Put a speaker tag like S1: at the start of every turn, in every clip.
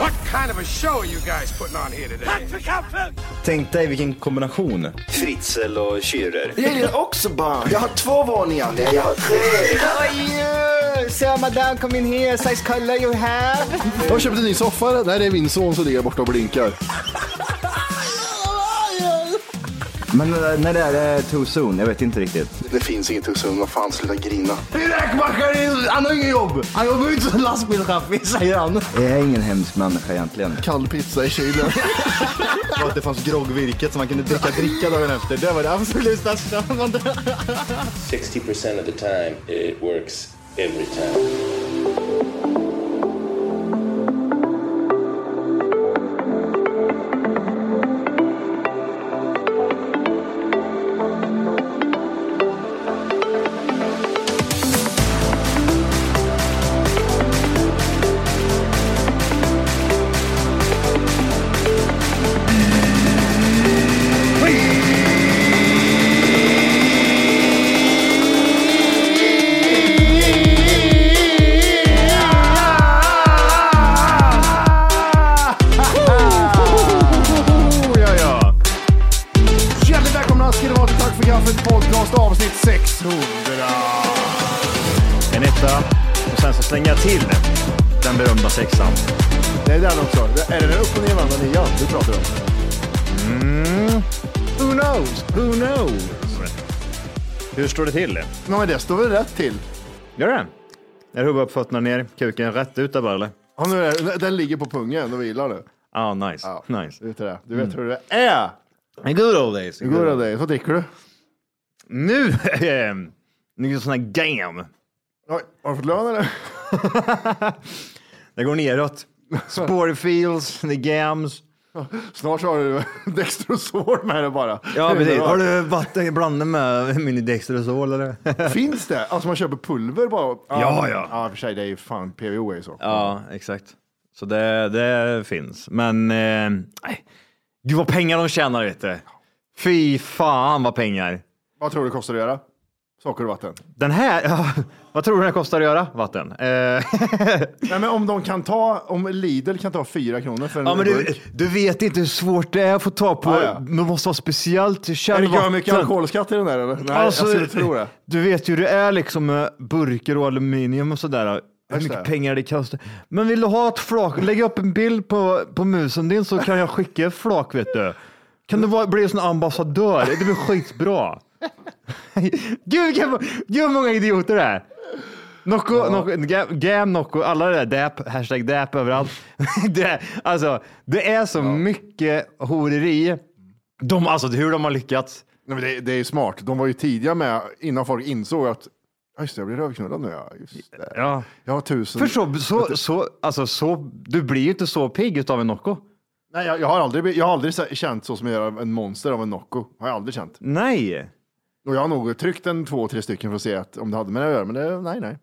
S1: What kind of a show are you guys putting on here today?
S2: Tänk dig vilken kombination.
S3: Fritzl och Schürrer.
S4: Jag gillar också barn. Jag har två våningar. Nej, Jag har tre.
S2: How are you? So madame, come in here. Size color you have.
S5: Jag har köpt en ny soffa. Nej, det är min son som ligger borta och blinkar.
S2: Men eh, när det är eh, too soon, jag vet inte riktigt.
S5: Det finns inget hos Vad fan, sluta grina.
S2: Min räkmackare, han har inget jobb. Han jobbar ju inte som lastbilschaffis, säger han. Jag är ingen hemsk människa egentligen.
S5: Kall pizza i kylen.
S2: Och att det fanns groggvirket som man kunde dricka dricka dagen efter. Det var det absolut största.
S3: 60% of the time it works every time.
S5: Ah! Oh, ja, ja. Hjärtligt välkomna ska ni vara till Tack för kaffet podcast avsnitt 600.
S6: En etta. Och sen så slänger jag till den berömda sexan.
S5: Det är den också. Är det den upp och nervända nian du pratar om?
S6: Mm.
S5: Who knows? Who knows?
S6: Hur står det till?
S5: Ja, men det står väl rätt till?
S6: Gör det? Är huvudet upp, fötterna ner, kuken rätt ut där bara eller?
S5: Ja, nu är det, den ligger på pungen och vilar nu.
S6: Ja, ah, nice. nice.
S5: Vet du, det? du vet
S6: Mm.
S5: hur det är.
S6: Good old days.
S5: Hur går det dig? Vad dricker du?
S6: Nu! ehm, Nu är det sån här game.
S5: Oj, har du fått lön eller?
S6: Det går neråt. Sportfields, the games.
S5: Snart så har du Dextrosol med dig bara.
S6: Ja,
S5: Det är
S6: precis.
S5: bra.
S6: Har du vatten i blandat med minidextrosol eller?
S5: Finns det? Alltså man köper pulver bara?
S6: Ja, ja.
S5: Ja, i och för sig, det är ju fan PVO är ju så.
S6: ja, exakt. Så det, det finns. Men, eh, nej. gud vad pengar de tjänar vet du. Fy fan vad pengar.
S5: Vad tror du det kostar att göra? Socker och vatten?
S6: Den här, vad tror du den här kostar att göra? Vatten. Eh,
S5: Nej, men om de kan ta, om Lidl kan ta fyra kronor för en
S6: ja, men du,
S5: burk.
S6: du vet inte hur svårt det är att få tag på,
S5: Ja, ja.
S6: man måste ha speciellt
S5: Är det
S6: källvatten.
S5: gör mycket alkoholskatt i den där eller? Nej,
S6: Alltså,
S5: alltså, jag skulle tro det.
S6: Du vet ju hur det är liksom med burkar och aluminium och sådär. Hur
S5: Just
S6: mycket
S5: det.
S6: pengar det kostar. Men vill du ha ett flak, lägg upp en bild på, på musen din så kan jag skicka ett flak vet du. Kan du vara, bli en sån ambassadör? Det blir skitbra. Gud, vilka, gud vad många idioter det är. Nocco, Nocco, Gam- Gam, Nocco, alla det där, DAP, hashtag DAP överallt. det, alltså, det är så mycket horeri. De, alltså hur de har lyckats.
S5: Nej, men det, det är ju smart. De var ju tidiga med innan folk insåg att "Ja, just det, jag blir rövknullad nu. Ja, just det.
S6: Ja.
S5: Jag har tusen.
S6: För så, så, så, alltså, så, du blir ju inte så pigg utav en Nocco.
S5: Nej, jag, jag, har aldrig, blivit- jag har aldrig så- känt så som jag gör av en monster av en Nocco. Har jag aldrig känt.
S6: Nej.
S5: Och jag har nog tryckt en två, tre stycken för att se att, om det hade med det att göra, men det, nej, nej.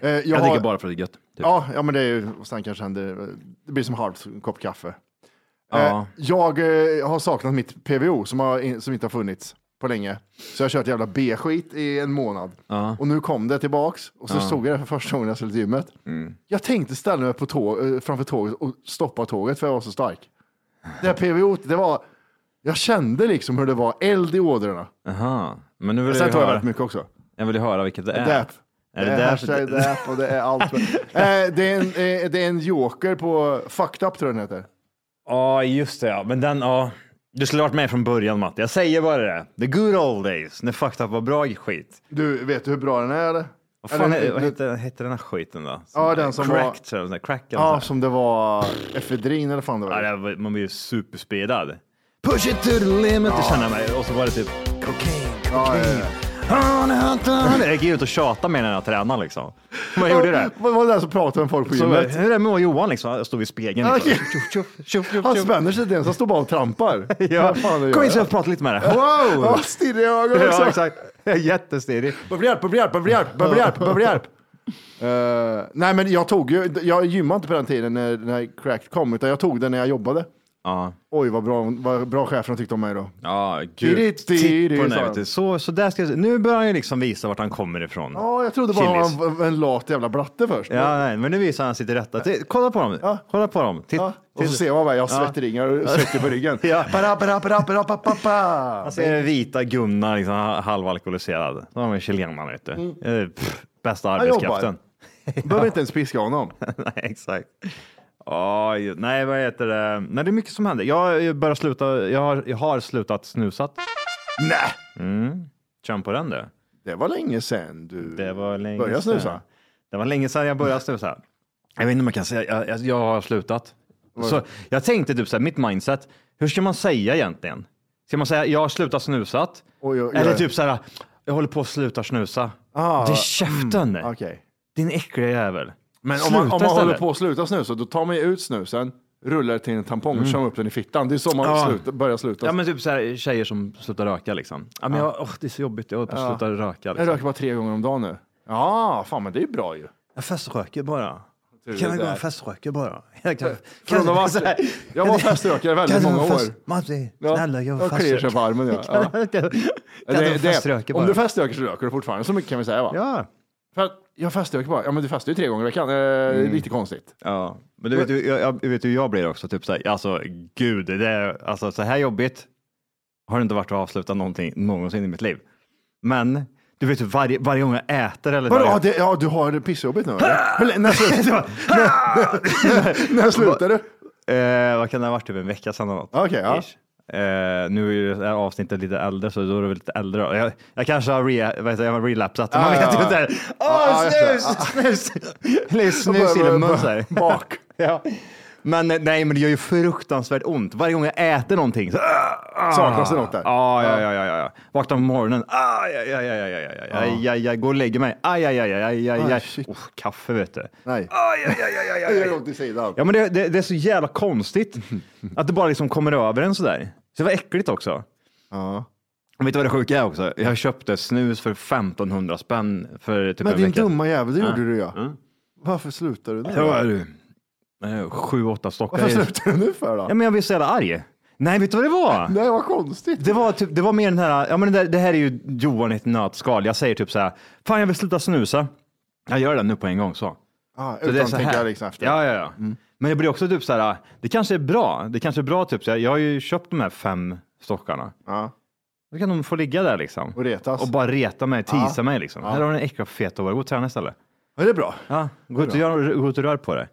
S5: Eh, jag
S6: Jag
S5: har-
S6: dricker bara för att det är gött. Typ.
S5: Ja, ja, men det är ju, och sen kanske händer, det blir som halv kopp kaffe. Eh,
S6: Ja.
S5: jag eh, har saknat mitt PVO som, har, in- som inte har funnits på länge. Så jag har kört jävla B-skit i en månad. Och nu kom det tillbaks och så såg jag det för första gången när jag skulle till gymmet. Jag tänkte ställa mig på tå- eh, framför tåget och stoppa tåget för jag var så stark. Det här PVO, det var, jag kände liksom hur det var eld i ådrorna.
S6: Aha. Men nu vill
S5: Sen
S6: jag,
S5: tar jag
S6: höra,
S5: väldigt mycket också.
S6: jag vill ju höra vilket det är.
S5: Dap. Det är, det
S6: därför-
S5: hashtag that och det är allt. eh, det, är en, eh, det är en joker på Fucked Up tror jag den heter.
S6: Ja, just det. Ja. Men den, ja. Du skulle ha varit med från början, Matte. Jag säger bara det. The good old days, när fucked up var bra skit.
S5: Du, vet du hur bra den är eller?
S6: Vad fan
S5: Eller-
S6: är, vad heter, heter den här skiten då?
S5: Ja, den som var-
S6: cracked, var... Cracked, crack eller
S5: Ja,
S6: så
S5: som det var efedrin eller fan det var.
S6: här. ja, det var- Man blir ju superspedad. Push it to the limit, det känner jag mig. Och så var det typ cocaine,
S5: Ja, ja,
S6: cocaine.
S5: ja.
S6: Ah, nej, vänta. Jag gick ut och tjatade mer än jag tränade liksom. Man gjorde det.
S5: Vad var det där som pratade med folk på
S6: Så,
S5: gymmet?
S6: hur är det med Johan liksom? Jag stod vid spegeln. Liksom.
S5: Okej.
S6: Tjuff, tjuff, tjuff, tjuff,
S5: Han
S6: tjuff.
S5: spänner sig inte ens, han står bara och trampar.
S6: Ja.
S5: Vad fan är det
S6: Kom
S5: jag
S6: in så
S5: gör?
S6: jag pratar lite med dig. Wow!
S5: Ja, stirrig i ögonen också.
S6: Ja, exakt. Jag är jättestirrig.
S5: Behöver hjälp, behöver hjälp, behöver hjälp, behöver hjälp, behöver hjälp. Eh, nej men jag tog ju, jag gymmade inte på den tiden när, när Cracked kom, utan jag tog den när jag jobbade.
S6: Ja,
S5: Oj vad bra, vad bra cheferna tyckte om mig då.
S6: ja gud.
S5: Tidigt,
S6: Titt på den
S5: sa
S6: här,
S5: han.
S6: vet du. Så, så där ska jag, nu börjar han ju liksom visa vart han kommer ifrån.
S5: Ja, jag trodde bara
S6: Killis.
S5: han var en lat jävla bratte först.
S6: Ja, nej, men nu visar han sitt rätta. Titt, kolla på dem.
S5: Ja.
S6: Kolla på dem. Titt,
S5: Ja, och
S6: titt.
S5: så ser man mig, jag har svettringar och svetter på ryggen.
S6: Ja.
S5: Para, para, para, para, pa, pa, pa.
S6: Han ser den vita Gunnar, liksom, ha- halvalkoholiserad. De är chilenarna, vet du. Eh, Pff, bästa
S5: Mm. Han jobbar.
S6: arbetskraften.
S5: Behöver inte ens piska honom.
S6: nej, exakt. Ja, ju- nej, vad heter det? Nej, det är mycket som händer. Jag, börjar sluta, jag, har, jag har slutat snusat.
S5: Nej,
S6: Känn på den du.
S5: det var länge sedan du
S6: Det var länge
S5: började
S6: sedan.
S5: snusa.
S6: Det var länge sedan jag började snusa. Jag vet inte om jag kan säga, jag, jag, jag har slutat. Så jag tänkte typ så här, mitt mindset, hur ska man säga egentligen? Ska man säga, jag har slutat snusat?
S5: Oj, oj, oj.
S6: Eller typ så här, jag håller på att sluta snusa.
S5: Ah, Mm,
S6: det är käften!
S5: Okej.
S6: Din äckliga jävel.
S5: Men om man, om
S6: Sluta
S5: man håller
S6: istället.
S5: på att sluta snusa, då tar man ju ut snusen, rullar till en tampong och kör upp den i fittan. Det är så man
S6: Mm. Ja.
S5: slutar, börjar sluta.
S6: Ja men typ så här, tjejer som slutar röka liksom. Ja, men jag, åh, det är så jobbigt, jag håller på att
S5: Ja.
S6: sluta röka.
S5: Jag
S6: Liksom.
S5: röker bara tre gånger om dagen nu. Ja, fan men det är bra ju.
S6: Jag feströker bara.
S5: Tur
S6: Kan
S5: det
S6: jag gå
S5: där.
S6: och feströka bara? Jag, kan,
S5: Från att ha varit-
S6: så här-
S5: jag var feströkare väldigt
S6: Kan du
S5: många
S6: fest-
S5: år.
S6: Matti,
S5: Ja,
S6: snälla jag vill
S5: jag kliar sig på armen, ja. Ja.
S6: Kan du- kan
S5: Det-
S6: du
S5: det-
S6: feströka bara?
S5: om du feströker så röker du fortfarande, så mycket kan vi säga va?
S6: Ja.
S5: För att jag feströker bara, ja men du festar ju tre gånger i veckan, eh, lite konstigt.
S6: Mm. Ja, men du vet, ju- jag, jag, du vet hur jag blir också. Typ så här, alltså gud, det är alltså, så här jobbigt har det inte varit att avsluta någonting någonsin i mitt liv. Men du vet ju varje, varje gång jag äter eller
S5: Vadå, ja,
S6: varje,
S5: det, ja du har det pissjobbigt nu eller? Hur lä- när, slut, när, när, när slutar du?
S6: eh, vad kan det ha varit, typ en vecka sedan eller något.
S5: Okej, ja.
S6: Ish. Eh, nu är ju det här avsnittet lite äldre, så då är det väl lite äldre. då. Jag, jag kanske har re, vad heter, det, jag har relapsat, man
S5: Ja,
S6: vet ju
S5: ja,
S6: inte. Åh,
S5: Ja,
S6: snus,
S5: just
S6: snus! Eller snus i den mun så här.
S5: Bak.
S6: Ja. Men eh, nej, men det gör ju fruktansvärt ont. Varje gång jag äter någonting så...
S5: Saknas det något där?
S6: Ah, ja, ja, ja, ja, ja. Vaknar på morgonen. Ah, ja, ja, ja, ja, ja, ja, ja, ja, ja, gå och lägger mig. Aj, aj, aj, aj, aj, aj,
S5: Ah,
S6: aj.
S5: shit.
S6: Oh, kaffe vet du.
S5: Nej.
S6: Aj, aj, aj, aj, aj,
S5: Det
S6: aj, aj.
S5: gör ont i sidan.
S6: Ja, men det, det, det är så jävla konstigt att det bara liksom kommer över en sådär. Så det var äckligt också.
S5: Ja.
S6: Och Vet du vad det sjuka är också? Jag köpte snus för 1500 spänn för typ
S5: Men
S6: en
S5: din
S6: vecka.
S5: dumma jävel, det gjorde
S6: Ja.
S5: du ju. Ja. Mm.
S6: Ja.
S5: Varför slutar du nu?
S6: Ja, vad är du? Eh, Sju, åtta stockar.
S5: Varför slutar du nu för då?
S6: Ja, men jag blev så jävla arg. Nej, vet du vad det var?
S5: Nej, vad konstigt.
S6: Det var, typ, det var mer den här, ja men det, det här är ju Johan i ett nötskal. Jag säger typ så här, fan jag vill sluta snusa. Jag gör det nu på en gång så.
S5: Ah,
S6: så
S5: utan
S6: det är
S5: att
S6: så
S5: tänka
S6: här.
S5: liksom efter.
S6: Ja, ja, ja. Men jag blir också typ så här, det kanske är bra. Det kanske är bra typ, så jag, jag har ju köpt de här fem stockarna.
S5: Ja.
S6: Då kan de få ligga där liksom.
S5: Och retas.
S6: Och bara reta mig, tisa
S5: Ja.
S6: mig liksom. Här har du en äcklig fet och gå och träna istället.
S5: Ja, det är bra.
S6: Ja, gå ut och, gör, gå ut och rör på dig.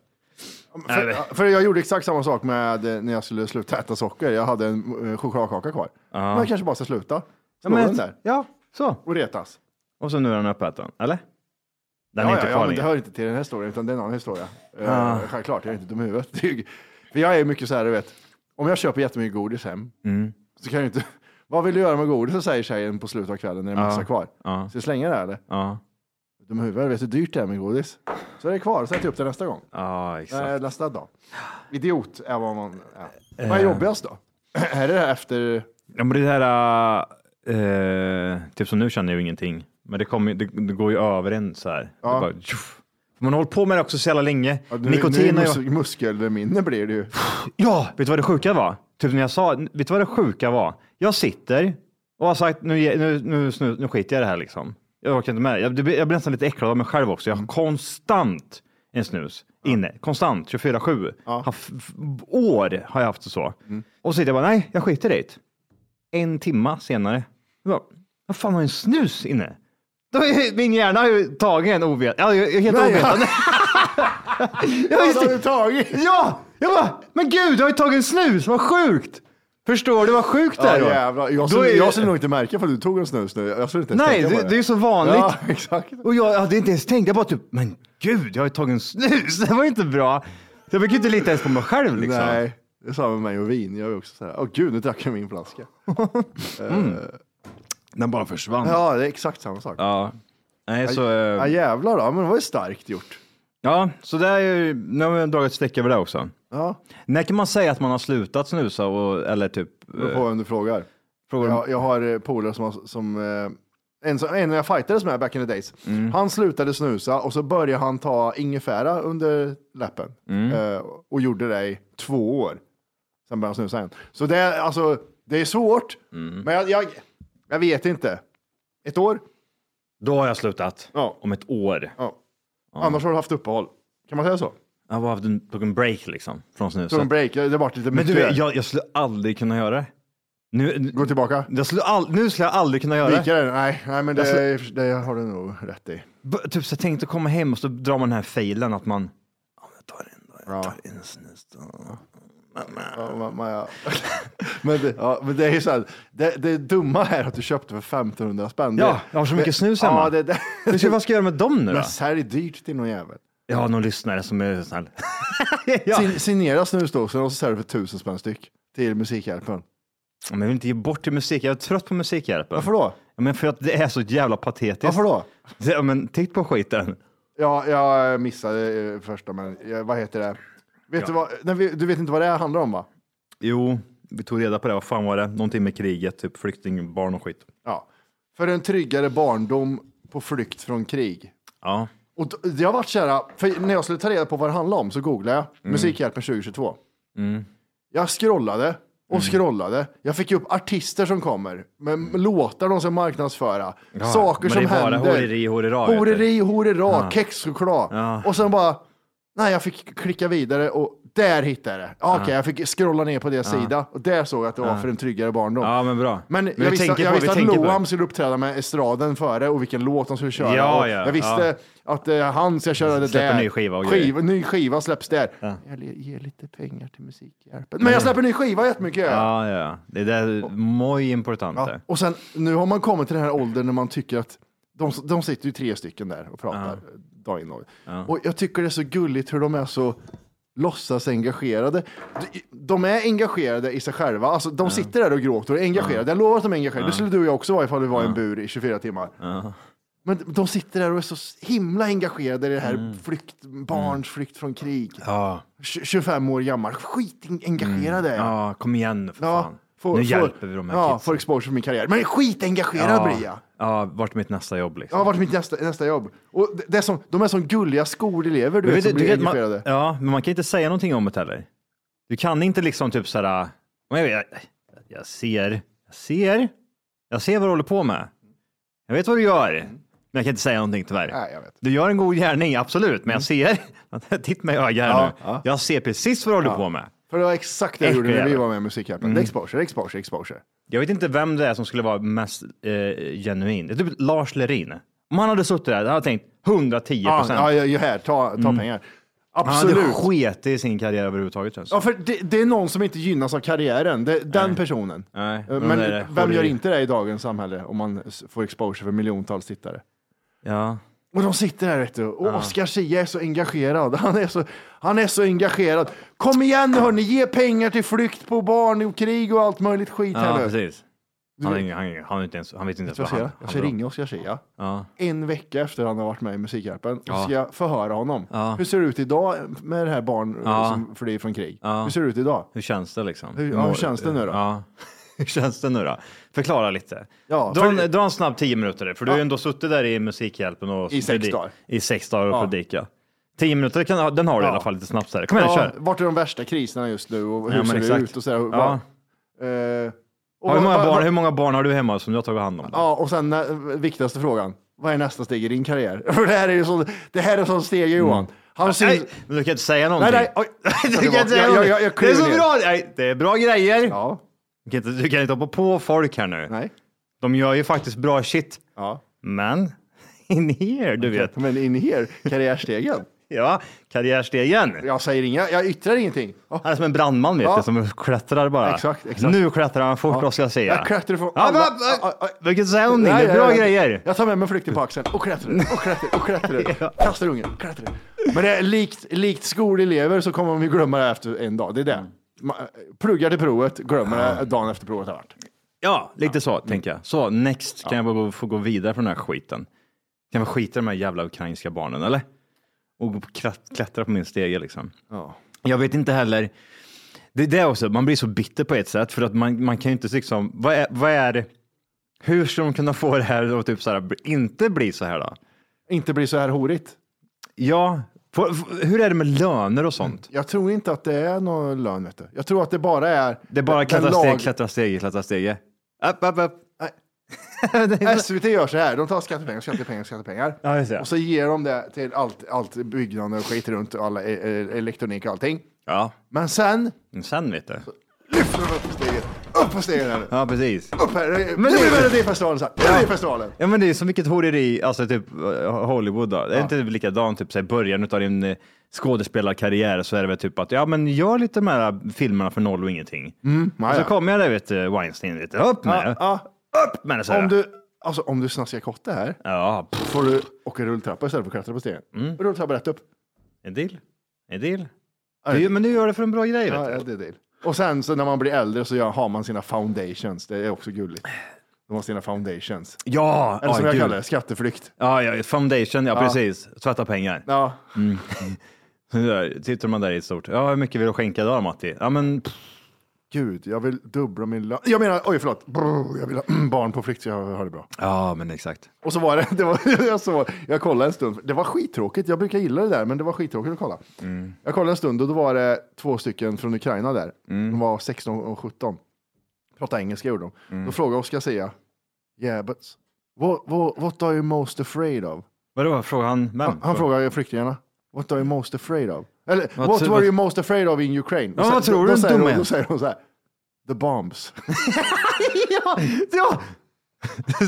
S5: För, för jag gjorde exakt samma sak med eh, när jag skulle sluta äta socker. Jag hade en eh, chokladkaka kvar. Men jag kanske bara ska sluta.
S6: Ja,
S5: Slå den där
S6: ja, så.
S5: och retas.
S6: Och så nu är den uppäten, eller? Den
S5: ja,
S6: är inte kvar
S5: ja, ja, men det
S6: längre.
S5: hör inte till den här historien, utan det är en annan historia. Ah. självklart, jag är inte dum i huvudet. Det är ju- För jag är ju mycket så här, du vet, om jag köper jättemycket godis hem,
S6: Mm.
S5: så kan jag ju inte... Vad vill du göra med godis? Så säger tjejen på slutet av kvällen när det är
S6: Ah.
S5: massa kvar.
S6: ja.
S5: Ska jag slänga det här, eller?
S6: Ja,
S5: Dum i huvudet, vet du hur dyrt det är med godis? Så är det kvar, så äter jag upp det nästa gång.
S6: ja exakt.
S5: Nej, nästa dag. Idiot är vad man
S6: Eh.
S5: är. Vad är jobbigast då? är det efter...
S6: Ja, men det här, eh, typ som nu känner jag ju ingenting, men det, kommer ju- det, det går ju över en så här.
S5: Ja.
S6: Det bara, tjoff. man har hållit på med det också så jävla länge.
S5: Ja, nu,
S6: Nikotin
S5: nu
S6: har
S5: är
S6: jag...
S5: mus- Muskelminne blir det ju.
S6: Ja, vet du vad det sjuka var? Typ när jag sa, vet du vad det sjuka var? Jag sitter och har sagt, nu, ge- nu, nu, nu, nu skiter jag i det här liksom. Jag orkar inte med det. Jag, det blir- jag blir nästan lite äcklad av mig själv också. Jag har konstant en snus inne, konstant 24-7. Har f- f- År har jag haft det så. Och så sitter jag bara, nej, jag skiter i det. En timma senare, jag bara, vad fan har jag en snus inne? Då är, ju- min hjärna har ju tagit en ovetande. Ja, jag- jag är helt ovetande. jag
S5: Vad har du tagit?
S6: Ja! Jag bara, men gud, jag har ju tagit en snus, vad sjukt! Förstår du vad sjukt det
S5: Ja,
S6: är då?
S5: jävlar. Jag
S6: Då
S5: skulle,
S6: är-
S5: jag skulle nog inte märka för du tog en snus nu. Jag skulle inte ens
S6: Nej,
S5: tänka på
S6: det, det är ju så vanligt.
S5: Ja, exakt.
S6: Och jag hade inte ens tänkt, jag bara typ, men gud, jag har ju tagit en snus, det var ju inte bra. Jag fick ju inte lita ens på mig själv liksom.
S5: Nej, det är samma med mig och vin. Jag är också så här, åh gud, nu drack jag min flaska.
S6: Mm.
S5: Eh,
S6: Den bara försvann. Ja.
S5: Ja, det är exakt samma sak.
S6: Nej, så,
S5: Ja,
S6: eh,
S5: jävlar då. Men det var ju starkt gjort.
S6: ja, så det är ju, nu har jag dragit ett streck över det också.
S5: Ja,
S6: När kan man säga att man har slutat snusa och, eller typ,
S5: det beror på vem du frågar.
S6: frågar
S5: Jag, jag har eh, polare som, har- som eh, en, som- en jag fightades med back in the days.
S6: Mm.
S5: Han slutade snusa och så började han ta ingefära under läppen
S6: Mm.
S5: eh, och gjorde det i två år. Sen började han snusa igen. Så det är, alltså, det är svårt,
S6: Mm.
S5: men jag, jag, jag vet inte. Ett år?
S6: Då har jag slutat.
S5: Ja.
S6: Om ett år.
S5: Ja. Annars har du haft uppehåll. Kan man säga så?
S6: Jag bara hade en- tog en break liksom från snuset.
S5: Tog en break, det vart lite
S6: Men
S5: mycket.
S6: du, jag, jag skulle aldrig kunna göra det. Nu,
S5: Gå tillbaka.
S6: jag skulle all, nu skulle jag aldrig kunna göra det.
S5: Vika dig? Nej, nej, men det,
S6: Jag
S5: det har du nog rätt i.
S6: B- Typ så jag tänkte komma hem och så drar man den här filen att man... Ja, men jag tar en då, jag
S5: Ja.
S6: tar en snus då.
S5: Ja, ma- ma- ja. men, det, ja, men det är ju så här, det, det dumma är att du köpte för 1500 spänn.
S6: Ja,
S5: Det-
S6: jag har så mycket
S5: det,
S6: snus hemma.
S5: Ja, det, det,
S6: Men så vad ska jag göra med dem nu då?
S5: men sälj dyrt till någon jävel.
S6: Jag har någon lyssnare som är snäll. ja.
S5: Sin, signera snusdosen och så säljer du för 1000 spänn styck till Musikhjälpen.
S6: Men jag vill inte ge bort till musik. Jag är trött på Musikhjälpen.
S5: Varför då?
S6: Ja, Men för att det är så jävla patetiskt.
S5: Varför då?
S6: Ja, men titt på skiten.
S5: Ja, jag missade eh, första, men eh, vad heter det? Vet du, vad, nej, vi- du vet inte vad det här handlar om va?
S6: Jo, vi tog reda på det. Vad fan var det? Någonting med kriget, typ flyktingbarn och skit.
S5: Ja. För en tryggare barndom på flykt från krig.
S6: Ja.
S5: Och d- jag har varit så här, för när jag skulle ta reda på vad det handlade om så googlade jag
S6: Mm.
S5: Musikhjälpen 2022. Jag scrollade
S6: Mm.
S5: och scrollade. Jag fick upp artister som kommer, med låtar de ska marknadsföra, saker
S6: men
S5: som
S6: det är bara
S5: händer.
S6: horeri, horera, vet du.
S5: Horeri, horera, kexchoklad. Och sen bara, nej jag fick klicka vidare och där hittade jag det. Ja, Okej, jag fick scrolla ner på deras sida och där såg jag att det var för en tryggare barndom.
S6: Ja, men bra.
S5: Men,
S6: Men vi
S5: jag visste,
S6: tänker
S5: jag
S6: på- vi
S5: visste att
S6: tänker på det.
S5: Loam skulle uppträda med estraden före och vilken låt de skulle köra.
S6: Ja,
S5: och
S6: ja,
S5: jag visste att eh, han ska köra det
S6: Släpper
S5: där.
S6: ny skiva och
S5: skiva,
S6: grejer.
S5: Ny skiva släpps där. Jag le- ger lite pengar till Musikhjälpen. Men jag släpper ny skiva jättemycket.
S6: Mm. Ja, ja, ja. Det där är muy important.
S5: Ja,
S6: det.
S5: Och sen, nu har man kommit till den här åldern när man tycker att de, de sitter ju tre stycken där och pratar dag in och dag ut. Och jag tycker det är så gulligt hur de är så låtsas engagerade. De, de är engagerade i sig själva. Alltså, de sitter där och gråter och är engagerade. Jag lovar att de är engagerade. Det skulle du och jag också vara ifall vi var i en bur i 24 timmar. Men de sitter där och är så himla engagerade i det här flykt, barns flykt från krig.
S6: Mm. Ja. Mm.
S5: Tj- 25 år gammal. Skitengagerade är jag.
S6: Ja, kom igen nu för fan.
S5: får-
S6: nu
S5: får-
S6: hjälper vi de här
S5: Ja,
S6: kidsen.
S5: får exposure för min karriär. Men skitengagerad
S6: ja.
S5: blir jag.
S6: Ja, vart mitt nästa jobb liksom.
S5: Jag har varit mitt nästa, nästa jobb. Och det, det är som, de är som gulliga skolelever, du
S6: Men
S5: vet,
S6: vet
S5: som
S6: du
S5: blir
S6: vet, man,
S5: engagerade.
S6: ja, men man kan inte säga någonting om det heller. Du kan inte liksom typ så här, men jag, jag, jag ser, jag ser, jag ser vad du håller på med. Jag vet vad du gör, men jag kan inte säga någonting tyvärr.
S5: Mm. Nej, jag vet. Mm.
S6: Du gör en god gärning, absolut, men jag ser, titt mig i ögat här
S5: Ja,
S6: nu,
S5: ja.
S6: jag ser precis vad du håller på med.
S5: För det var exakt det jag gjorde när vi
S6: Äckligare.
S5: var med i Musikhjälpen.
S6: Mm.
S5: Det är Exposure, exposure, exposure.
S6: Jag vet inte vem det är som skulle vara mest eh, genuin. Det är typ Lars Lerin. Om han hade suttit där, hade jag tänkt 110
S5: Ja,
S6: procent.
S5: ja, ja, ja, här, ta, ta
S6: Mm.
S5: pengar.
S6: han hade
S5: Absolut.
S6: skitit i sin karriär överhuvudtaget. känns det
S5: Ja, för det, det är någon som inte gynnas av karriären, det, den personen.
S6: Nej,
S5: Eh,
S6: men
S5: Men
S6: det är-
S5: vem gör
S6: det-
S5: inte det i dagens samhälle om man s- får exposure för miljontals tittare?
S6: som. ja.
S5: Och de sitter där vet du. Och Oscar Zia är så engagerad. Han är så, han är så engagerad. Kom igen nu hörni, ge pengar till flykt på barn och krig och allt möjligt skit
S6: Ja,
S5: här nu.
S6: precis. Han, han, han, han, är inte ens, han vet inte ens
S5: Jag
S6: vad
S5: ska,
S6: han,
S5: jag
S6: han
S5: ska
S6: drar.
S5: ringa Oscar Zia
S6: Ja.
S5: en vecka efter han har varit med i Musikhjälpen och
S6: Ja.
S5: ska jag förhöra honom.
S6: Ja.
S5: Hur ser det ut idag med det här barn
S6: Ja.
S5: som flyr från krig?
S6: Ja.
S5: Hur ser det ut idag?
S6: Hur känns det liksom?
S5: Hur- ja, hur
S6: mår-
S5: känns det nu då?
S6: Ja. Hur känns det nu då? Förklara lite.
S5: Ja,
S6: dra,
S5: för-
S6: en, dra en snabb tio minuter, där, för du har ju ändå suttit där i Musikhjälpen och
S5: I sex dagar.
S6: i sex dagar och
S5: Ja.
S6: predikat. Tio minuter, kan, den har du i
S5: Ja.
S6: alla fall lite snabbt. så Här. Kom igen,
S5: Ja,
S6: kör!
S5: vart är de värsta kriserna just nu och
S6: Ja,
S5: hur
S6: men
S5: ser
S6: exakt.
S5: det ut? Och så här,
S6: Ja.
S5: vad- eh, och
S6: Ja, hur, många
S5: vad-
S6: barn,
S5: vad-
S6: hur många barn har du hemma som du har tagit hand om?
S5: Ja, och sen eh, viktigaste frågan. Vad är nästa steg i din karriär? För det här är ju så, det här är så steg Johan. Han syns...
S6: Nej, men du kan inte säga någonting.
S5: nej, oj.
S6: du kan
S5: Jag-
S6: inte säga
S5: jag-
S6: någonting.
S5: jag- jag
S6: det är
S5: kliver
S6: så
S5: ner.
S6: bra! Nej, det är bra grejer.
S5: Ja,
S6: Du, kan inte, du kan inte hoppa på folk här nu.
S5: nej.
S6: De gör ju faktiskt bra shit.
S5: Ja.
S6: Men in here, du vet.
S5: Men in here, karriärstegen.
S6: Ja, karriärstegen.
S5: Jag säger inga, jag yttrar ingenting. Ja.
S6: Han är som en brandman vet
S5: Ja.
S6: du, som klättrar bara.
S5: Exakt, exakt.
S6: Nu klättrar han fort,
S5: Ja.
S6: vad ska jag säga.
S5: Jag klättrar från
S6: Ja,
S5: alla-
S6: va- va- Vilken sounding,
S5: Nej,
S6: det är bra
S5: jag-
S6: grejer.
S5: Jag tar med mig flykten på axeln och klättrar och klättrar och klättrar. Kastar ungen, klättrar. Men det är likt, likt skolelever så kommer de ju glömma det efter en dag. Det är det. Ma- eh, Pluggar till provet, glömmer det dagen efter provet har varit.
S6: Ja, lite så
S5: Mm.
S6: tänker jag. Så next kan jag bara gå, få gå vidare från den här skiten. Kan jag skita i de här jävla ukrainska barnen eller? Och gå på klätt- klättra på min stege liksom.
S5: Ja.
S6: Jag vet inte heller. Det är det också, man blir så bitter på ett sätt för att man, man kan ju inte liksom, vad är, vad är det? Hur ska de kunna få det här att typ så här, inte bli så här då?
S5: Inte bli så här horigt.
S6: Ja, för, för, hur är det med löner och sånt?
S5: Jag tror inte att det är någon lön. Vet du. Jag tror att det bara är...
S6: Det är bara
S5: den
S6: klättra steg,
S5: lag-
S6: klättra steg, klättra steg. Upp, upp, upp.
S5: Äh, SVT gör så här, de tar skattepengar, skattepengar, skattepengar.
S6: Ja, just det.
S5: Och så ger de det till allt, allt byggnader och skit runt, och alla e- e- elektronik och allting.
S6: Ja,
S5: Men sen
S6: men sen vet du.
S5: lyfter de upp på steget, upp på stegen här nu.
S6: Ja, precis.
S5: Upp här, det
S6: Men
S5: men blir
S6: det-
S5: Melodifestivalen så här, Melodifestivalen.
S6: Ja men det är så mycket horeri, alltså typ eh, Hollywood då. Det är inte likadant, typ så här, i början utav din eh, skådespelarkarriär så är det väl typ att ja men gör lite de här filmerna för noll och ingenting. och
S5: Ja,
S6: så
S5: Mm. Ah, ja.
S6: kommer jag där vet du, Weinstein lite, upp med det.
S5: Ja,
S6: Upp med det så
S5: ja.
S6: här.
S5: Om du, alltså om du snaskar kotte här,
S6: Ja, pff,
S5: får du åka rulltrappa istället för att klättra på stegen.
S6: Mm.
S5: Rulltrappa rätt upp.
S6: en deal. En deal.
S5: Ja,
S6: Du, men du gör det för en bra grej vet
S5: Ja,
S6: du.
S5: ja, det är deal. Och sen så när man blir äldre så gör, har man sina foundations. Det är också gulligt. De har sina foundations.
S6: Ja,
S5: Eller som
S6: ja,
S5: jag
S6: gud.
S5: kallar det, skatteflykt.
S6: Ja, ja, foundation, ja, precis. Tvätta pengar.
S5: Ja,
S6: Så där Sitter man där i ett stort, ja hur mycket vill du skänka idag Matti? Ja men pff,
S5: gud, jag vill dubbla min lön. Jag menar, oj förlåt, Brr, jag vill ha barn på flykt så jag har det bra.
S6: ja men exakt.
S5: Och så var det, det var, jag, så, jag kollade en stund, det var skittråkigt, jag brukar gilla det där, men det var skittråkigt att kolla. Jag kollade en stund och då var det två stycken från Ukraina där, de var 16 och 17. Pratade engelska gjorde de. Då frågade Oscar Sia, yeah but what, what, what are you most afraid of?
S6: Vadå, frågar han vem?
S5: Han, han frågade flyktingarna, what are you most afraid of? Eller
S6: Vad
S5: what,
S6: tro-
S5: were you most afraid of in Ukraine?
S6: Ja,
S5: Och
S6: vad
S5: sen-
S6: tror
S5: då-
S6: du,
S5: Då säger,
S6: dumme?
S5: de, då säger de så här, the bombs.
S6: ja, ja.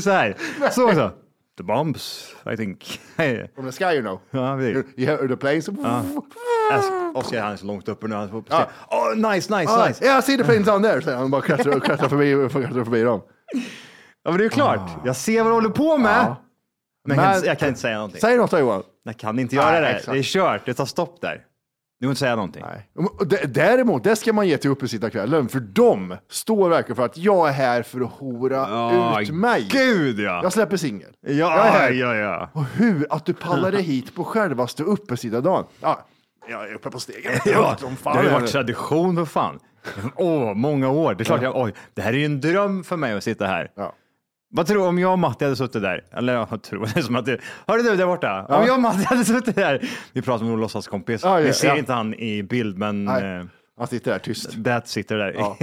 S6: så här. Så så. The bombs, I think.
S5: From the sky you know.
S6: ja, vi.
S5: You have the planes.
S6: Alltså, Oskar han är så långt uppe nu. Han får upp ja. oh, nice, nice,
S5: Ja,
S6: nice.
S5: jag ser det på insidan där, säger han. Bara klättrar, och klättrar, förbi, och klättrar förbi dem.
S6: Ja, men det är ju klart. Jag ser vad du håller på med. Men, jag, kan,
S5: Ah. Men-
S6: jag kan inte säga någonting.
S5: Säg något då Johan.
S6: Jag kan inte göra
S5: Nej,
S6: det.
S5: exakt.
S6: Det är kört. Det tar stopp där. Du får inte säga någonting.
S5: Nej. Och d- Däremot, det ska man ge till uppesittarkvällen, för de står verkligen för att jag är här för att hora
S6: Ja,
S5: ut mig.
S6: Gud ja.
S5: Jag släpper singel. Jag är
S6: ja,
S5: här.
S6: ja, ja.
S5: Och hur att du pallar dig hit på självaste uppesittardagen. Ja, jag är uppe på stegen.
S6: Ja,
S5: Högt som
S6: det
S5: fan
S6: har ju
S5: här
S6: varit
S5: nu.
S6: tradition för fan. Åh, många år. Det är klart, jag, oj, det här är ju en dröm för mig att sitta här.
S5: Ja.
S6: Vad tror du om jag och Matti hade suttit där? Eller jag tror det är som att du... Hör du där borta? Om jag och Matti hade suttit där. Vi pratar med vår låtsaskompis.
S5: Ja, ja,
S6: Vi ser
S5: ja.
S6: inte han i bild, men
S5: Nej.
S6: eh,
S5: Han sitter där tyst.
S6: det sitter där
S5: Ja.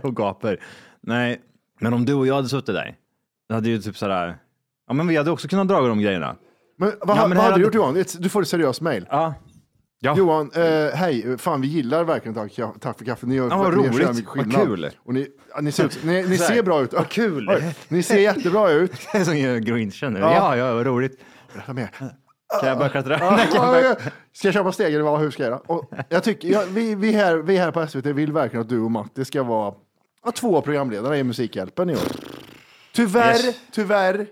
S6: och gapar. Nej, men om du och jag hade suttit där, det hade ju typ sådär... Ja, men vi hade också kunnat dra de grejerna.
S5: Men vad,
S6: Ja, men här
S5: vad hade
S6: hade-
S5: du gjort Johan? Ett- Du får ett seriöst mejl.
S6: Ja. Ja.
S5: Johan, eh, hej, fan vi gillar verkligen Tack, ka- tack för kaffet. Ni gör
S6: Ja, vad
S5: ni gör
S6: roligt.
S5: så jävla mycket
S6: Vad
S5: skillnad.
S6: kul.
S5: Och ni, ja, ni, ser, ut, ni, ni
S6: Så här.
S5: ser bra ut.
S6: Vad kul.
S5: Oj, Ni ser jättebra ut.
S6: Det är som gör grinchen nu.
S5: Ja.
S6: Ja, ja, vad roligt.
S5: Kom igen.
S6: Kan jag börja klättra? Nej, kan jag
S5: Ja,
S6: börja-
S5: ja. Ska jag köpa steg eller vad, hur ska jag göra? Och jag tycker, ja, vi, vi, här, vi här på SVT vill verkligen att du och Matti ska vara ja, två programledare i Musikhjälpen i år. Tyvärr,
S6: Yes.
S5: tyvärr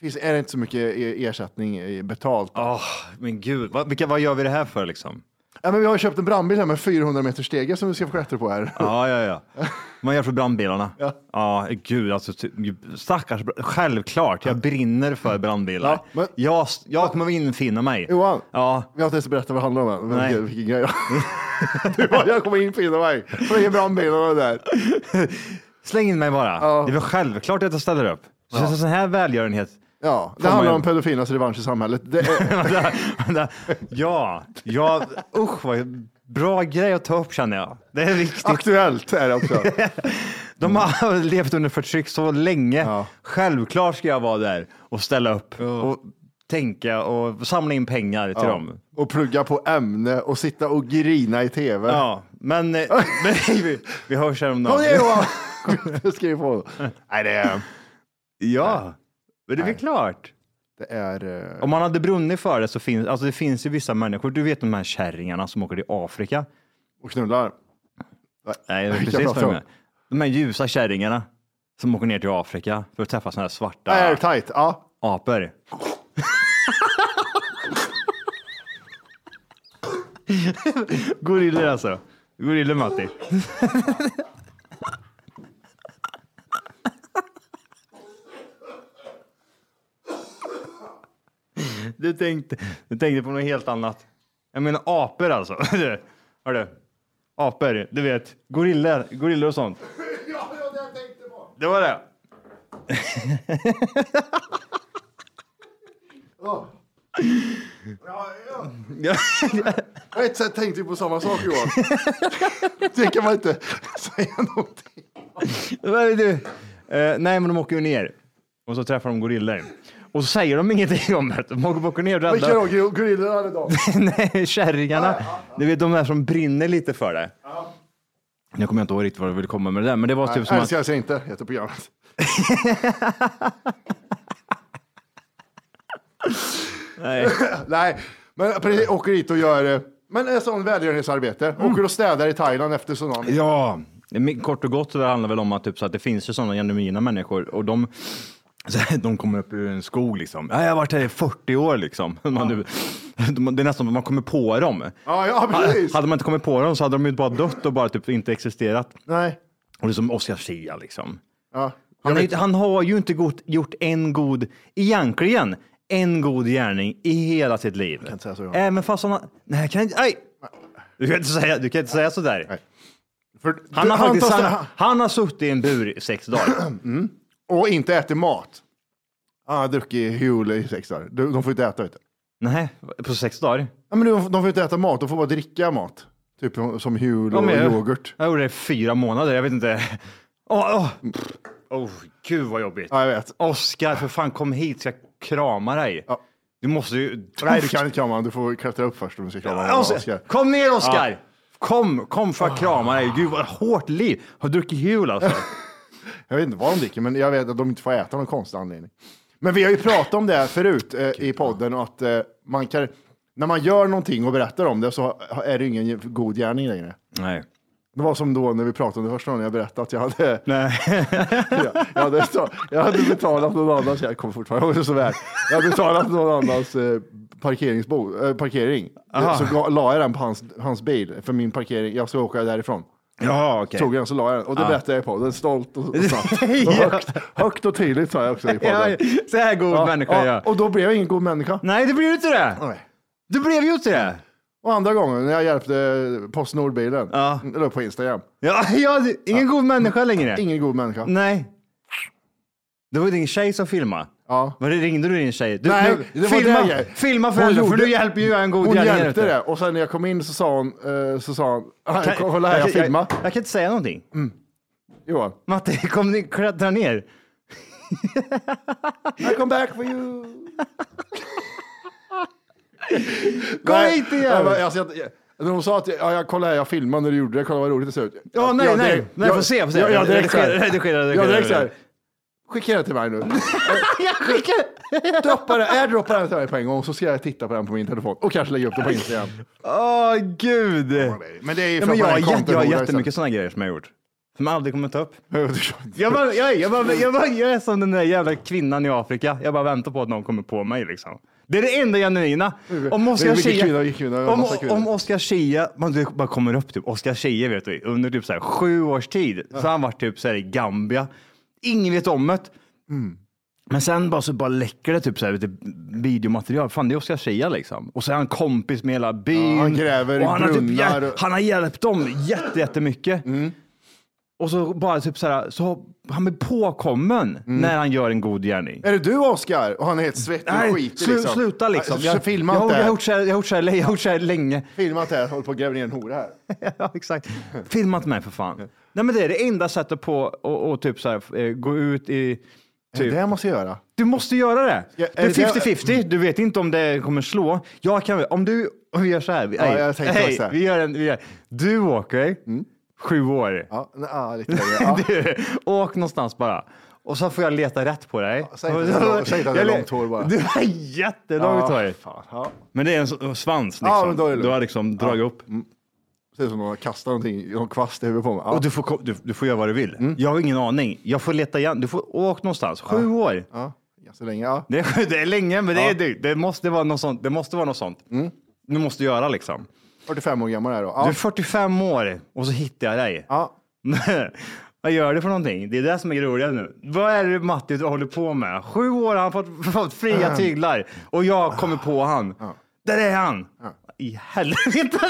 S5: finns, är det inte så mycket e- ersättning eh, betalt. Ja.
S6: Åh, men gud, vad, vilka, vad gör vi det här för liksom?
S5: men vi har köpt en brandbil här med 400 meter stege som du ska få klättra på här.
S6: Ja, ja, ja. Man gör för brandbilarna. Ja, gud, alltså ty- stackars, bra- självklart, jag brinner för brandbilar.
S5: Ja, men-
S6: jag, jag kommer infinna mig.
S5: Johan,
S6: Ja,
S5: vi har inte ens berättat vad det handlar om än. Men
S6: Nej.
S5: vilken- Vilken grej. du bara, jag kommer infinna mig. Så är brandbilarna där.
S6: släng in mig bara. Det är väl självklart att jag ställer upp. Så så sån här välgörenhet.
S5: Ja, det
S6: Får man
S5: handlar
S6: ju-
S5: om pedofilernas revansch i samhället. Det är,
S6: ja, ja, usch vad bra grej att ta upp känner jag. Det är viktigt.
S5: Aktuellt är det också.
S6: De har levt under förtryck så länge.
S5: Ja.
S6: Självklart ska jag vara där och ställa upp och tänka och samla in pengar till dem.
S5: Och plugga på ämne och sitta och grina i tv.
S6: Ja, men, eh, men vi, vi hörs här om
S5: Kom
S6: dagen.
S5: igen Johan! Skriv på. Nej, det är,
S6: Ja, men det är väl klart.
S5: Det är... eh,
S6: Om man hade brunnit för det så finns, alltså det finns ju vissa människor, du vet de här kärringarna som åker till Afrika.
S5: Och knullar.
S6: Nej, det är
S5: Vilka
S6: precis vad
S5: pratar
S6: jag
S5: om?
S6: menar. De här ljusa kärringarna som åker ner till Afrika för att träffa sådana här svarta
S5: Airtight, ja.
S6: apor. Gorillor alltså. Gorillor Matti. Du tänkte, du tänkte på något helt annat. Jag menar apor alltså. Du, Hörru. Apor, du vet. Gorillor, gorillor och sånt. Det var det.
S5: På ett sätt tänkte vi på samma sak Johan. det kan man inte säga någonting.
S6: Vad är det? Eh, nej, men de åker ju ner och så träffar de gorillor. Och så säger de ingenting om det. De åker bara åker ner och
S5: Vilka då?
S6: räddar
S5: Gor- Gorillor hade de.
S6: Nej, kärringarna. Du vet de där som brinner lite för det. Jag kommer inte ihåg riktigt vad jag ville komma med det där, men det var typ som att...
S5: Älskar sig inte, heter programmet.
S6: Nej.
S5: Nej, men precis, åker dit och gör eh, men en sån välgörenhetsarbete.
S6: Mm.
S5: Åker och städar i Thailand efter tsunamin.
S6: Ja, men kort och gott så det handlar väl om att, typ, så att det finns ju sådana genuina människor och de, så här, de kommer upp ur en skog liksom. Ja, jag har varit här i 40 år liksom. Man, du, det är nästan som man kommer på dem.
S5: Ja, ja, precis.
S6: Hade man inte kommit på dem så hade de ju bara dött och bara typ inte existerat.
S5: Nej.
S6: Och det är som Oscar Sia liksom.
S5: Ja.
S6: Han, är, han har ju inte gott, gjort en god, egentligen, en god gärning i hela sitt liv. Jag kan
S5: inte säga så, Johan.
S6: Även fast han har, nej, jag kan inte, aj! Du kan inte säga, du kan inte säga sådär.
S5: För,
S6: Han har, faktiskt,
S5: tar-
S6: han, han har suttit i en bur i sex dagar.
S5: Och inte ätit mat. Han har druckit Hule i sex dagar. De de får inte äta. Vet du.
S6: Nej, på sex dagar?
S5: Ja, men de, de får inte äta mat, de får bara dricka mat. Typ som Hule och
S6: jag,
S5: yoghurt.
S6: jag gjorde det i fyra månader, jag vet inte. Åh, åh. Åh, gud vad jobbigt.
S5: Ja, jag vet.
S6: Oskar, för fan kom hit så jag kramar dig.
S5: Ja.
S6: Du måste ju...
S5: Nej, du kan inte krama honom. Du får klättra upp först om du ska krama honom.
S6: Oskar,
S5: Oskar.
S6: Kom ner Oskar! Kom, kom för att krama dig. Gud vad hårt liv. Har druckit jul alltså.
S5: Jag vet inte vad de dricker, men jag vet att de inte får äta av någon konstig anledning. Men vi har ju pratat om det här förut eh, i podden och att eh, man kan, när man gör någonting och berättar om det så ha- är det ingen god gärning längre.
S6: Nej.
S5: Det var som då när vi pratade om det första gången jag berättade att jag hade,
S6: Nej.
S5: jag, jag hade, sta- jag hade betalat någon annans, jag kommer fortfarande ihåg det så väl, jag hade betalat någon annans eh, parkeringsbo, eh, parkering. Så ga- la jag den på hans, hans bil för min parkering, jag ska åka därifrån.
S6: Jaha, okej.
S5: Tog jag den så la jag den och det berättade jag i podden, stolt och, och, satt. och
S6: Ja.
S5: högt, högt och tydligt sa jag också i podden.
S6: Ja, så här god
S5: Ja,
S6: människa Mm.
S5: ja,
S6: är jag.
S5: Och då blev jag ingen god människa.
S6: Nej, det blev ju inte det.
S5: Nej.
S6: Du blev ju inte det.
S5: Och andra gången när jag hjälpte Postnordbilen, ja. eller på Instagram,
S6: Ja, ja, det- ingen god människa längre.
S5: ingen god människa.
S6: Nej. Det var ju din tjej som filmade.
S5: Ja.
S6: Var det ringde du din tjej? Du,
S5: Nej,
S6: nu-
S5: det var
S6: filma,
S5: det jag-
S6: filma för
S5: Hon
S6: henne, för
S5: gjorde-
S6: du hjälper ju en god
S5: Hon
S6: gärning
S5: hjälpte
S6: där ute.
S5: det och sen när jag kom in så sa hon, eh, så sa hon, "Ah,
S6: Kan- Alltså,
S5: kolla här jag filmar. Mm.
S6: Jag, jag kan inte säga någonting.
S5: Johan,
S6: Matte, kom ni klättra ner.
S5: I come back for you.
S6: Kom
S5: Nej,
S6: hit igen!
S5: jag bara, alltså, jag- När hon sa att, jag- ja, jag, kolla här, jag filmar när du gjorde det, kolla vad roligt det ser ut.
S6: Ja, nej,
S5: jag,
S6: nej.
S5: direkt-
S6: Nej,
S5: jag-
S6: får se, får se.
S5: Jag, jag direkt
S6: Redigera,
S5: såhär-
S6: redigera,
S5: Jag
S6: redigera,
S5: direkt så här,
S6: redigera.
S5: skicka den till mig nu. Droppa den, airdroppa den till mig på en gång så ska jag titta på den på min telefon och kanske lägga upp den på Instagram.
S6: Åh, gud.
S5: Men det är ju
S6: Ja, men jag, har jätte, jag har
S5: content-
S6: jättemycket sådana grejer som jag har gjort. Som jag aldrig kommer ta upp. Jag,
S5: Jag
S6: bara, jag, jag, bara, jag, bara, jag är som den där jävla kvinnan i Afrika. Jag bara väntar på att någon kommer på mig liksom. Det är det enda genuina.
S5: Mm.
S6: Om Oscar
S5: Vilken
S6: Schia,
S5: kvinna, vilken kvinna, en
S6: om,
S5: massa kvinnor.
S6: om Oscar Schia, man du vet, bara kommer upp typ, Oscar Schia vet du, under typ så här, sju års tid så har han varit typ så här i Gambia. Ingen vet om det. Men sen bara så bara läcker det typ så här lite videomaterial. Fan det är Oscar Schia liksom. Och så är han kompis med hela byn.
S5: Ja, han gräver
S6: och han, har typ,
S5: brunnar. Mm.
S6: hjäl- han har hjälpt dem jätte, jättemycket. Och så bara typ så här, så han blir påkommen när han gör en god gärning.
S5: Är det du Oskar? Och han Mm. är helt svettig och skitig.
S6: slu, sluta liksom.
S5: Jag,
S6: Jag,
S5: filma
S6: jag,
S5: inte
S6: jag, har
S5: det här.
S6: gjort så här- jag har gjort så här länge- jag har gjort så här länge.
S5: Filma inte det här. Håller på att gräva ner en hora här.
S6: ja, exakt. Filma inte mig för fan. Nej, men det är det enda sättet på att och, och typ så här, eh, gå ut i... Typ.
S5: Det här måste jag göra.
S6: Du måste göra det.
S5: Ja,
S6: det är
S5: är det-
S6: 50-50. Du vet inte om det kommer slå. Jag kan, om du, om vi gör så här. Vi,
S5: Ja, jag tänkte
S6: hej,
S5: också det.
S6: vi gör en, vi gör, du åker, sju år.
S5: Ja, nej, ja lite längre. Ja.
S6: Du, åk någonstans bara. Och så får jag leta rätt på dig.
S5: säg inte att det är- säg inte att det är
S6: Jag le-
S5: långt hår bara.
S6: Det var jättelångt
S5: Ja,
S6: hår.
S5: fan, ja.
S6: Men det är en s- svans liksom.
S5: Ja, men då är det lugnt.
S6: du har liksom dragit upp.
S5: ser ut som någon har kastat någonting, någon kvast i huvudet på mig. Ja. Mm.
S6: Och du får, ko- du, du får göra vad du vill. Jag har ingen aning. Jag får leta igen. Du får åka någonstans. Sju år.
S5: ja. Ganska länge, ja.
S6: Det är, det är länge, men det, är, dyrt. det måste vara något sånt. Det måste vara något sånt. Du måste göra liksom.
S5: 45 år gammal är jag då.
S6: Du
S5: Mm. Ja.
S6: är 45 år och så hittar jag dig.
S5: Ja.
S6: Vad gör du för någonting? Det är det som är roligt nu. Vad är det Matti du håller på med? Sju år har han fått, fått fria tyglar och jag kommer på han. Där är han! I helvete!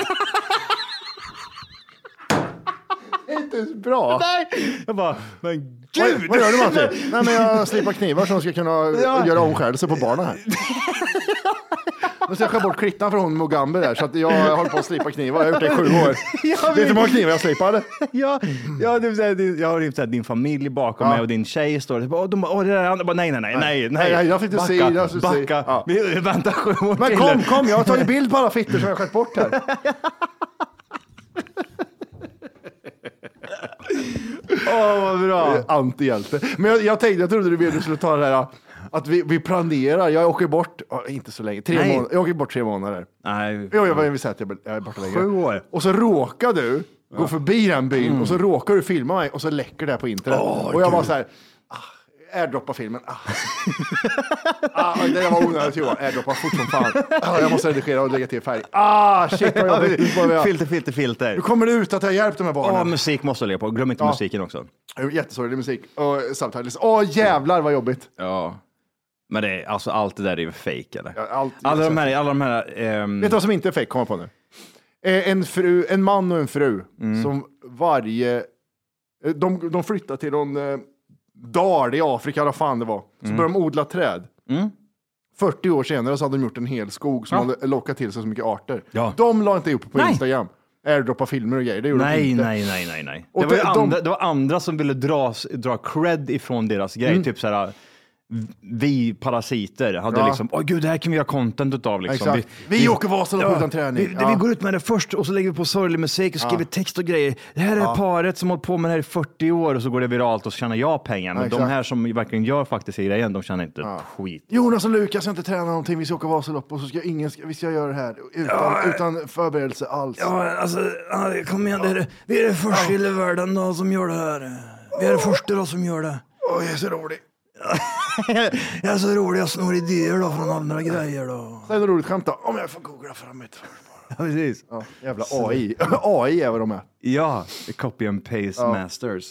S5: Det är inte ens bra.
S6: Nej! Jag bara, men
S5: Vad,
S6: gud!
S5: vad gör du Matti? Nej men jag slipar knivar som ska kunna
S6: Ja.
S5: göra omskärelse på barnen här. Nu ska jag skär bort klittan för hon Mugambi där så att jag håller på att slipa knivar. Jag har gjort det i sju år.
S6: Ja,
S5: Vet du hur
S6: men-
S5: många knivar jag slipade?
S6: Ja, ja, det vill säga, det- jag har typ såhär, din familj bakom
S5: Ja.
S6: mig och din tjej står där. Åh, de bara, åh, det där är han. Jag bara, nej, nej, nej, nej, nej.
S5: nej, jag fick inte
S6: backa,
S5: se, jag fick inte se.
S6: backa.
S5: Ja.
S6: Vi, vänta sju år
S5: Men
S6: till.
S5: kom, kom, jag har tagit bild på alla fittor som jag har skär bort här.
S6: Åh, vad bra.
S5: Antihjälte. Men jag, jag tänkte, jag trodde du ville- du skulle ta det här att vi, vi planerar. Jag åker bort, ja, inte så länge, tre
S6: Nej.
S5: månader. Jag åker bort tre månader.
S6: Nej.
S5: Jo, jag, vi säger att jag blir- jag är borta längre.
S6: Sju år. Mm.
S5: Och så råkar du gå förbi den byn och så råkar du filma mig och så läcker det här på internet. och jag bara så här, ah, airdroppa filmen. Ah. ah, det där var onödigt Johan, airdroppa fort som fan. Ah, jag måste redigera och lägga till färg. Ah, shit vad jobbigt. Nu får jag-
S6: filter, filter, filter.
S5: Nu kommer det ut att jag har hjälpt de här
S6: Åh,
S5: barnen.
S6: musik måste jag lägga på. Glöm inte
S5: Ja.
S6: musiken också.
S5: Jättesorglig musik och subtitles. Åh jävlar vad jobbigt.
S6: Ja. Men det är, alltså, allt det där är ju fejk eller?
S5: Ja, allt-
S6: alla de här, alla de här ehm,
S5: Vet du vad som inte är fake? Komma på nu. Eh, En, fru, en man och en fru
S6: Mm.
S5: som varje... eh, De, de flyttar till någon eh, dal i Afrika, eller vad fan det var. Så
S6: Mm.
S5: började de odla träd. 40 år senare så hade de gjort en hel skog som hade lockat till sig så mycket arter.
S6: Ja.
S5: De la inte upp på
S6: Nej.
S5: Instagram. Airdroppa filmer och grejer, det gjorde de
S6: Nej,
S5: inte.
S6: nej, nej, nej, nej.
S5: Och
S6: Det var, ju
S5: de- de-
S6: andra, det var andra som ville dra, dra cred ifrån deras grej.
S5: Mm.
S6: Typ så här, vi parasiter hade
S5: Ja.
S6: liksom, åh gud, det här kan vi göra content utav. Liksom.
S5: Exakt. Vi åker Vasaloppet utan träning.
S6: Vi,
S5: Ja.
S6: vi går ut med det först och så lägger vi på sorglig musik och skriver text och grejer. Det här är paret som hållit på med det här i 40 år och så går det viralt och så tjänar jag pengar. Men de
S5: Exakt.
S6: här som verkligen gör faktiskt grejen, de tjänar inte ett skit.
S5: Jonas och Lukas har inte tränat någonting, vi ska åka Vasaloppet och så ska ingen, vi ska göra det här utan, utan förberedelse alls.
S6: Ja, alltså, ja, kom igen. Det är, vi är det första i hela världen då, som gör det här. Vi är det första då, som gör det.
S5: Åh, jag är så rolig.
S6: jag är så rolig, jag snor idéer då från andra grejer då.
S5: Sen är det roligt skämt då, om jag får googla fram ett.
S6: Ja, precis. Ja,
S5: Jävla AI. AI är vad de är.
S6: copy and paste masters.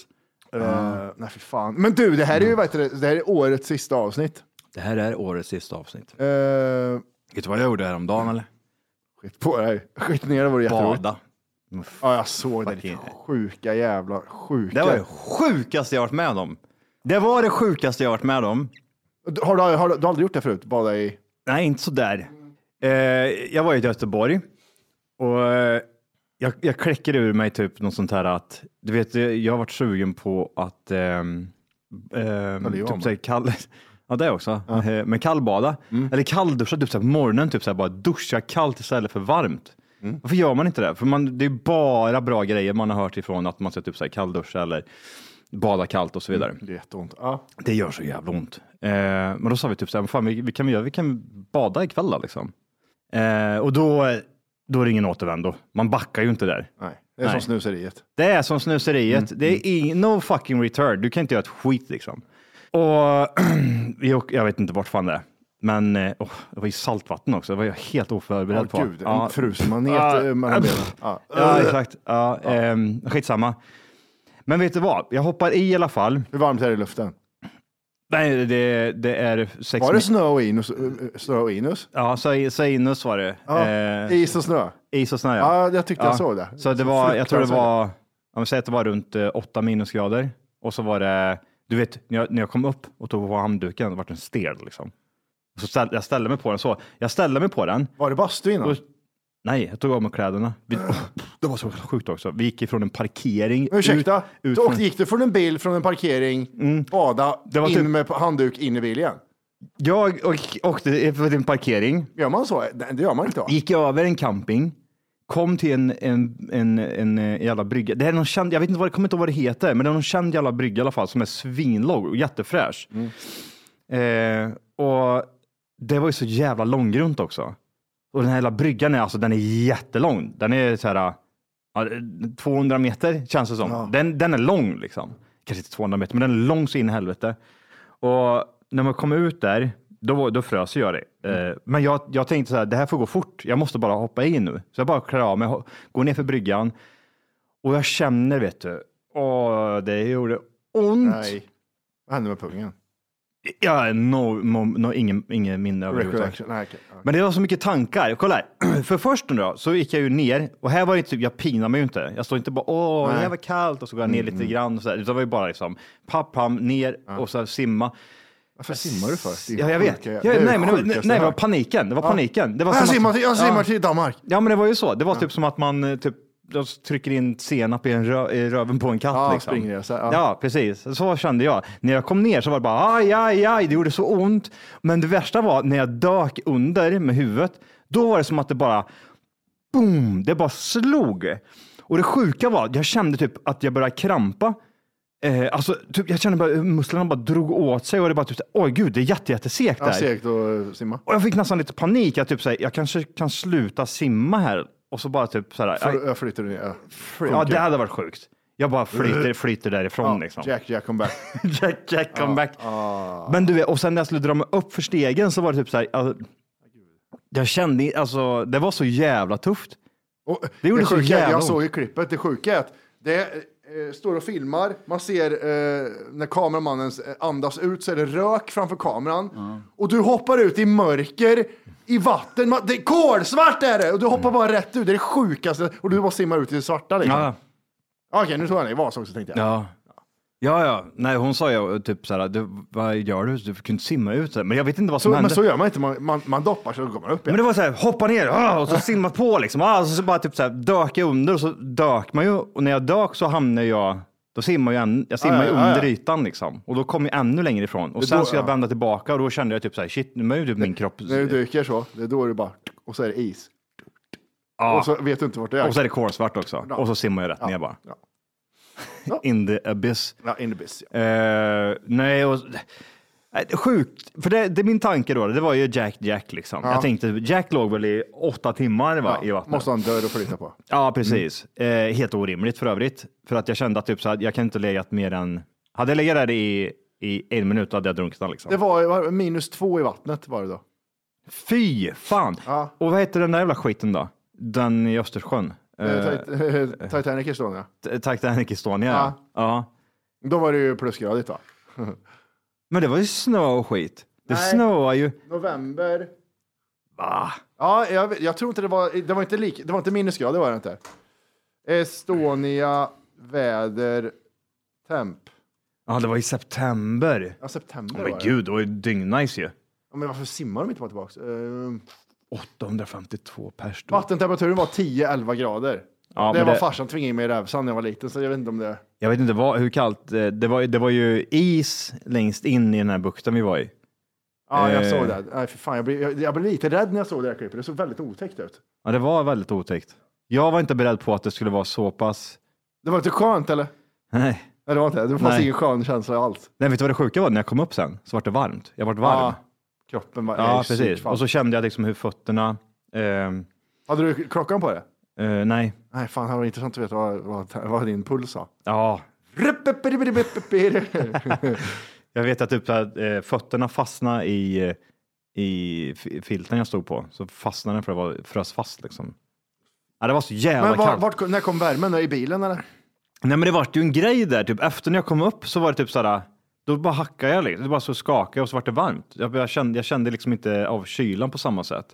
S5: Eh, nej, för fan. Men du, det här är ju vad heter det, det här är årets sista avsnitt.
S6: Det här är årets sista avsnitt.
S5: Uh,
S6: Vet du vad jag gjorde häromdagen eller?
S5: skit på dig. Skit ner, det vore jätteroligt.
S6: Bada.
S5: Ja, jag såg det.
S6: Fucking-
S5: Ditt Sjuka jävla sjuka.
S6: Det var det sjukaste jag varit med om. Det var det sjukaste jag varit med om.
S5: Har, du, har du, du har aldrig gjort det förut? Bada i...
S6: Nej, inte så där. Eh, jag var i Göteborg och eh, jag, jag kläcker ur mig typ något sånt här att, du vet, eh, jag har varit sugen på att ehm, ehm,
S5: Eller jag
S6: typ
S5: med.
S6: såhär kall, ja det också, Eh, men kallbada, eller kallduscha typ såhär på morgonen, typ såhär bara duscha kallt istället för varmt. Varför gör man inte det? För man, det är bara bra grejer man har hört ifrån att man ska typ såhär kallduscha eller bada kallt och så vidare.
S5: Mm, Det är jätteont. Ja.
S6: Det gör så jävla ont. Eh, men då sa vi typ så här, "Vad fan, vi, vi, kan vi, göra, vi kan bada ikväll då liksom. Eh, och då, då är det ingen återvändo. Man backar ju inte där.
S5: Nej, det är
S6: Nej.
S5: som snuseriet.
S6: Det är som snuseriet.
S5: Mm,
S6: Det är ing- no fucking return. Du kan inte göra ett skit liksom. Och vi åk- jag vet inte vart fan det är. Men eh, åh, det var ju saltvatten också. Det var jag helt oförberedd
S5: Åh
S6: på.
S5: gud, en frusen manet eh, mellan benen. Ja.
S6: Ja, exakt. Ja, ehm, skitsamma. Men vet du vad? Jag hoppar i i alla fall.
S5: Hur varmt är det i luften?
S6: Nej, det, det är sex
S5: Var det
S6: mil-
S5: snö och inus? eh, Snö och inus?
S6: Ja, sa- Sainus var det.
S5: Ja.
S6: Eh,
S5: Is och snö?
S6: is och snö,
S5: Ja, jag tyckte jag såg det.
S6: Så det var, jag tror det
S5: Fruktansvärt.
S6: var, om vi säger att det var runt 8 minusgrader och så var det, du vet, när jag, när jag kom upp och tog på handduken, det var en stel liksom. Så ställ, jag ställde mig på den så. Jag ställde mig på den.
S5: Var det bastu innan?
S6: Och, nej, jag tog av mig kläderna. Vi, åh, det var så sjukt också. Vi gick ifrån en parkering.
S5: Ursäkta,
S6: ut- ut
S5: du
S6: från- Mm.
S5: åkte, gick du från en bil, från en parkering, bada,
S6: Det var
S5: in
S6: typ-
S5: med handduk, in i bilen?
S6: Jag åk- åkte från en parkering,
S5: Gör man så? Nej, det gör man inte va?
S6: gick över en camping, kom till en, en, en, en eh, jävla brygga. Det här är någon känd, jag vet inte vad det kommer inte ihåg vad det heter, men det är någon känd jävla brygga i alla fall som är svinlåg och jättefräsch. Eh, och det var ju så jävla långgrunt också. Och den här jävla bryggan är alltså, den är jättelång. Den är så här, ja, 200 meter känns det som. Den, den är lång liksom. Kanske inte 200 meter, men den är lång så in i helvete. Och när man kom ut där, då, var- då frös jag det.
S5: Mm.
S6: Eh, men jag, jag tänkte så här, det här får gå fort. Jag måste bara hoppa in nu. Så jag bara klär av mig, ho- går ner för bryggan och jag känner, vet du, åh, det gjorde ont.
S5: Nej. Vad hände med pungen?
S6: Jag har no, no, no, ingen, ingen minne överhuvudtaget.
S5: Recollection. Nej, okej. Ja.
S6: Men det var så mycket tankar. Kolla här. För först nu då, så gick jag ju ner och här var det typ, jag pinar mig ju inte. Jag står inte bara åh, det här var kallt och så går jag ner
S5: Mm,
S6: lite grann och så där. Utan det var ju bara liksom papp, pam, ner och så här, simma.
S5: Varför simmar du för? Det är
S6: Ja, jag vet.
S5: sjuka-
S6: Jag,
S5: det är
S6: nej, men det var, nej,
S5: sjukaste
S6: det
S5: jag
S6: var
S5: hört.
S6: paniken. Det var paniken. Det var som
S5: Jag
S6: att-
S5: simmar, till, jag simmar
S6: Ja.
S5: till Danmark.
S6: Ja, men det var ju så. Det var typ som att man eh, typ, jag trycker in senap i, en rö, i röven på en katt.
S5: Ja,
S6: liksom.
S5: springresa,
S6: Ja.
S5: ja.
S6: precis. Så kände jag. När jag kom ner så var det bara aj, aj, aj, det gjorde så ont. Men det värsta var när jag dök under med huvudet, då var det som att det bara boom, det bara slog. Och det sjuka var att jag kände typ att jag började krampa. Eh, alltså, typ, jag kände bara hur musklerna bara drog åt sig och det bara typ, så här, oj gud, det är jätte, jättesegt
S5: Ja,
S6: där.
S5: segt att simma.
S6: Och jag fick nästan lite panik. Jag typ såhär, jag kanske kan sluta simma här. Och så bara typ såhär,
S5: För, jag flyttar ner. Ja.
S6: ja det hade varit sjukt. Jag bara flyter, flyter därifrån liksom.
S5: Jack, Jack, come back.
S6: Jack, Jack, come back. Men du vet, och sen när jag skulle dra mig upp för stegen så var det typ såhär, alltså, jag kände, alltså det var så jävla tufft.
S5: Och
S6: Det gjorde så
S5: sjuka,
S6: jävla
S5: Jag
S6: ont.
S5: såg ju klippet, det sjuka är att det eh, står och filmar, man ser eh, när kameramannen eh, andas ut så är det rök framför kameran. Och du hoppar ut i mörker, i vatten, man, det är kolsvart är det! Och du hoppar bara rätt ut, det är det sjukaste. Och du bara simmar ut i det svarta liksom.
S6: Ja,
S5: Okej, nu tog jag ner Vasa också tänkte jag.
S6: ja. Ja, ja. Nej, hon sa ju typ såhär, du, vad gör du? Du kunde simma ut. Men jag vet inte vad
S5: Så,
S6: som hände.
S5: men så gör man inte, man, man, man doppar så går man upp
S6: Men
S5: igen.
S6: det var så här, hoppa ner ah, och så simma på liksom. Ah, så, så bara typ så här, dök jag under och så dök man ju. Och när jag dök så hamnade jag, då simmar jag, än, jag simmar
S5: Ah,
S6: ju
S5: ja, ja,
S6: under
S5: ja.
S6: ytan liksom. Och då kom jag ännu längre ifrån. Och
S5: Det
S6: sen
S5: då-
S6: så jag
S5: ja.
S6: vända tillbaka och då kände jag typ så här, shit, nu är ju typ min kropp.
S5: När du dyker så, det är då är det bara, och så är det is. Och så vet du inte vart det är.
S6: Och så är det kolsvart också. Och så simmar jag rätt ner bara.
S5: Ja.
S6: In the abyss.
S5: Ja, in the biz, ja.
S6: Eh, nej, och, nej, det är sjukt. För det, det är min tanke då. Det var ju Jack Jack liksom. Jag tänkte, Jack låg väl i åtta timmar va, i
S5: Ja,
S6: vattnet.
S5: måste ha en dörr att flytta på.
S6: Ja, precis. Eh, helt orimligt för övrigt. För att jag kände att typ så här, jag kan inte legat mer än... Hade jag legat där i, i en minut hade jag drunknat. Liksom.
S5: Det var, var minus två i vattnet var det då.
S6: Fy fan!
S5: Ja.
S6: Och vad heter den där jävla skiten då? Den i Östersjön? Eh,
S5: Eh, Tit- Titanic Estonia.
S6: T- Titanic Estonia. Ja. ja.
S5: Då var det ju plusgradigt va?
S6: Men det var ju snö och skit. Det
S5: Nej.
S6: snöar ju.
S5: November.
S6: Va?
S5: Ja, jag, vet- jag tror inte det var, det var inte lik, det var inte minusgrad, det var det inte. Estonia, väder, temp.
S6: Ja, det var i september.
S5: Ja, september
S6: Oh,
S5: var
S6: men
S5: det.
S6: gud, det var ju dyngnice ju.
S5: Ja, men varför simmar de inte bara tillbaks? Eh,
S6: 852 pers då.
S5: vattentemperaturen var 10-11 grader.
S6: Ja,
S5: det
S6: men
S5: var
S6: det-
S5: farsan tvingade in mig i rävsand när jag var liten, så jag vet inte om det...
S6: Jag vet inte vad, hur kallt. eh, Det var, det var ju is längst in i den här bukten vi var i.
S5: Ja, jag
S6: Eh.
S5: såg det. Nej, för fan, jag blev, jag, jag blev lite rädd när jag såg det här klippet. Det såg väldigt otäckt ut.
S6: Ja, det var väldigt otäckt. Jag var inte beredd på att det skulle vara så pass...
S5: Det var inte skönt, eller?
S6: Nej.
S5: Nej, det var inte det. Det fanns
S6: Nej.
S5: ingen skön känsla alls.
S6: Nej, vet du vad det sjuka var? När jag kom upp sen så var det varmt. Jag var varm.
S5: Ja, kroppen var...
S6: Ja,
S5: jag är
S6: precis.
S5: sjuk, fan.
S6: Och så kände jag liksom hur fötterna... ehm,
S5: Hade du klockan på det?
S6: eh, nej.
S5: Nej, fan, det var intressant att veta vad, vad, vad din puls sa.
S6: Ja. Jag vet att typ så här, eh, fötterna fastnade i, eh, i fi- filten jag stod på. Så fastnade den för att vara frös fast liksom. Ja, det var så jävla
S5: Men var,
S6: kallt.
S5: vart, när kom värmen? I bilen eller?
S6: Nej, men det vart ju en grej där. Typ efter när jag kom upp så var det typ sådär. Då bara hackade jag lite. Det bara så skakade jag och så vart det varmt. Jag, jag, kände, jag kände liksom inte av kylan på samma sätt.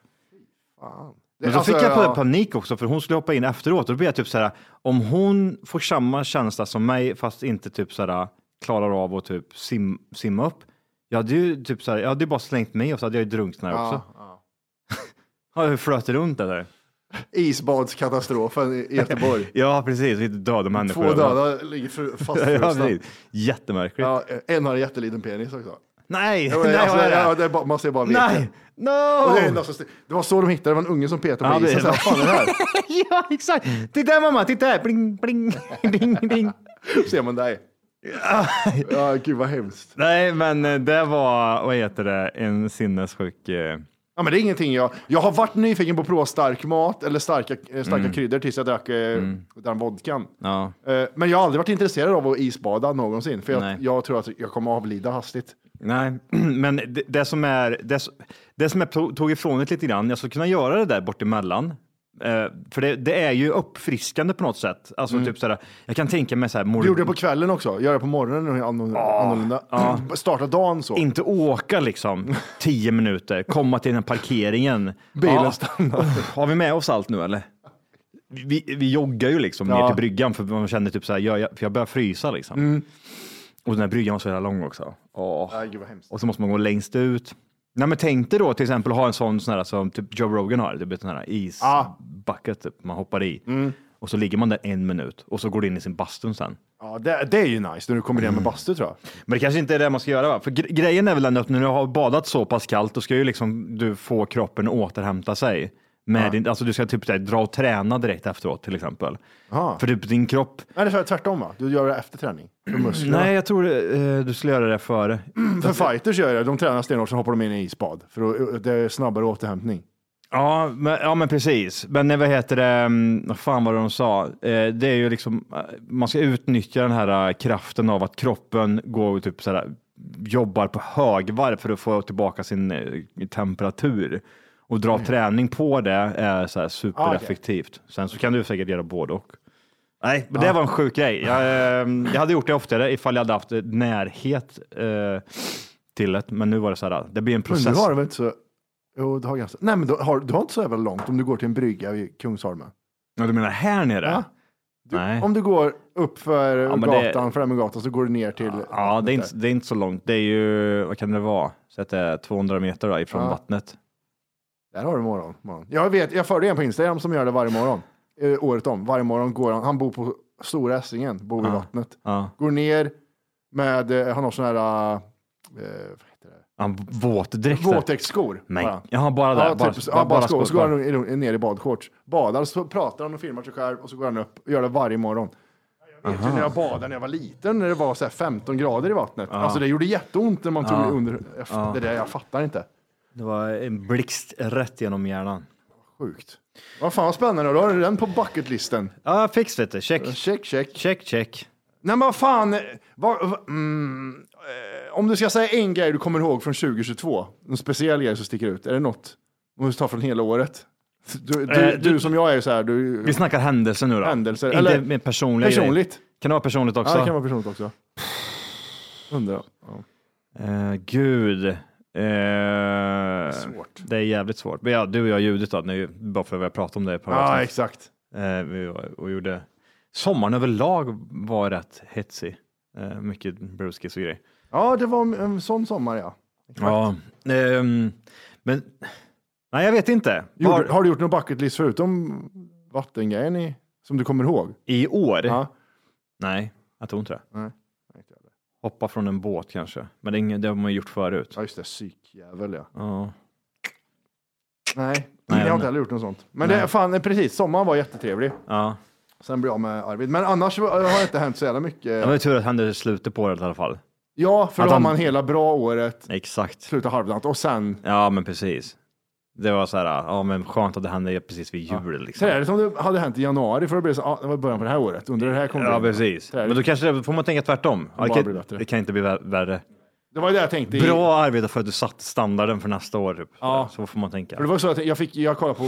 S6: Men så
S5: Alltså,
S6: fick jag
S5: ja.
S6: panik också för hon skulle hoppa in efteråt. Och då blev jag typ såhär, om hon får samma känsla som mig fast inte typ såhär klarar av att typ sim, simma upp. Jag hade ju typ såhär, jag hade ju bara slängt mig och så hade jag ju drunknat också. Ja, jag flöt runt där.
S5: Isbadskatastrofen i Göteborg.
S6: Ja, precis. Vi döda
S5: Två
S6: människor.
S5: döda ligger fru-
S6: Ja,
S5: fastfrusna.
S6: precis. Jättemärkligt.
S5: Ja, en har en jätteliten penis också.
S6: Nej,
S5: Ja, men
S6: nej,
S5: alltså,
S6: vad är det?
S5: ja, det är bara, man ser bara vete.
S6: Nej, no!
S5: Och det, är enda som st- det var så de hittade, det var en unge som petade
S6: Ja,
S5: på
S6: det-
S5: isen. Så här, Vad fan är det här?
S6: ja, exakt. Titta här mamma, titta här. Bling, bling, ding, ding.
S5: ser man dig. Ja, gud vad hemskt.
S6: Nej, men eh, det var, vad heter det, en sinnessjuk... eh,
S5: Ja, men det är ingenting jag... Jag har varit nyfiken på att prova stark mat eller starka, eh, starka
S6: Mm.
S5: kryddor tills jag drack eh, den vodkan.
S6: Ja.
S5: Eh, men jag har aldrig varit intresserad av att isbada någonsin, för
S6: Nej.
S5: jag, jag tror att jag kommer att avlida hastigt.
S6: Nej, men det, det som är, det, s- det som jag to- tog ifrån det lite grann, jag skulle kunna göra det där bortemellan. Eh, för det, det är ju uppfriskande på något sätt. Alltså typ sådär, jag kan tänka mig såhär, mor-
S5: Mm. Du gjorde det på kvällen också, gör det på morgonen och annorlunda.
S6: Ah.
S5: annorlunda. Starta dagen så.
S6: inte åka liksom tio minuter, komma till den här parkeringen.
S5: Bilen
S6: Ja.
S5: stannar.
S6: Oh, Har vi med oss allt nu eller? Vi, vi joggar ju liksom ner
S5: Ja.
S6: till
S5: Mm.
S6: bryggan för man känner typ såhär, jag, jag, för jag börjar frysa liksom. Och den här bryggan var så jävla lång också. Åh.
S5: Nej, gud vad hemskt.
S6: och så måste man gå längst ut. Nej, men tänk dig då till exempel att ha en sån, sån här som typ Joe Rogan har, typ en sån här
S5: Ja. Mm.
S6: isbucket typ, man hoppar i. Och så ligger man där en minut och så går det in i sin bastun sen.
S5: Ja, det, det är ju nice när du kommer ner
S6: Mm.
S5: med bastu tror jag.
S6: Men det kanske inte är det man ska göra va? För gre- grejen är väl ändå att när du har badat så pass kallt då ska ju liksom du få kroppen att återhämta sig. Med din, alltså du ska typ så här, dra och träna direkt efteråt till exempel.
S5: Ja.
S6: För typ din kropp.
S5: Nej, det är för- tvärtom va? Du gör det efter träning. För musklerna.
S6: Nej, jag tror eh, du skulle göra det före.
S5: För fighters gör jag det. De tränar stenhårt, sen hoppar de in i isbad. För att- eh, det är snabbare återhämtning.
S6: Ja, men, ja, men precis. Men eh, vad heter det, mm, vad fan var det de sa? Eh, det är ju liksom, eh, man ska utnyttja den här eh, kraften av att kroppen går och typ sådär, jobbar på högvarv för att få tillbaka sin eh, temperatur. Och
S5: Mm.
S6: dra träning på det är så här supereffektivt. Sen så kan du säkert göra både och. Nej, men det var en sjuk grej. Jag, eh, jag hade gjort det oftare ifall jag hade haft eh, närhet eh, till det, men nu var det så här, det blir en
S5: Men
S6: process.
S5: du har väl inte så... Jo, du har ganska... Nej, men du har, du har inte så jävla långt om du går till en brygga vid Kungsholmen.
S6: Ja, du menar här nere?
S5: Ja.
S6: Nej.
S5: Om du går upp för
S6: men det-
S5: gatan, Främlinggatan, så går du ner till...
S6: Ja, det är, inte, det är inte så långt. Det är ju, vad kan det vara? Så att det är 200 meter då, ifrån
S5: Ja.
S6: vattnet.
S5: Där har du morgon. morgon. Jag, vet, jag följer en på Instagram som gör det varje morgon. Eh, året om. Varje morgon går han. Han bor på Stora Essingen, bor vid vattnet.
S6: Ja.
S5: Går ner med, eh, han har sån här, eh, vad heter det?
S6: Ja, våtdräkt. där.
S5: Våtdäcksskor.
S6: Nej.
S5: har han.
S6: Ja, bara där.
S5: Ja,
S6: Bara-
S5: typ,
S6: bara-
S5: ja,
S6: bara
S5: bara skor. Och så
S6: skor,
S5: går han i- ner i badshorts. Badar, så pratar han och filmar sig själv och så går han upp och gör det varje morgon. Jag vet ju när jag badade när jag var liten, när det var så här 15 grader i vattnet. Alltså det gjorde jätteont när man tog under. Jag, fatt- Det där, jag fattar inte.
S6: Det var en blixt rätt genom hjärnan.
S5: Sjukt. Vad fan vad spännande, då har du den på bucketlisten.
S6: Ja, fix vet du. Check,
S5: Check, check.
S6: check, check.
S5: Nej men vad fan, eh, vad, vad- mm, eh, om du ska säga en grej du kommer ihåg från 2022, en speciell grej som sticker ut, är det något? Om du tar från hela året? Du, du,
S6: Eh,
S5: du,
S6: du-
S5: som jag är så här, du...
S6: Vi snackar händelser nu då.
S5: Händelser,
S6: Inte
S5: eller-
S6: med personliga grejer.
S5: Personligt.
S6: Kan det vara personligt också?
S5: Ja, det kan vara personligt också. Undrar. Ja.
S6: Eh, gud. Eh,
S5: Svårt.
S6: Det är jävligt svårt. Men ja, du och jag ljudet då, nu, bara för att vi har pratat om det ett par
S5: Ja,
S6: avsnitt.
S5: exakt.
S6: Eh, vi var- och gjorde... Sommaren överlag var rätt hetsig. Eh, mycket bruskis och grej.
S5: Ja, det var en- en sån sommar ja.
S6: Ja, ehm, men... Nej, jag vet inte.
S5: Gjorde,
S6: Var,
S5: Har du gjort någon bucket list förutom vattengrejen i, som du kommer ihåg?
S6: I år?
S5: Ja.
S6: Nej, jag tror inte det.
S5: Nej.
S6: Hoppa från en båt kanske. Men det, är inget- det har man ju gjort förut.
S5: Ja, just det, psykjävel ja.
S6: Ja.
S5: Nej,
S6: Nej,
S5: jag har
S6: men-
S5: inte heller gjort något sånt. Men det, fan, eh, precis, sommaren var jättetrevlig.
S6: Ja.
S5: Sen blev jag med Arvid. Men annars var- har det inte hänt så jävla
S6: Det var
S5: mycket.
S6: ju tur att han hände slutet på året i alla fall.
S5: Ja, för
S6: Att
S5: då har
S6: han-
S5: man hela bra året,
S6: Exakt.
S5: slutar halvdant och sen...
S6: Ja, men precis. Det var så här, ja men skönt att det hände precis vid jul.
S5: Så
S6: Liksom.
S5: är det som det hade hänt i januari, för då blev det så, ah, det var början på det här året, under det här kommer
S6: Ja,
S5: det.
S6: precis.
S5: Träd.
S6: Men då kanske det, får man tänka tvärtom. Ja,
S5: bara
S6: det,
S5: blir
S6: kan,
S5: bättre.
S6: det kan inte bli vär- värre.
S5: Det var ju det jag tänkte. i-
S6: Bra arbetat för att du satt standarden för nästa år. Typ.
S5: Ja.
S6: Så får man tänka.
S5: För det var så att jag, fick, jag kollade, på,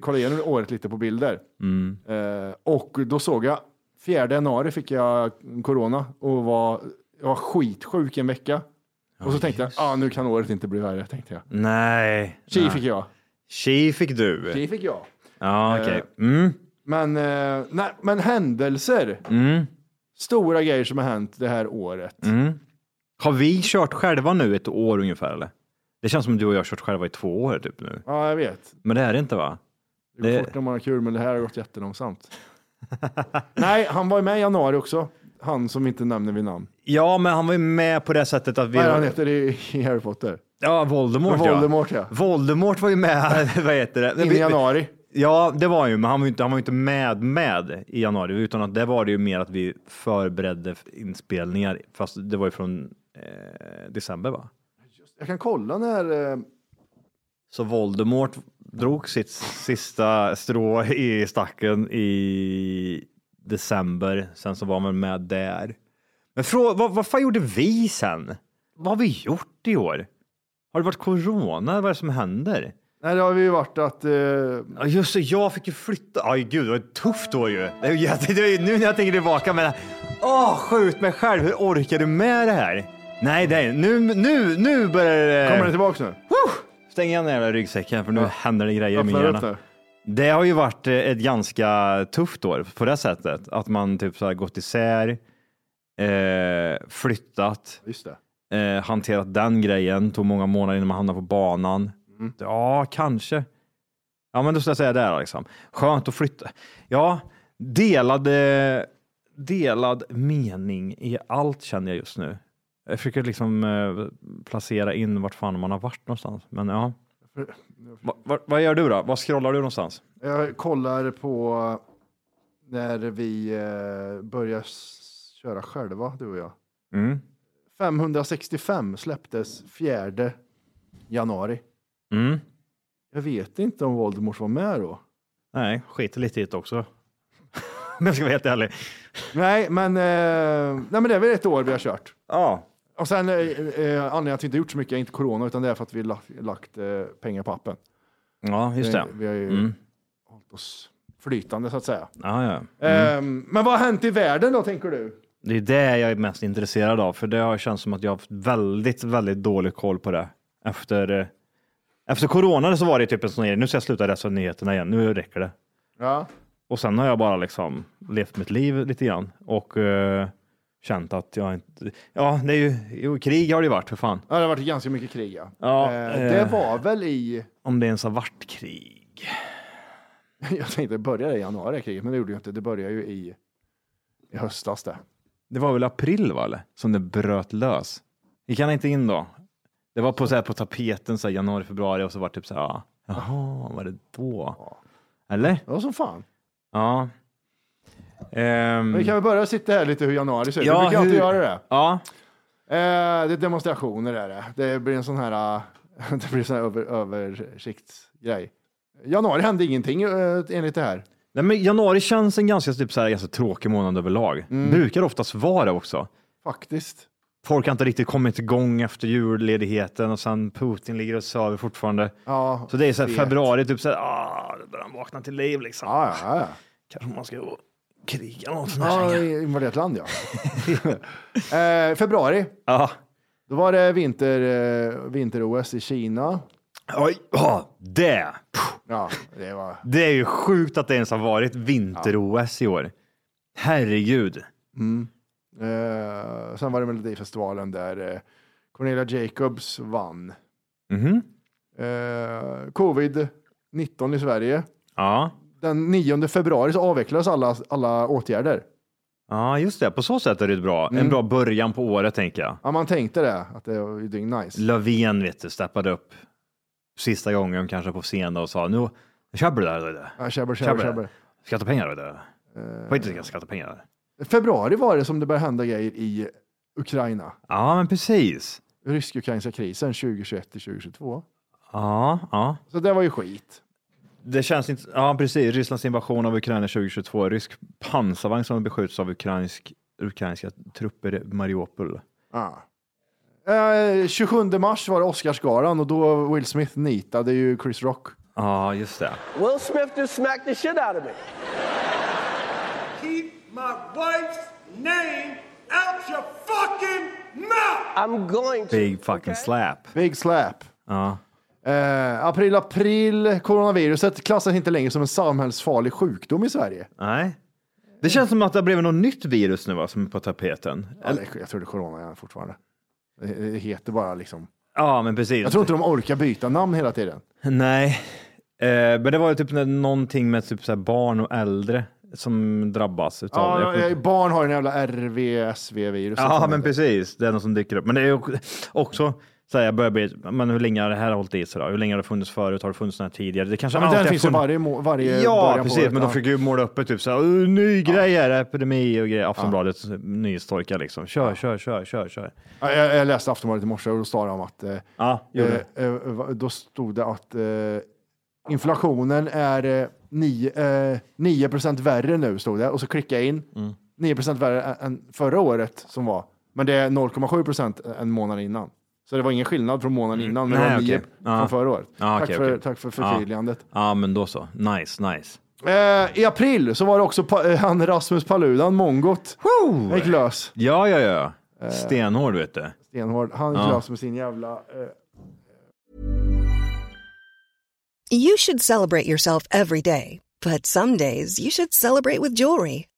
S5: kollade igenom året lite på bilder.
S6: Mm.
S5: Eh, och då såg jag, 4 januari fick jag corona och var, jag var skitsjuk en vecka. och så tänkte jag, ah, nu kan året inte bli värre, tänkte jag.
S6: Nej.
S5: Tji
S6: Nej.
S5: fick jag.
S6: Tji fick du.
S5: Tji fick jag.
S6: Ja, okej. Mm.
S5: Men, eh, nej, men händelser.
S6: Mm.
S5: Stora grejer som har hänt det här året.
S6: Mm. Har vi kört själva nu ett år ungefär eller? Det känns som du och jag har kört själva i två år typ nu.
S5: Ja, jag vet.
S6: Men det är det inte va?
S5: Det går
S6: Det-
S5: fort när man har kul, men det här har gått jättelångsamt. nej, han var ju med i januari också. Han som inte nämner vid namn.
S6: Ja, men han var ju med på det sättet att vi...
S5: Vad är han heter i i Harry Potter?
S6: Ja, Voldemort,
S5: Voldemort,
S6: ja.
S5: ja.
S6: Voldemort var ju med, vad heter det?
S5: In
S6: Vi-
S5: i
S6: vi-
S5: januari.
S6: Ja, det var han ju, men han var ju inte, han var ju inte med, med i januari, utan att det var det ju mer att vi förberedde inspelningar, fast det var ju från eh, december va?
S5: Jag kan kolla när... eh,
S6: Så Voldemort drog sitt sista strå i stacken i december. Sen så var man med där. Men frå, vad, vad fan gjorde vi sen? Vad har vi gjort i år? Har det varit corona? Vad är det som händer?
S5: Nej, det har vi ju varit att... eh,
S6: Ja, just det, jag fick ju flytta. Aj, gud, det var ett tufft år ju. Det är ju jätte- det är ju- nu när jag tänker tillbaka men åh, skjut mig själv. Hur orkar du med det här? Nej, nej, nu, nu, nu börjar det.
S5: kommer den tillbaka nu?
S6: Stäng igen den jävla ryggsäcken för nu händer det grejer i min
S5: Öppnar upp
S6: hjärna.
S5: nu.
S6: Det har ju varit eh, ett ganska tufft år på det sättet. Att man typ så här gått isär, eh, flyttat,
S5: Just det.
S6: eh, hanterat den grejen. Tog många månader innan man hamnade på banan.
S5: Mm.
S6: Ja, kanske. Ja, men då skulle jag säga det här, liksom. Skönt att flytta. Ja, delade, delad mening i allt känner jag just nu. Jag försöker liksom eh, placera in vart fan man har varit någonstans. Men ja. Va, va, vad gör du då? Vad scrollar du någonstans?
S5: Jag kollar på när vi eh, börjar s- köra själva, du och jag.
S6: Mm.
S5: 565 släpptes 4 januari.
S6: Mm.
S5: Jag vet inte om Voldemort var med då.
S6: Nej, skiter lite i det också. Om jag ska vara helt ärlig.
S5: Nej, men, eh, nej, men det är väl ett år vi har kört.
S6: Ja.
S5: Och sen eh, eh, anledningen till att vi inte gjort så mycket är inte corona, utan det är för att vi lagt, lagt eh, pengar på appen.
S6: Ja, just det.
S5: Vi, vi har ju
S6: Mm.
S5: hållit oss flytande så att säga.
S6: Ja, ja.
S5: Eh, men vad har hänt i världen då, tänker du?
S6: Det är det jag är mest intresserad av, för det har känts som att jag har haft väldigt, väldigt dålig koll på det. Efter, eh, efter corona så var det typ en sån grej, nu ska jag sluta läsa nyheterna igen, nu räcker det.
S5: Ja.
S6: Och sen har jag bara liksom levt mitt liv lite grann och eh, känt att jag inte... Ja, det är ju, jo, krig har det ju varit för fan.
S5: Ja, det har varit ganska mycket krig. Ja.
S6: Ja,
S5: Eh,
S6: eh.
S5: Det var väl i,
S6: Om det ens har varit krig.
S5: jag tänkte börja det i januari kriget, men det gjorde ju inte. Det började ju i, i höstas det.
S6: Det var väl april va, eller? Som det bröt lös. Gick han inte in då? Det var på, så här, på tapeten så här, januari, februari och så var det typ så här, ja, jaha, var det då? Eller?
S5: Det var som fan.
S6: Ja. Ehm,
S5: Men vi kan väl börja sitta här lite hur januari ser ut.
S6: Ja,
S5: vi brukar alltid
S6: hur-
S5: göra det.
S6: Ja,
S5: Eh, det är demonstrationer är det. Det blir en sån här, eh, det blir en sån här över, översiktsgrej. Januari hände ingenting eh, enligt det här.
S6: Nej, men januari känns en ganska, typ, så här, ganska tråkig månad överlag.
S5: Mm.
S6: Brukar oftast vara det också.
S5: Faktiskt.
S6: Folk har inte riktigt kommit igång efter julledigheten och sen Putin ligger och söver fortfarande.
S5: Ja,
S6: Så det är så här,
S5: fet.
S6: februari, typ så här, ah, då börjar han vakna till liv liksom.
S5: Ja, ja, ja.
S6: Kanske man ska gå och kriga något sånt här.
S5: ja i- invaderat land ja. eh, februari,
S6: Ja.
S5: då var det vinter, eh, vinter-OS i Kina.
S6: Oj, ja, det. Puh,
S5: Ja, det var...
S6: Det är ju sjukt att det ens har varit vinter-OS i år. Herregud.
S5: Eh, sen var det Melodifestivalen där eh, Cornelia Jacobs vann.
S6: Mhm.
S5: Eh, Covid-19 i Sverige.
S6: Ja.
S5: Den 9 februari så avvecklades alla, alla åtgärder.
S6: ja, just det. På så sätt är det bra. En bra början på året, tänker jag.
S5: Ja, man tänkte det, att det var ju dygn nice.
S6: Löfven, vet du, steppade upp sista gången kanske på scenen och sa nu köper du det här. det där.
S5: Ja, tjabber, tjabber,
S6: Tjabber.
S5: tjabber.
S6: Skattepengar. det där. Får inte skattepengar.
S5: Februari var det som det började hända grejer i Ukraina.
S6: Ja, men precis.
S5: Rysk-ukrainska krisen 2021 till 2022.
S6: Ja, ja.
S5: Så det var ju skit.
S6: Det känns inte... Ja, precis. Rysslands invasion av Ukraina 2022. Rysk pansarvagn som beskjuts av ukrainsk, ukrainska trupper i Mariupol.
S5: Ja. Eh, 27 mars var det Oscarsgalan och då Will Smith nitade ju Chris Rock.
S6: Ja, just det.
S7: Will Smith just smacked the shit out of me.
S8: Keep my wife's name out your fucking mouth!
S7: I'm going to.
S6: Big fucking slap.
S5: Big slap.
S6: Ja.
S5: Eh, april, april. Coronaviruset klassas inte längre som en samhällsfarlig sjukdom i Sverige.
S6: Nej. Det känns som att det har blivit något nytt virus nu va, som är på tapeten.
S5: Eller, jag tror det är corona är fortfarande. Det det heter bara liksom.
S6: Ja, men precis.
S5: Jag tror inte de orkar byta namn hela tiden.
S6: Nej, eh, men det var ju typ när- någonting med typ så här barn och äldre som drabbas utav det. Jag
S5: Ja,
S6: kommer inte-
S5: eh, barn har ju en jävla RVSV-virus.
S6: Ja, men precis. Det är något som dyker upp. Men det är ju också så här, jag börjar bli, men hur länge har det här hållit i sig då? Hur länge har det funnits förut? Har det funnits den här tidigare? Det kanske
S5: Ja, men den
S6: alltid har
S5: finns ju
S6: funnits-
S5: varje må- varje början
S6: Ja,
S5: på
S6: precis.
S5: året,
S6: Men de
S5: ja.
S6: försöker ju måla upp det typ så här, "Åh, ny grej här, epidemi och grejer. Aftonbladets nyhetstorka liksom. Kör, kör, kör, kör, kör.
S5: Ja, Jag, jag läste Aftonbladet i morse och då stod det om att... Eh,
S6: Ja, gjorde
S5: eh, eh, va- då stod det att eh, inflationen är eh, nio- eh, 9 procent värre nu, stod det. Och så klickade jag in.
S6: Mm.
S5: 9 procent värre ä- än förra året som var. Men det är 0,7 procent en månad innan. Så det var ingen skillnad från månaden innan, men det var
S6: Mm. Nej,
S5: 9
S6: okej. Ja.
S5: från förra året.
S6: Ja,
S5: tack,
S6: okej,
S5: för,
S6: okej.
S5: tack för
S6: Ja.
S5: förtydligandet.
S6: Ja, men då så. Nice, nice.
S5: Eh, I april så var det också pa- eh, han Rasmus Paludan, mongot. Han gick lös.
S6: Ja, ja, ja.
S5: Eh.
S6: Stenhård, vet du.
S5: Stenhård. Han gick
S6: Ja.
S5: lös med sin jävla... Eh,
S9: You should celebrate yourself every day, but some days you should celebrate with jewelry.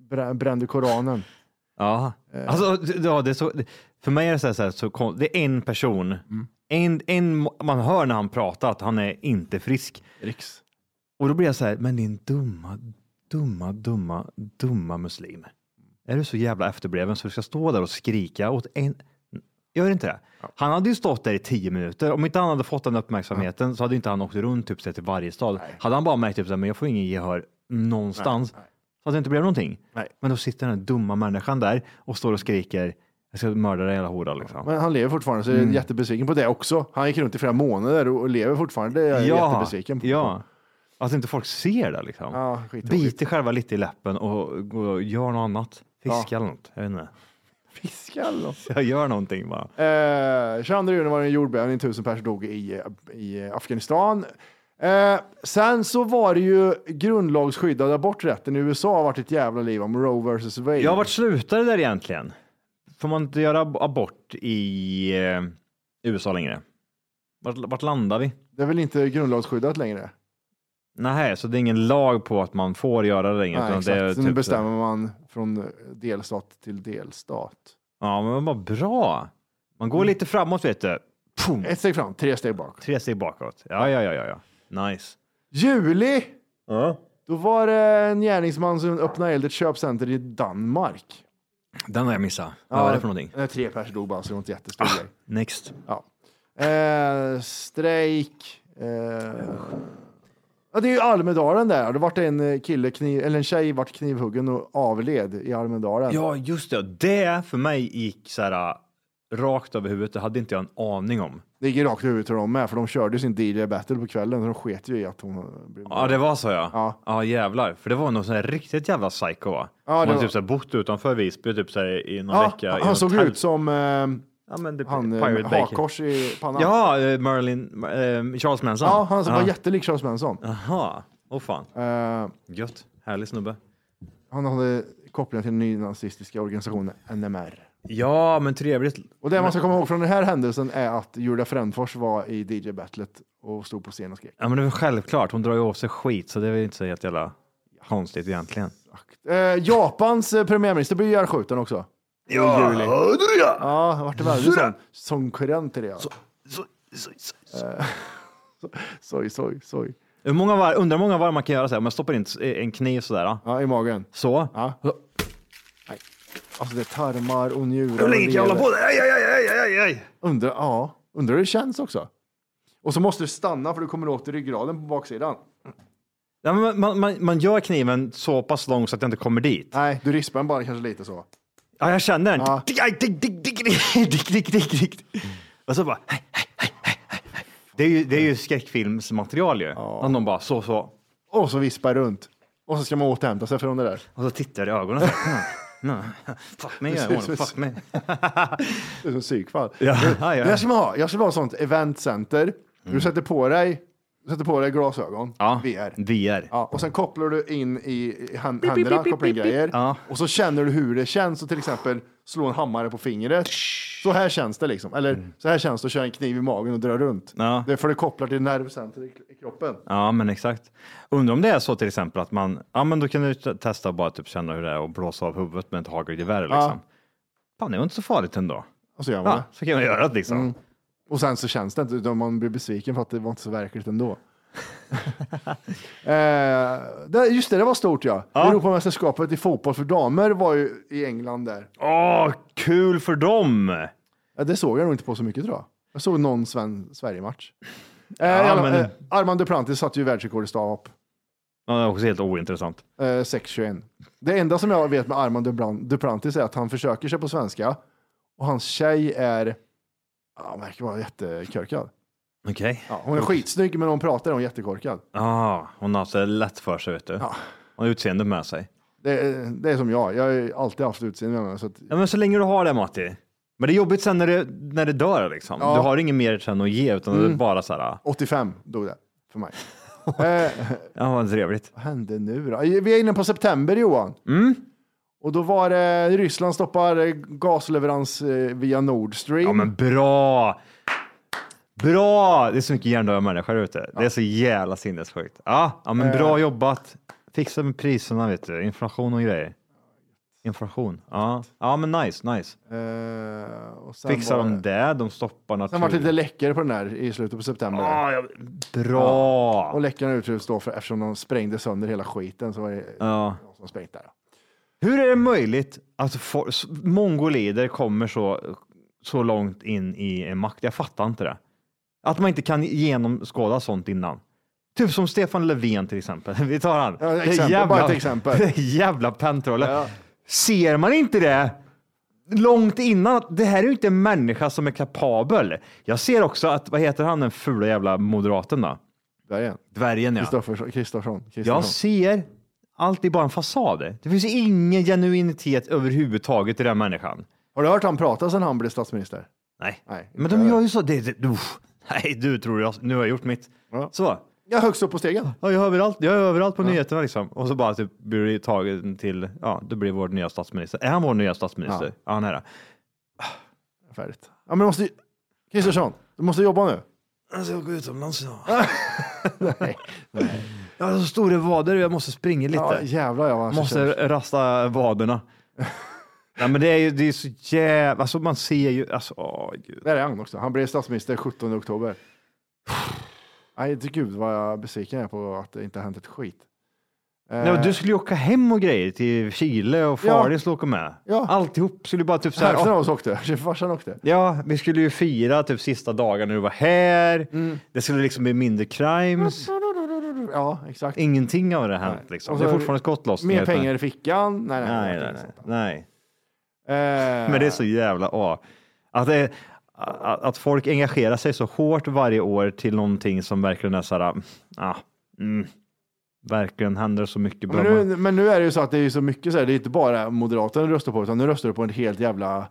S5: brä- brände Koranen.
S6: Ja,
S5: Eh.
S6: alltså, d- ja det är så, det- för mig är det så, här, så, här, så kon- det är en person,
S5: Mm.
S6: en, en, man hör när han pratar att han är inte frisk.
S5: Riks.
S6: Och då blir jag så här, men din dumma, dumma, dumma, dumma muslim. Är du så jävla efterbliven så du ska stå där och skrika åt en? Gör inte det. Han hade ju stått där i tio minuter. Om inte han hade fått den uppmärksamheten så hade inte han åkt runt typ, så här, till varje stad. Hade han bara märkt typ, så här, men jag får ingen gehör någonstans så att det inte blev någonting. Men då sitter den här dumma människan där och står och skriker jag ska mörda dig hela hora liksom.
S5: Men han lever fortfarande, så jag är
S6: Mm.
S5: jättebesviken på det också. Han gick runt i flera månader och och lever fortfarande. Det är jag jättebesviken på.
S6: Ja. Att inte folk ser det liksom.
S5: Ja, skittråkigt.
S6: Bit dig själva lite i läppen och, gå och gör något annat. Fiska eller något. Jag vet inte.
S5: Fiska eller något.
S6: Jag gör någonting bara.
S5: Eh, 22 juni var det en jordbävning, tusen personer dog i, i Afghanistan. Eh, sen så var det ju grundlagsskyddad aborträtten i USA har varit ett jävla liv om Roe vs. Wade.
S6: Jag har varit slutade där egentligen. Får man inte göra ab- abort i eh, USA längre? Vart, vart landar vi?
S5: Det är väl inte grundlagsskyddat längre?
S6: Nej, så det är ingen lag på att man får göra det längre.
S5: Nej,
S6: utan
S5: exakt.
S6: Det är
S5: så
S6: typ
S5: nu
S6: så-
S5: bestämmer man från delstat till delstat.
S6: Ja, men vad bra. Man går lite framåt vet du. Pum.
S5: Ett steg fram, tre steg bakåt.
S6: Tre steg bakåt. Ja, ja, ja, ja. ja. Nice.
S5: Juli!
S6: Ja.
S5: Då var det en gärningsman som öppnade eld i ett köpcenter i Danmark.
S6: Den har jag missat. Vad var det för någonting? Ah.
S5: eh, Tre pers dog bara, så det var inte jättestor grej.
S6: Next.
S5: Ja. Eh, strejk. Eh, ja, det är ju Almedalen där. Det vart en kille, kniv, eller en tjej vart knivhuggen och avled i Almedalen.
S6: Ja, just det. Det för mig gick så här äh, rakt över huvudet. Det hade inte jag en aning om.
S5: Det gick rakt i huvudet till dem med, för de körde ju sin DJ battle på kvällen, så de sket ju i att hon blev
S6: Ja, det var så ja. Ja, jävlar. För det var någon sån här riktigt jävla psycho va?
S5: Ja,
S6: Ja,
S5: det
S6: det
S5: var-
S6: typ så här bott utanför Visby typ så här, i någon
S5: Ja,
S6: vecka. i
S5: han
S6: något
S5: såg
S6: tält.
S5: ut som eh, han eh,
S6: Pirate
S5: med
S6: Bay
S5: hakkors i pannan.
S6: Ja, eh, Marilyn, eh, Charles Manson.
S5: ja han var jättelik Charles Manson.
S6: Jaha, åh fan.
S5: Eh,
S6: Gött, härlig snubbe.
S5: han hade kopplingar till den nynazistiska organisationen NMR.
S6: Ja, men trevligt.
S5: Och det man ska komma ihåg från den här händelsen är att Julia Frändfors var i DJ-battlet och stod på scen och skrek.
S6: Ja, men det är väl självklart. Hon drar ju av sig skit, så det är väl inte så helt jävla konstigt egentligen.
S5: Eh, Japans eh, premiärminister blev ju ihjälskjuten också.
S6: Ja,
S5: I juli.
S6: hörde du det?
S5: Ja, han vart väldigt
S6: Sådär.
S5: sån. Sångkurrent till det. ja. Eh, so- Soj, soj, soj.
S6: Hur många var, undrar hur många varv man kan göra så här, om jag stoppar in s- en kniv sådär.
S5: Ja, i magen.
S6: Så.
S5: Ja. Alltså det är tarmar och njurar.
S6: Hur
S5: och
S6: länge kan jag
S5: lever.
S6: hålla på? Aj, aj, aj, aj, aj, aj.
S5: Undrar, ja, undrar hur det känns också. Och så måste du stanna för du kommer åt i ryggraden på baksidan.
S6: Ja, men man, man, man gör kniven så pass lång så att jag inte kommer dit.
S5: Nej, du rispar den bara kanske lite så.
S6: Ja, jag kände den. Dick, aj, dick, dick, dick, dick, dick, dick, dick. Och så bara... hej, hej, hej, hej, hej. Det är ju, det är ju skräckfilmsmaterial ju. Om de bara så, så.
S5: Och så vispar jag runt. Och så ska man återhämta sig från det där.
S6: Och så tittar jag i ögonen. och så, "Mm, mm, Fuck me, I
S5: Precis,
S6: wanna
S5: precis.
S6: fuck me.
S5: Det är som psykfall.
S6: Ja,
S5: Det-
S6: ja, Mm. ja.
S5: Det jag ska man ha. Jag ska ha ett sånt eventcenter. Du sätter på dig, du sätter på dig glasögon, VR.
S6: VR.
S5: Ja, och sen kopplar du in i i hand, händerna, kopplar in grejer. Och så känner du hur det känns. Och till exempel slå en hammare på fingret. Så här känns det liksom. Eller så här känns det att köra en kniv i magen och dra runt.
S6: Mm. Ja.
S5: Det är för det kopplar till nervcenter i i kroppen.
S6: Ja, men exakt. Undrar om det är så till exempel att man, ja men då kan du t- testa bara typ känna hur det är och blåsa av huvudet med ett hagelgevär liksom.
S5: Ja.
S6: Fan, det var inte så farligt ändå.
S5: Och så gör man
S6: Ja,
S5: det.
S6: så kan man göra det liksom.
S5: Mm. Och sen så känns det inte, utan man blir besviken för att det var inte så verkligt ändå. eh, det, just det, det var stort ja. Europamästerskapet i fotboll för damer var ju i England där.
S6: Åh, kul för dem!
S5: Ja, det såg jag nog inte på så mycket tror jag. Jag såg någon Sven- Sverige-match. Eh,
S6: Ja,
S5: ja,
S6: men-
S5: eh, Armand Duplantis satte ju världsrekord i stavhopp.
S6: Ja, det är också helt ointressant.
S5: Eh, 6-21. Det enda som jag vet med Armand Duplan- Duplantis är att han försöker sig på svenska och hans tjej är, ja, hon verkar vara jättekorkad.
S6: Okej.
S5: Ja, hon är skitsnygg men hon pratar, hon är jättekorkad.
S6: Ja, hon har haft det lätt för sig vet du. Hon har utseendet med sig.
S5: Det, är- det är som jag, jag har ju alltid haft utseende med mig. Så att,
S6: Ja, men så länge du har det Matti. Men det är jobbigt sen när det, när det dör liksom.
S5: Ja.
S6: Du har inget mer sen att ge utan det är
S5: Mm.
S6: bara så här,
S5: 85 dog det för mig. eh,
S6: ja vad trevligt.
S5: vad hände nu då? Vi är inne på september Johan.
S6: Mm.
S5: Och då var det Ryssland stoppar eh, gasleverans eh, via Nord Stream.
S6: Ja men bra! Bra! Det är så mycket hjärndöda människor där ute. Det är så jävla sinnessjukt. Ja, ja men bra
S5: Eh.
S6: jobbat. Fixa med priserna vet du. Inflation och grejer. Inflation. Ja, ja men nice, nice.
S5: Eh, och sen
S6: Fixar
S5: var
S6: de det? De stoppar
S5: Sen var det lite
S6: naturen.
S5: läckor på den där i slutet på september.
S6: Ah, ja, bra!
S5: Och läckorna utrymdes då för, eftersom de sprängde sönder hela skiten så var det
S6: Ja.
S5: någon som sprängt där.
S6: Hur är det möjligt att for, s- mongolider kommer så, så långt in i en makt? Jag fattar inte det. Att man inte kan genomskåda sånt innan. Typ som Stefan Löfven till exempel. Vi tar han.
S5: Ja, exempel, bara ett exempel.
S6: det jävla pentrollen. Ser man inte det långt innan? att Det här är ju inte en människa som är kapabel. Jag ser också att, vad heter han den fula jävla moderaten då?
S5: Där igen.
S6: Dvärgen ja.
S5: Kristoffersson. Kristoffersson.
S6: Jag ser alltid bara en fasad. Det finns ingen genuinitet överhuvudtaget i den människan.
S5: Har du hört han prata sedan han blev statsminister?
S6: Nej,
S5: Nej.
S6: men de gör ju så. Det, det, uff. Nej, du tror jag, nu har jag gjort mitt.
S5: Ja.
S6: Så.
S5: Ja, högst upp på stegen.
S6: Ja, jag, är överallt, jag är överallt på nyheterna liksom. Och så bara typ blir du tagen till, ja, du blir vår nya statsminister. Är han vår nya statsminister? Ja,
S5: Ja.
S6: han är det.
S5: Färdigt. Ja, men du måste... Kristersson, du måste jobba nu.
S6: Jag ska gå utomlands idag. Jag har så stora vader jag måste springa lite.
S5: Ja, jävlar jag var
S6: Måste rasta vaderna. Nej, men det är ju det är så jävla... Alltså man ser ju... Alltså, åh, gud.
S5: Där är han också. Han blev statsminister 17 oktober. Nej, till gud vad jag besviken är på att det inte har hänt ett skit. Eh,
S6: Nej, men du skulle ju åka hem och grejer till Chile och
S5: Ja.
S6: Faris skulle åka med.
S5: Ja.
S6: Alltihop skulle bara typ så här...
S5: Hälften
S6: åh,
S5: av oss åkte. Farsan åkte.
S6: Ja, vi skulle ju fira typ sista dagarna du var här.
S5: Mm.
S6: Det skulle liksom bli mindre crimes.
S5: Ja, exakt.
S6: Ingenting av det har hänt liksom.
S5: Och
S6: Det är
S5: så-
S6: fortfarande skottlossning.
S5: Mer pengar i fickan. Nej, nej,
S6: Nej,
S5: det
S6: nej,
S5: var inte
S6: nej.
S5: sånt.
S6: nej.
S5: Eh,
S6: Men det är så jävla åh. Att, det, att, att folk engagerar sig så hårt varje år till någonting som verkligen är så här, ah, mm, verkligen händer så mycket bra.
S5: men, nu, men nu är det ju så att det är ju så mycket så här, det är inte bara Moderaterna du röstar på, utan nu röstar du på en helt jävla...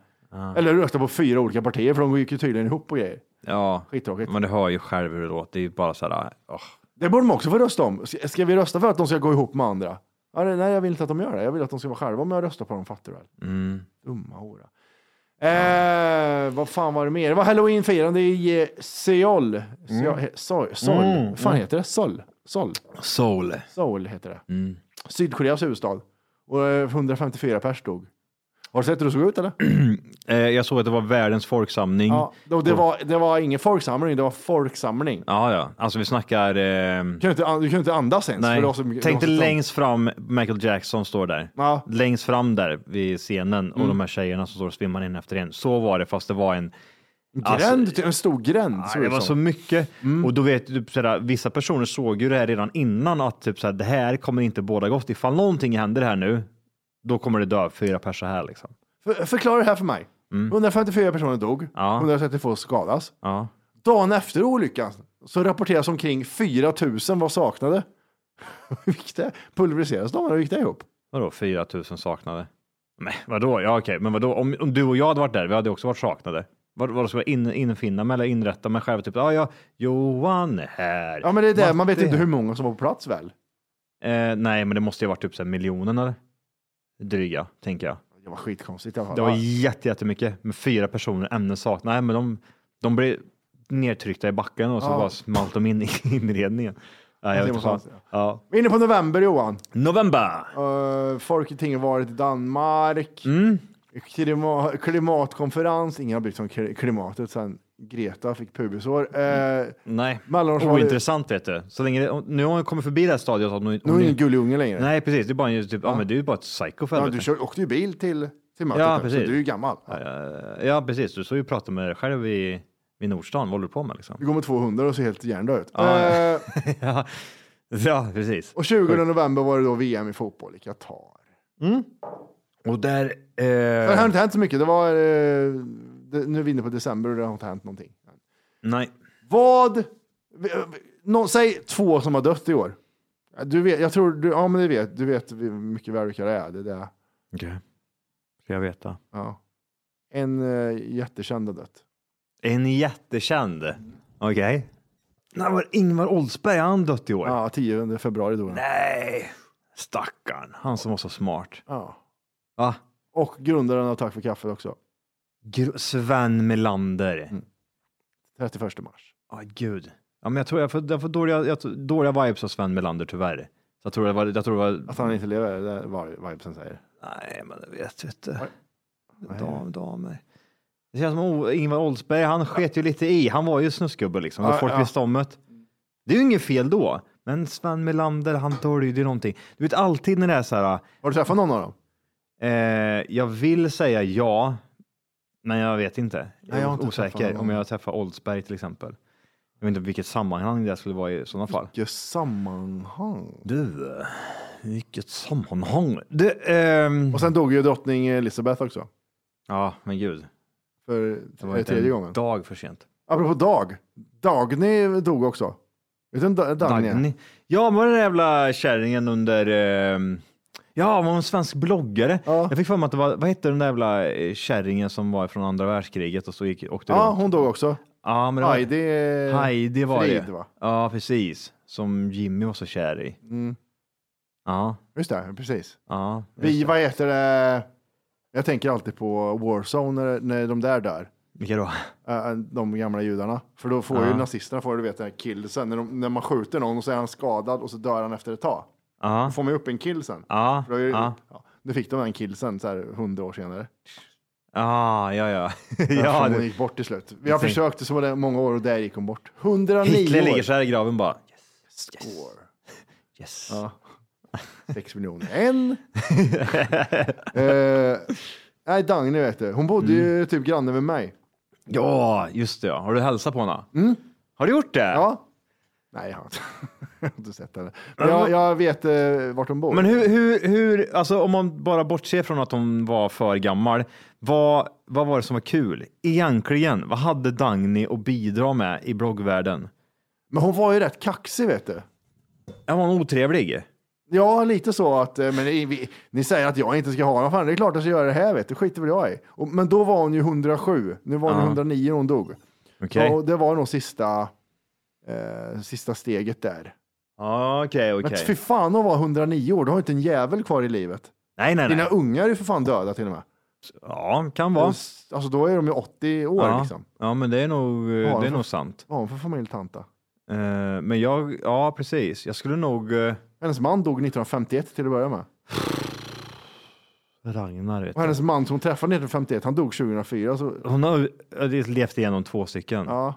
S5: Eller du röstar på fyra olika partier, för de gick ju tydligen ihop och grejer.
S6: ja,
S5: Skittråkigt.
S6: men du hör ju själv hur det låter. Det är ju bara så här, ah, åh.
S5: Det borde man också få rösta om. Ska, ska vi rösta för att de ska gå ihop med andra? Ja, det- Nej, jag vill inte att de gör det. Jag vill att de ska vara själva, men jag röstar på dem, fattar du väl?
S6: Mm.
S5: Dumma hora. Eh, vad fan var det mer? Det var halloweenfirande i eh, Seoul. Seoul.
S6: Mm.
S5: Seoul. Seoul. Vad fan heter det? Seoul. Seoul.
S6: Soul.
S5: Seoul heter det.
S6: Mm.
S5: Sydkoreas huvudstad. Och eh, 154 pers dog. Har du sett hur det såg ut eller?
S6: Eh, jag såg att det var världens folksamling.
S5: Ja, det, det, var, det var ingen folksamling, det var folksamling.
S6: Ja, ja, alltså vi snackar. Eh,
S5: Du kunde inte, an- du kunde inte andas ens.
S6: nej,
S5: för det var så mycket-
S6: tänk
S5: det var
S6: dig
S5: så trångt.
S6: längst fram. Michael Jackson står där.
S5: Ja. Mm.
S6: längst fram där vid scenen och de här tjejerna som står och svimmar in efter en. Så var det, fast det var en
S5: Gränd, en stor gränd.
S6: Ja,
S5: såg
S6: det
S5: ut
S6: var
S5: som. Mm.
S6: så mycket. Och då vet du, typ, såhär, vissa personer såg ju det här redan innan att typ, såhär, det här kommer inte båda gott. Ifall någonting händer här nu, då kommer det dö fyra personer här liksom.
S5: För, förklara det här för mig. 154 personer dog, 132 skadas. Dagen efter olyckan så rapporteras omkring 4 000 var saknade. Hur gick det? Pulveriserades de? eller Hur gick det ihop?
S6: Vadå 4 000 saknade? Men vadå? Ja, okej, men vadå? Om, om du och jag hade varit där, vi hade också varit saknade. Vad, vad ska jag in, infinna mig eller inrätta mig själv? Typ, ja, ja, Johan är här.
S5: Ja, men det är det.
S6: Matte
S5: Man vet inte
S6: är
S5: hur många som var på plats väl?
S6: Eh, nej, men det måste ju ha varit typ så här miljonen eller dryga, tänker jag.
S5: Det var skitkonstigt i alla fall.
S6: Det var jätte, jättemycket med fyra personer, ämnen saknas. Nej, men de, de blev nedtryckta i backen och så
S5: Ja.
S6: bara smalt de in i inredningen. Nej,
S5: Det
S6: jag vet inte
S5: måste
S6: fan. Ja.
S5: Vi är inne på november Johan.
S6: November!
S5: Uh, folk och ting har varit i Danmark.
S6: Mm.
S5: Klima klimatkonferens. Ingen har brytt sig om kli- klimatet sen Greta fick pubisår. Uh,
S6: Nej,
S5: Mellanårsvalet-
S6: ointressant vet du. Så länge det, nu har hon kommit förbi det här stadiet. att hon-
S5: nu är
S6: hon-
S5: det ingen gullig unge längre.
S6: Nej, precis. Det är bara, en, typ, ja. men du är bara ett psycho för
S5: ja,
S6: helvete.
S5: du kör, åkte ju bil till, till mötet,
S6: Ja,
S5: där, så
S6: precis.
S5: du är ju gammal.
S6: Eh, Ja, precis. Du står ju och pratar med dig själv i, i Nordstan. Vad håller du på med liksom?
S5: Du går med 200 och ser helt hjärndöd ut.
S6: Ja.
S5: Eh,
S6: ja. ja, precis.
S5: och 20 november var det då VM i fotboll i Qatar.
S6: Eh. Och där...
S5: Det har
S6: Eh,
S5: inte hänt så mycket. Det var, eh, det, nu är vi inne på december och det har inte hänt någonting.
S6: nej.
S5: Vad? Någon, säg två som har dött i år. Du vet, jag tror, du, ja men du vet, du vet mycket väl vilka det är. Det där.
S6: Okej. Ska jag veta?
S5: Ja. En eh, jättekänd har dött.
S6: En jättekänd. Okej. När var Ingvar Oldsberg? Har Han dött i år.
S5: Ja, 10 februari dog han.
S6: Nej, stackarn. Han som var så smart.
S5: Ja.
S6: Va?
S5: Och grundaren av Tack för kaffet också.
S6: Gr- Sven Melander.
S5: 31 mars.
S6: Ja, gud. Ja, men jag tror jag får, jag får dåliga, jag, tror- dåliga vibes av Sven Melander tyvärr. Så jag tror det var, jag tror det var,
S5: Att han inte lever, det är vad vibesen säger.
S6: nej men det vet vi inte. Dam, damer. Det känns som o- Ingvar Oldsberg, han sket ju lite i. Han var ju snusgubbe liksom.
S5: Ja,
S6: och folk
S5: ja.
S6: visste om det. Det är ju inget fel då. Men Sven Melander, han dolde ju någonting. Du vet alltid när det är så här,
S5: Har du träffat någon av dem?
S6: Eh, jag vill säga ja, men jag vet inte. Jag
S5: Nej,
S6: är
S5: jag har inte träffat
S6: osäker
S5: någon.
S6: om jag träffar Oldsberg till exempel. Jag vet inte vilket sammanhang det skulle vara i sådana fall.
S5: Vilket sammanhang.
S6: Du, eh, vilket sammanhang. Du, ehm,
S5: Och sen dog ju drottning Elizabeth också.
S6: Ja, men gud.
S5: För
S6: Det var
S5: eh,
S6: inte
S5: tredje
S6: en
S5: gången.
S6: dag för sent.
S5: Apropå Dag. Dagny dog också. Vet du vem Da- Dagny är?
S6: Dagny. Ja, men var den där jävla kärringen under... ehm, ja, hon var en svensk bloggare. Jag fick för mig att det var... Vad hette den där jävla eh, kärringen som var från andra världskriget och så gick, åkte
S5: Ja,
S6: runt?
S5: hon dog också.
S6: Ja, men det var-
S5: Heidi, eh,
S6: Heidi var
S5: Frid,
S6: det.
S5: va?
S6: Ja, precis. Som Jimmy var så kär i.
S5: Mm.
S6: Ja,
S5: Just det, precis.
S6: ja. just
S5: Vi,
S6: det.
S5: vad heter det? Jag tänker alltid på Warzone när, när de där dör.
S6: Vilka då?
S5: Eh, De gamla judarna. För då får ju
S6: Ja.
S5: nazisterna, får du vet, den här killsen. När, de, när man skjuter någon och så är han skadad och så dör han efter ett tag. Då
S6: Ja,
S5: får man ju upp en kill sen.
S6: ja,
S5: För då är ju-
S6: ja.
S5: ja, nu fick de en kill sen, så här hundra år senare.
S6: Ja, ja, ja.
S5: Ja,
S6: ja
S5: hon
S6: du,
S5: gick bort till slut. Vi har
S6: Tänk-
S5: försökt så många år och där gick hon bort. 109
S6: Hitler
S5: år.
S6: ligger så här i graven bara.
S5: Score.
S6: Yes.
S5: Ja. 6 miljoner. En. Eh, nej, Dagny vet du. Hon bodde
S6: Mm.
S5: ju typ granne med mig.
S6: Ja, just det. ja. Har du hälsat på henne? Har du gjort det?
S5: Mm. Ja. Nej, jag har inte, jag har inte sett henne. Men jag, jag vet eh, vart hon bor.
S6: Men hur, hur, hur, alltså om man bara bortser från att hon var för gammal, vad, vad var det som var kul? Egentligen, vad hade Dagny att bidra med i bloggvärlden?
S5: Men hon var ju rätt kaxig vet du.
S6: Ja, Var hon otrevlig?
S5: Ja, lite så att, eh, men ni, vi, ni säger att jag inte ska ha någon, fan det är klart att jag ska göra det här vet du, skiter väl jag i. Och, men då var hon ju 107, nu var hon
S6: Ja.
S5: 109 när hon dog.
S6: Okej.
S5: Och det var nog sista, eh, sista steget där.
S6: Ja, Okej,
S5: Men
S6: okej.
S5: fy fan, hon var 109 år, du har inte en jävel kvar i livet.
S6: Nej, nej, nej.
S5: Dina ungar är ju för fan döda till och med.
S6: Ja, kan vara.
S5: Alltså då är de ju 80 år
S6: ja.
S5: liksom.
S6: ja, men det är nog, eh,
S5: Ja, alltså.
S6: det är
S5: för-
S6: nog sant.
S5: Vad har hon för familjetanta?
S6: Eh, Men jag, ja precis, jag skulle nog... eh,
S5: Hennes man dog 1951 till att börja med.
S6: Ragnar vet du.
S5: Och hennes man som hon träffade 1951, han dog 2004. Så,
S6: Hon har eh, levt igenom två stycken.
S5: ja,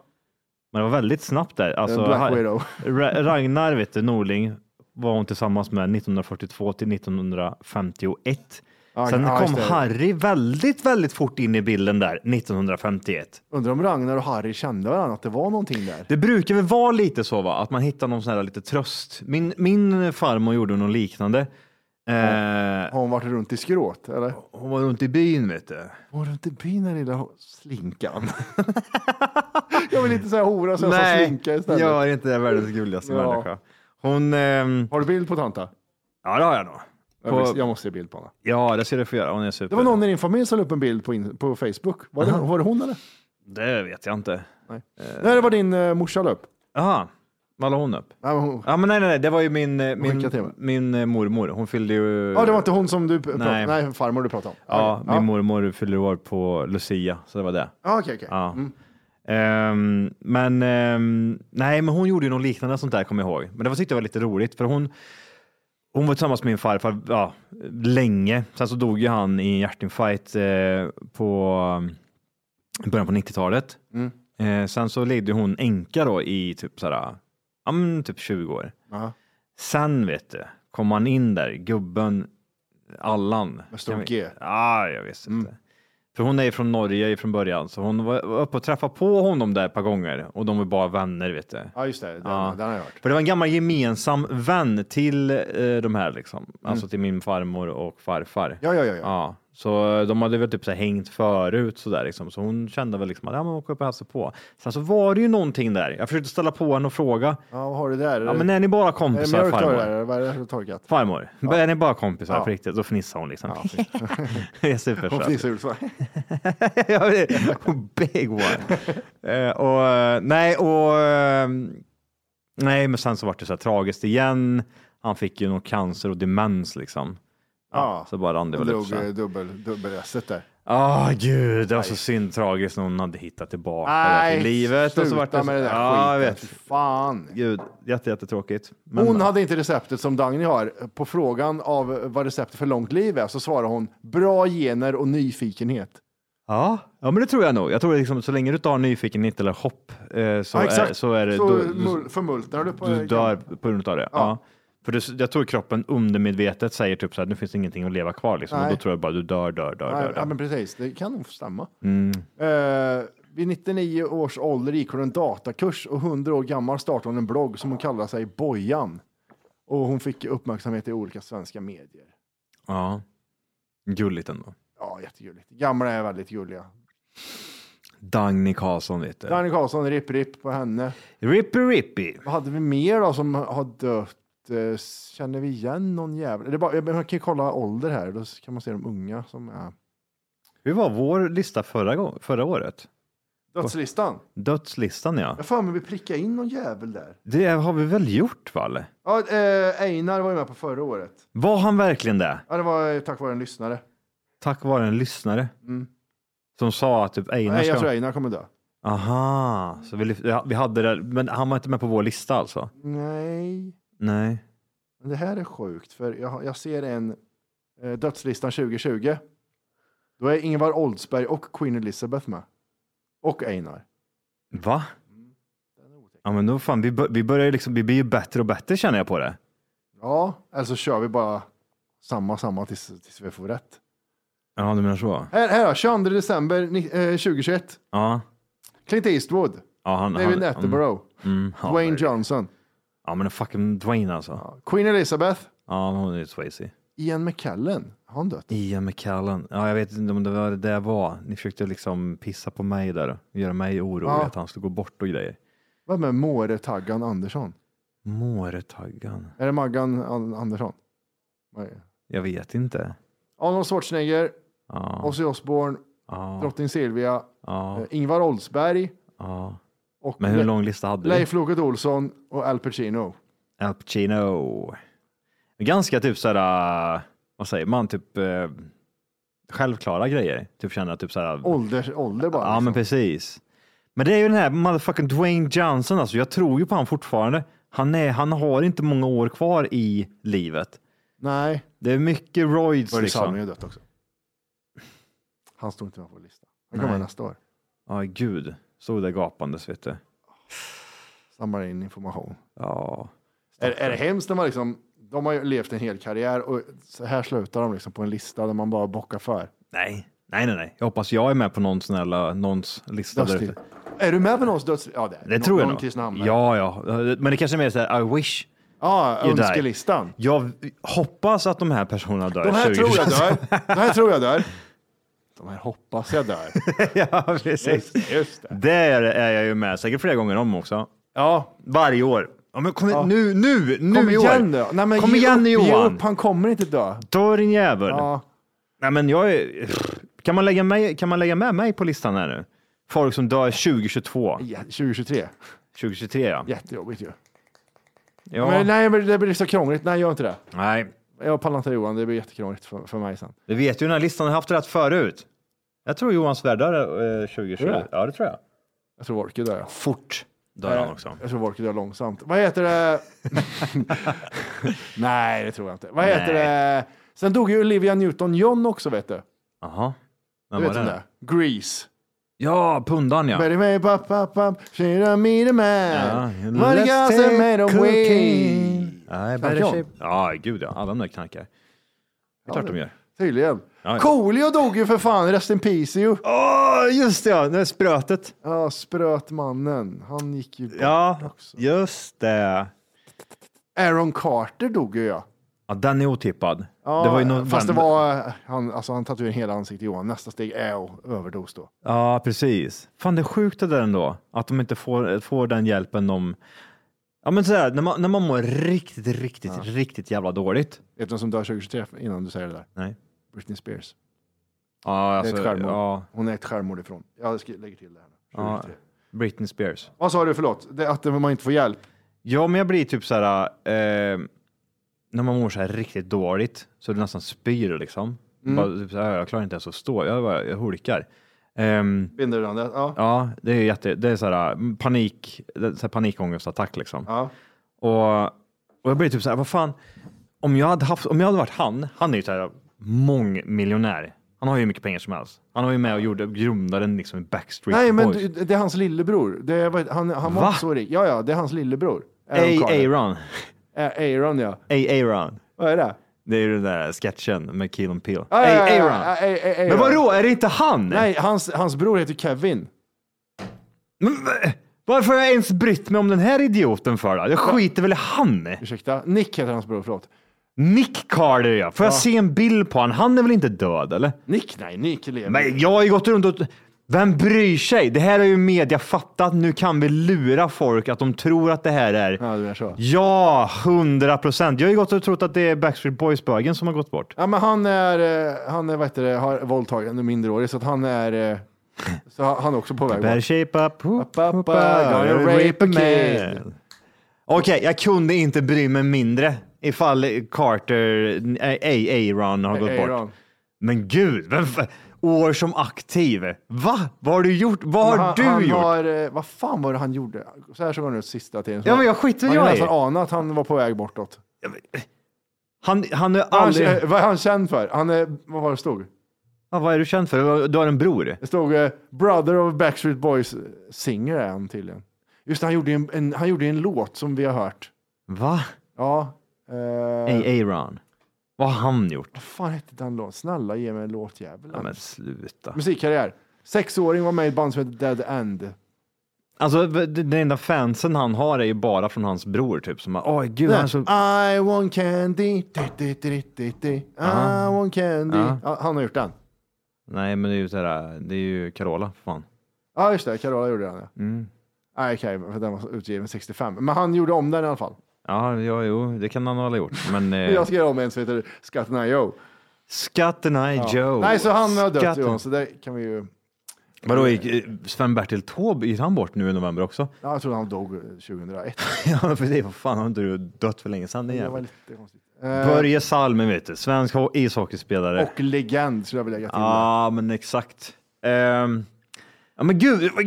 S6: Men det var väldigt snabbt där. Alltså,
S5: Black
S6: här-
S5: Widow.
S6: Ra- Ragnar vet du, Norling var hon tillsammans med 1942 till 1951.
S5: Ja,
S6: Sen
S5: ja,
S6: kom
S5: just det.
S6: Harry väldigt, väldigt fort in i bilden där 1951.
S5: Undrar om Ragnar och Harry kände varandra, att det var någonting där.
S6: Det brukar väl vara lite så va, att man hittar någon sån här lite tröst. Min, min farmor gjorde något liknande. Eh,
S5: Har hon varit runt i skråt eller?
S6: Hon var runt i byn vet du.
S5: Var du inte byn den lilla ho- slinkan? jag vill inte säga hora så jag sa
S6: Nej,
S5: slinka istället.
S6: jag är inte världens gulligaste
S5: Ja.
S6: människa. Hon... ehm,
S5: Har du bild på tanta?
S6: Ja, det har jag nog.
S5: Jag
S6: På-
S5: vill- Jag måste se bild på henne.
S6: Ja, det ska du få göra. Hon är super.
S5: Det var någon i din familj som la upp en bild på, in, på Facebook. Var det, var det hon eller?
S6: Det vet jag inte.
S5: Nej, det var din uh, morsa la upp.
S6: Jaha, vad la hon upp?
S5: Nej, men hon-
S6: Ja, men nej, nej, nej, det var ju min, eh, min,
S5: Skicka till mig.
S6: min eh, mormor. Hon fyllde ju...
S5: Ja, det var inte hon som du pratade
S6: Nej.
S5: om. Nej, farmor du pratade om.
S6: Ja,
S5: Okej.
S6: min mormor fyllde år på Lucia, så det var det.
S5: Ja, okej, okej.
S6: Ja.
S5: Mm.
S6: Ehm, men ehm, nej, men hon gjorde ju något liknande sånt där, kommer jag ihåg. Men det var, tyckte jag var lite roligt, för hon, hon var tillsammans med min farfar ja, länge. Sen så dog ju han i en hjärtinfarkt eh, på i början på 90-talet.
S5: Mm.
S6: Eh, sen så levde hon enka då i typ sådär, ja men typ 20 år.
S5: Aha.
S6: Sen vet du, kom han in där, gubben Allan.
S5: Med stor
S6: Kan vi-
S5: G. Mm.
S6: Ja, jag visste inte. För hon är ju från Norge från början, så hon var var uppe och träffade på honom där ett par gånger och de var bara vänner, vet du.
S5: Ja, just det. Den,
S6: Ja.
S5: den har jag hört.
S6: För det var en gammal gemensam vän till eh, de här liksom, alltså till min farmor och farfar.
S5: Mm. Ja, ja, ja. ja.
S6: Ja, så de hade väl typ så här hängt förut så där liksom, så hon kände väl liksom att ja, men åka upp och hälsa på. Sen så var det ju någonting där. Jag försökte ställa på henne och fråga.
S5: ja vad har du där?
S6: Ja, men är ni bara
S5: är det
S6: kompisar
S5: mjölk du har
S6: farmor?
S5: där? Vad är det här du har torkat?
S6: Farmor, är ni bara kompisar
S5: Ja.
S6: på riktigt? Då fnissar hon liksom. det är
S5: Hon
S6: supersött.
S5: fnissar ut så. här.
S6: Ja, det är- Big one. Eh, och, eh, nej, och, eh, nej, men sen så var det så här tragiskt igen. Han fick ju någon cancer och demens liksom.
S5: Ja.
S6: Så bara rann det
S5: Hon
S6: väl ut.
S5: drog
S6: så här.
S5: eh, dubbel, dubbel-esset där.
S6: Ah gud, det var så synd tragiskt när hon hade hittat tillbaka där till livet.
S5: sluta
S6: Och så vart det så,
S5: med det där
S6: ja, jag
S5: skiten.
S6: vet.
S5: Fy Fan.
S6: Gud, jätte, jättetråkigt. Men,
S5: Hon hade inte receptet som Dagny har. På frågan av vad receptet för långt liv är så svarar hon bra gener och nyfikenhet.
S6: ja, ja, men det tror jag nog. Jag tror liksom, så länge du tar nyfikenhet eller hopp eh, så,
S5: Ja,
S6: är, så är det...
S5: Så
S6: då-
S5: mul- förmultnar du på...
S6: Du dör på grund av det. Ja. För du, jag tror kroppen undermedvetet säger typ så här, nu finns det ingenting att leva kvar liksom. Och
S5: Nej.
S6: då tror jag bara du dör, dör, dör,
S5: Nej,
S6: dör.
S5: ja,
S6: dör.
S5: men precis. Det kan nog stämma.
S6: Mm.
S5: Eh, vid 99 års ålder gick hon en datakurs och 100 år gammal startade hon en blogg som hon kallade sig Bojan. Och hon fick uppmärksamhet i olika svenska medier.
S6: Ja. Gulligt ändå.
S5: Ja, jättegulligt. Gamla är väldigt gulliga.
S6: Dagny Karlsson vet du.
S5: Dagny Karlsson, rip rip på henne.
S6: Rippy Rippy.
S5: Vad hade vi mer då som har dött? Eh, Känner vi igen någon jävel? Det är bara, jag- man kan ju kolla ålder här, då kan man se de unga som är...
S6: Hur var vår lista förra, gång, förra året?
S5: Dödslistan.
S6: Dödslistan ja.
S5: Jag får mig vi prickade in någon jävel där.
S6: Det har vi väl gjort Valle?
S5: Ja, eh, Einar var ju med på förra året.
S6: Var han verkligen det?
S5: Ja, det var eh, tack vare en lyssnare.
S6: Tack vare en lyssnare
S5: Mm.
S6: som sa att typ Einar
S5: Nej,
S6: ska...
S5: jag tror Einar kommer dö.
S6: Aha, så vi, lyf- ja, vi hade det, men han var inte med på vår lista alltså?
S5: Nej,
S6: Nej.
S5: men det här är sjukt för jag, jag ser en eh, dödslistan 2020. Då är Ingvar Oldsberg och Queen Elizabeth med. Och Einar.
S6: Va? Ja, men då fan, vi, bör, vi börjar ju liksom, vi blir ju bättre och bättre känner jag på det.
S5: Ja, eller så kör vi bara samma, samma tills, tills vi får rätt.
S6: Ja, du menar så?
S5: Här, här då, 22 december ni- eh, 2021.
S6: Ja.
S5: Clint Eastwood,
S6: ja han,
S5: David
S6: han,
S5: Attenborough,
S6: Mm, mm, ja,
S5: Dwayne
S6: herregud.
S5: Johnson,
S6: Ja, men fucking Dwayne alltså.
S5: Queen Elizabeth,
S6: Ja, hon är ju swayzy.
S5: Ian McKellen. Har han dött?
S6: Ian McCallan. Ja, jag vet inte om det var det där var. Ni försökte liksom pissa på mig där och göra mig orolig
S5: Ja.
S6: att han skulle gå bort och grejer.
S5: Vad med Måre-Taggan Andersson?
S6: Måretaggan.
S5: Är det Maggan An- Andersson? Nej.
S6: Jag vet inte.
S5: Arnold Schwarzenegger,
S6: Ja,
S5: Ozzy Osbourne,
S6: ja,
S5: drottning Silvia,
S6: ja,
S5: eh, Ingvar Oldsberg
S6: ja.
S5: och
S6: Men hur
S5: Le-
S6: lång lista hade vi?
S5: Leif Loket Olsson och Al Pacino.
S6: Al Pacino. Ganska typ såhär, äh, vad säger man, typ äh, självklara grejer. Typ känner att typ såhär,
S5: Ålder, ålder bara. liksom.
S6: ja men precis. Men det är ju den här motherfucking Dwayne Johnson alltså, jag tror ju på han fortfarande. Han, är, han har inte många år kvar i livet.
S5: Nej,
S6: Det är mycket roids
S5: Börje Salming
S6: liksom.
S5: har dött också. Han stod inte med på vår lista. Han kommer
S6: Nej.
S5: nästa år.
S6: Ja, gud. Stod där gapandes vet du.
S5: Samlar in information.
S6: Ja.
S5: Är, är det hemskt när man liksom, de har ju levt en hel karriär och så här slutar de liksom på en lista där man bara bockar för.
S6: Nej, nej, nej, nej. Jag hoppas jag är med på någon sån här, äh, någons lista. där
S5: Dödstid.
S6: ute.
S5: Är du med på någons döds... Ja, det, är.
S6: Det tror jag
S5: någon
S6: nog.
S5: Kristinehamn.
S6: Ja, ja, men det kanske är mer så här, I wish
S5: Ja,
S6: You die.
S5: önskelistan.
S6: Jag hoppas att de här personerna dör.
S5: De här tror jag
S6: 2025.
S5: dör. De här tror jag dör. De här hoppas jag dör.
S6: ja, precis.
S5: Just, just det.
S6: Det är, är jag ju med, säkert flera gånger om också.
S5: Ja.
S6: Varje år. Ja, men kom, Nu, nu, nu
S5: Kom
S6: i
S5: igen
S6: år.
S5: nu. Nej, men
S6: Kom
S5: ge
S6: igen
S5: upp,
S6: nu
S5: ge
S6: Johan.
S5: upp. Han kommer inte dö.
S6: Ta din jävel.
S5: Ja.
S6: Nej, men jag är, kan, man lägga mig, kan man lägga med mig på listan här nu? Folk som dör 2022.
S5: Ja, 2023.
S6: 2023 ja.
S5: Jättejobbigt ju.
S6: ja.
S5: Men, nej, men det blir så krångligt. Nej, gör inte det.
S6: Nej,
S5: Jag pallar inte Johan, det blir jättekrångligt för, för mig sen.
S6: vi vet ju den här listan har haft rätt förut. Jag tror Johan svärdar eh, 2020.
S5: Tror du det?
S6: Ja, det tror jag.
S5: Jag tror Wolke dör. jag.
S6: Fort dör han också.
S5: Jag tror Wolke dör långsamt. Vad heter det? nej, det tror jag inte. Vad
S6: Nej.
S5: heter det? Sen dog ju Olivia Newton-John också, vet du.
S6: Jaha. Vem
S5: Du
S6: var
S5: vet
S6: det?
S5: om det? Grease.
S6: Ja, pundan ja.
S5: Bury me, pop, pop, pop. She don't meet a
S6: Ja,
S5: man. What a girl that made a way.
S6: I
S5: Knarkar
S6: better
S5: de?
S6: shape. Ja, gud ja. Alla de där knarkar. Det är klart de gör.
S5: Tydligen.
S6: Ja, ja.
S5: Coolio dog ju för fan, rest in peace ju.
S6: Åh, just det ja, det är sprötet.
S5: Ja, sprötmannen. Han gick ju bort.
S6: Ja, just det.
S5: Aaron Carter dog ju ja.
S6: Ja, den är otippad.
S5: ja
S6: det var ju någon
S5: fast det var, han, alltså, han tatuerade hela ansiktet Johan. Nästa steg är att överdos då.
S6: Ja, precis. Fan, det är sjukt det där ändå, att de inte får, får den hjälpen de... Ja, men sådär, när man, när man mår riktigt, riktigt, riktigt jävla dåligt.
S5: Vet du vem som dör 2023 innan du säger det där?
S6: Nej.
S5: Britney Spears.
S6: Ja,
S5: Det är
S6: alltså,
S5: ett självmord.
S6: ja,
S5: Hon är ett självmord ifrån. Jag ska- lägger till det här. nu.
S6: ja,
S5: 2023.
S6: Britney Spears.
S5: Vad sa du, förlåt? Det, att man inte får hjälp?
S6: Ja, men jag blir typ så här, eh, när man mår så här riktigt dåligt så du nästan spyr liksom.
S5: Mm.
S6: Bara, typ så här, jag klarar inte ens att stå, jag, bara, jag hulkar. Ehm,
S5: Bindande? Ja.
S6: ja, det är jätte, det är så här mm, panik, det är så här panikångestattack liksom.
S5: ja.
S6: Och, och jag blev typ så här, vad fan, om jag hade, haft, om jag hade varit han, han är ju så här mångmiljonär. Han har ju hur mycket pengar som helst. Han var ju med och gjorde, grundade en liksom Backstreet
S5: Nej, men
S6: Boys.
S5: du- det är hans lillebror. Det är, vad- han, han var
S6: Va?
S5: inte så rik. Ja, ja, det är hans lillebror.
S6: A-
S5: Carter.
S6: Aaron.
S5: Ä- Aaron, ja.
S6: A- Aaron.
S5: Vad är det?
S6: Det är ju den där sketchen med Keel and Peele.
S5: Ja, ja, ja,
S6: A-
S5: ja,
S6: Aaron.
S5: ja, A- A- Aaron.
S6: Men vadå, är det inte han?
S5: Nej, hans, hans bror heter Kevin.
S6: Men, v- varför har jag ens brytt mig om den här idioten för då? Jag skiter väl i han?
S5: Ursäkta, Nick heter hans bror, förlåt.
S6: Nick Carter ja. Får jag se en bild på han? Han är väl inte död eller?
S5: Nick, nej, Nick lever.
S6: Men jag har ju gått runt och... Vem bryr sig? Det här har ju media fattat. Nu kan vi lura folk att de tror att det här är...
S5: Ja, du menar så.
S6: Ja, hundra procent. Jag har ju gått och trott att det är Backstreet Boys-bögen som har gått bort.
S5: Ja, men han är, eh, han är, vad heter det, har våldtagit en minderårig, så att han är, eh, så ha- han är också på väg.
S6: Better
S5: bort.
S6: shape up, hoop,
S5: Up,
S6: hoop,
S5: up, gonna
S6: up,
S5: rape a
S6: man.
S5: kid.
S6: Okej, jag kunde inte bry mig mindre ifall Carter, nej, Aaron har gått bort.
S5: Aaron.
S6: Men gud, vem, f- år som aktiv. Va? Vad har du gjort? Vad har
S5: Men han,
S6: du
S5: han
S6: gjort?
S5: Har, eh, vad fan var det han gjorde? Så här såg han ut sista tiden.
S6: Ja, men jag skiter
S5: Man
S6: jag
S5: kan
S6: i.
S5: nästan ana att han var på väg bortåt.
S6: Han, han är
S5: Han,
S6: aldrig...
S5: eh, Vad är han känd för? Han är, vad var det stod?
S6: Ja, vad är du känd för? Du har en bror?
S5: Det stod eh, Brother of Backstreet Boys eh, singer är han tydligen. Just det, han gjorde ju en, en, han gjorde ju en låt som vi har hört.
S6: Va?
S5: Ja. Eh,
S6: Ey, Aaron. Vad har han gjort?
S5: Vad fan hette den låten? Snälla ge mig en låtjävel.
S6: Ja, men sluta.
S5: Musikkarriär. Sexåring var med i ett band som hette Dead End.
S6: Alltså, v- den enda fansen han har är ju bara från hans bror, typ. Som bara, åh gud, han är så...
S5: Nej. I want candy. Di, di, di, di, di, di. I
S6: Aha.
S5: want candy.
S6: Ja.
S5: Ja, han har gjort den.
S6: Nej, men det är ju sådär, det är ju Carola, för fan.
S5: Ja, just det. Carola gjorde den. Ja.
S6: Mm.
S5: Nej, okej, för den var utgiven 65. Men han gjorde om den i alla fall.
S6: Ja, ja, jo, det kan han väl ha gjort, men... Eh,
S5: Jag ska göra om en som heter Skatterna Joe.
S6: Skatterna
S5: Ja.
S6: Joe.
S5: Nej, så han har dött
S6: Skatten-
S5: Johan, så det kan vi ju...
S6: Vadå, gick, eh, Sven-Bertil Taube, gick han bort nu i november också?
S5: Ja, jag trodde han dog 2001.
S6: ja, för det, vad fan, har inte du dött för länge sedan? den
S5: Det var
S6: jäveln?
S5: lite konstigt. Eh,
S6: Börje Salmen, vet du. Svensk ho- ishockeyspelare.
S5: Och legend skulle jag vilja lägga till.
S6: Ja, men exakt. Ehm, ja, men gud, vad,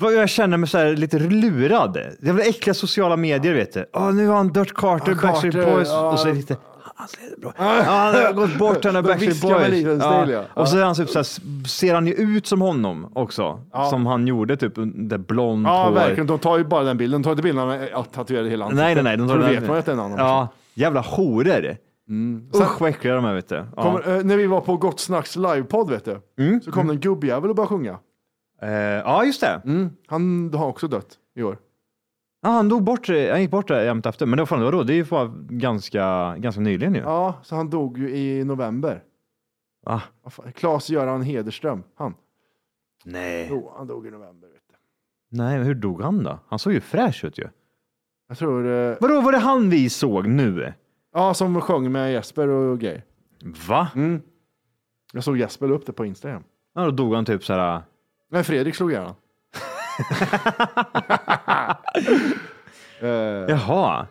S6: vad jag känner mig så här lite lurad. Det är väl äckliga sociala medier, vet du. Åh, nu har han Dirt Carter,
S5: Ja,
S6: Backstreet
S5: Carter,
S6: Boys
S5: ja.
S6: och så är det lite... Hans lillebror. Ja, han har gått bort den där
S5: De
S6: Backstreet
S5: viskar med
S6: Boys.
S5: liten stil, ja.
S6: Och så är han typ så här, ser han ju ut som honom också.
S5: Ja.
S6: Som han gjorde, typ det blont
S5: Ja,
S6: hår.
S5: verkligen. De tar ju bara den bilden. De tar inte bilden när han tatuerade hela ansiktet.
S6: Nej, nej, nej. De tar
S5: Då
S6: den-
S5: vet man att det är en annan. Mm.
S6: Ja, jävla horor. Usch vad äckliga de är, vet du. Ja. Mm.
S5: Kommer, eh, när vi var på Gott Snacks livepodd, vet du, så kom det en gubbjävel och började sjunga.
S6: Eh, ja, just det.
S5: Han har också dött i år.
S6: Ja, han dog bort, eh, han gick bort där jämt efter. Men det var fan, det var då, det är ju fan ganska, ganska nyligen ju.
S5: Ja, så han dog ju i november.
S6: Va?
S5: Vad fan, Claes-Göran Hederström, han.
S6: Nej.
S5: Jo, han dog i november. Vet du.
S6: Nej, men hur dog han då? Han såg ju fräsch ut ju.
S5: Jag tror... eh,
S6: Vadå, var det han vi såg nu?
S5: Ja, som sjöng med Jesper och grejer.
S6: Va?
S5: Mm. Jag såg Jesper la upp det på Instagram.
S6: Ja, då dog han typ så här.
S5: Nej, Fredrik slog ihjäl honom. Eh,
S6: Jaha.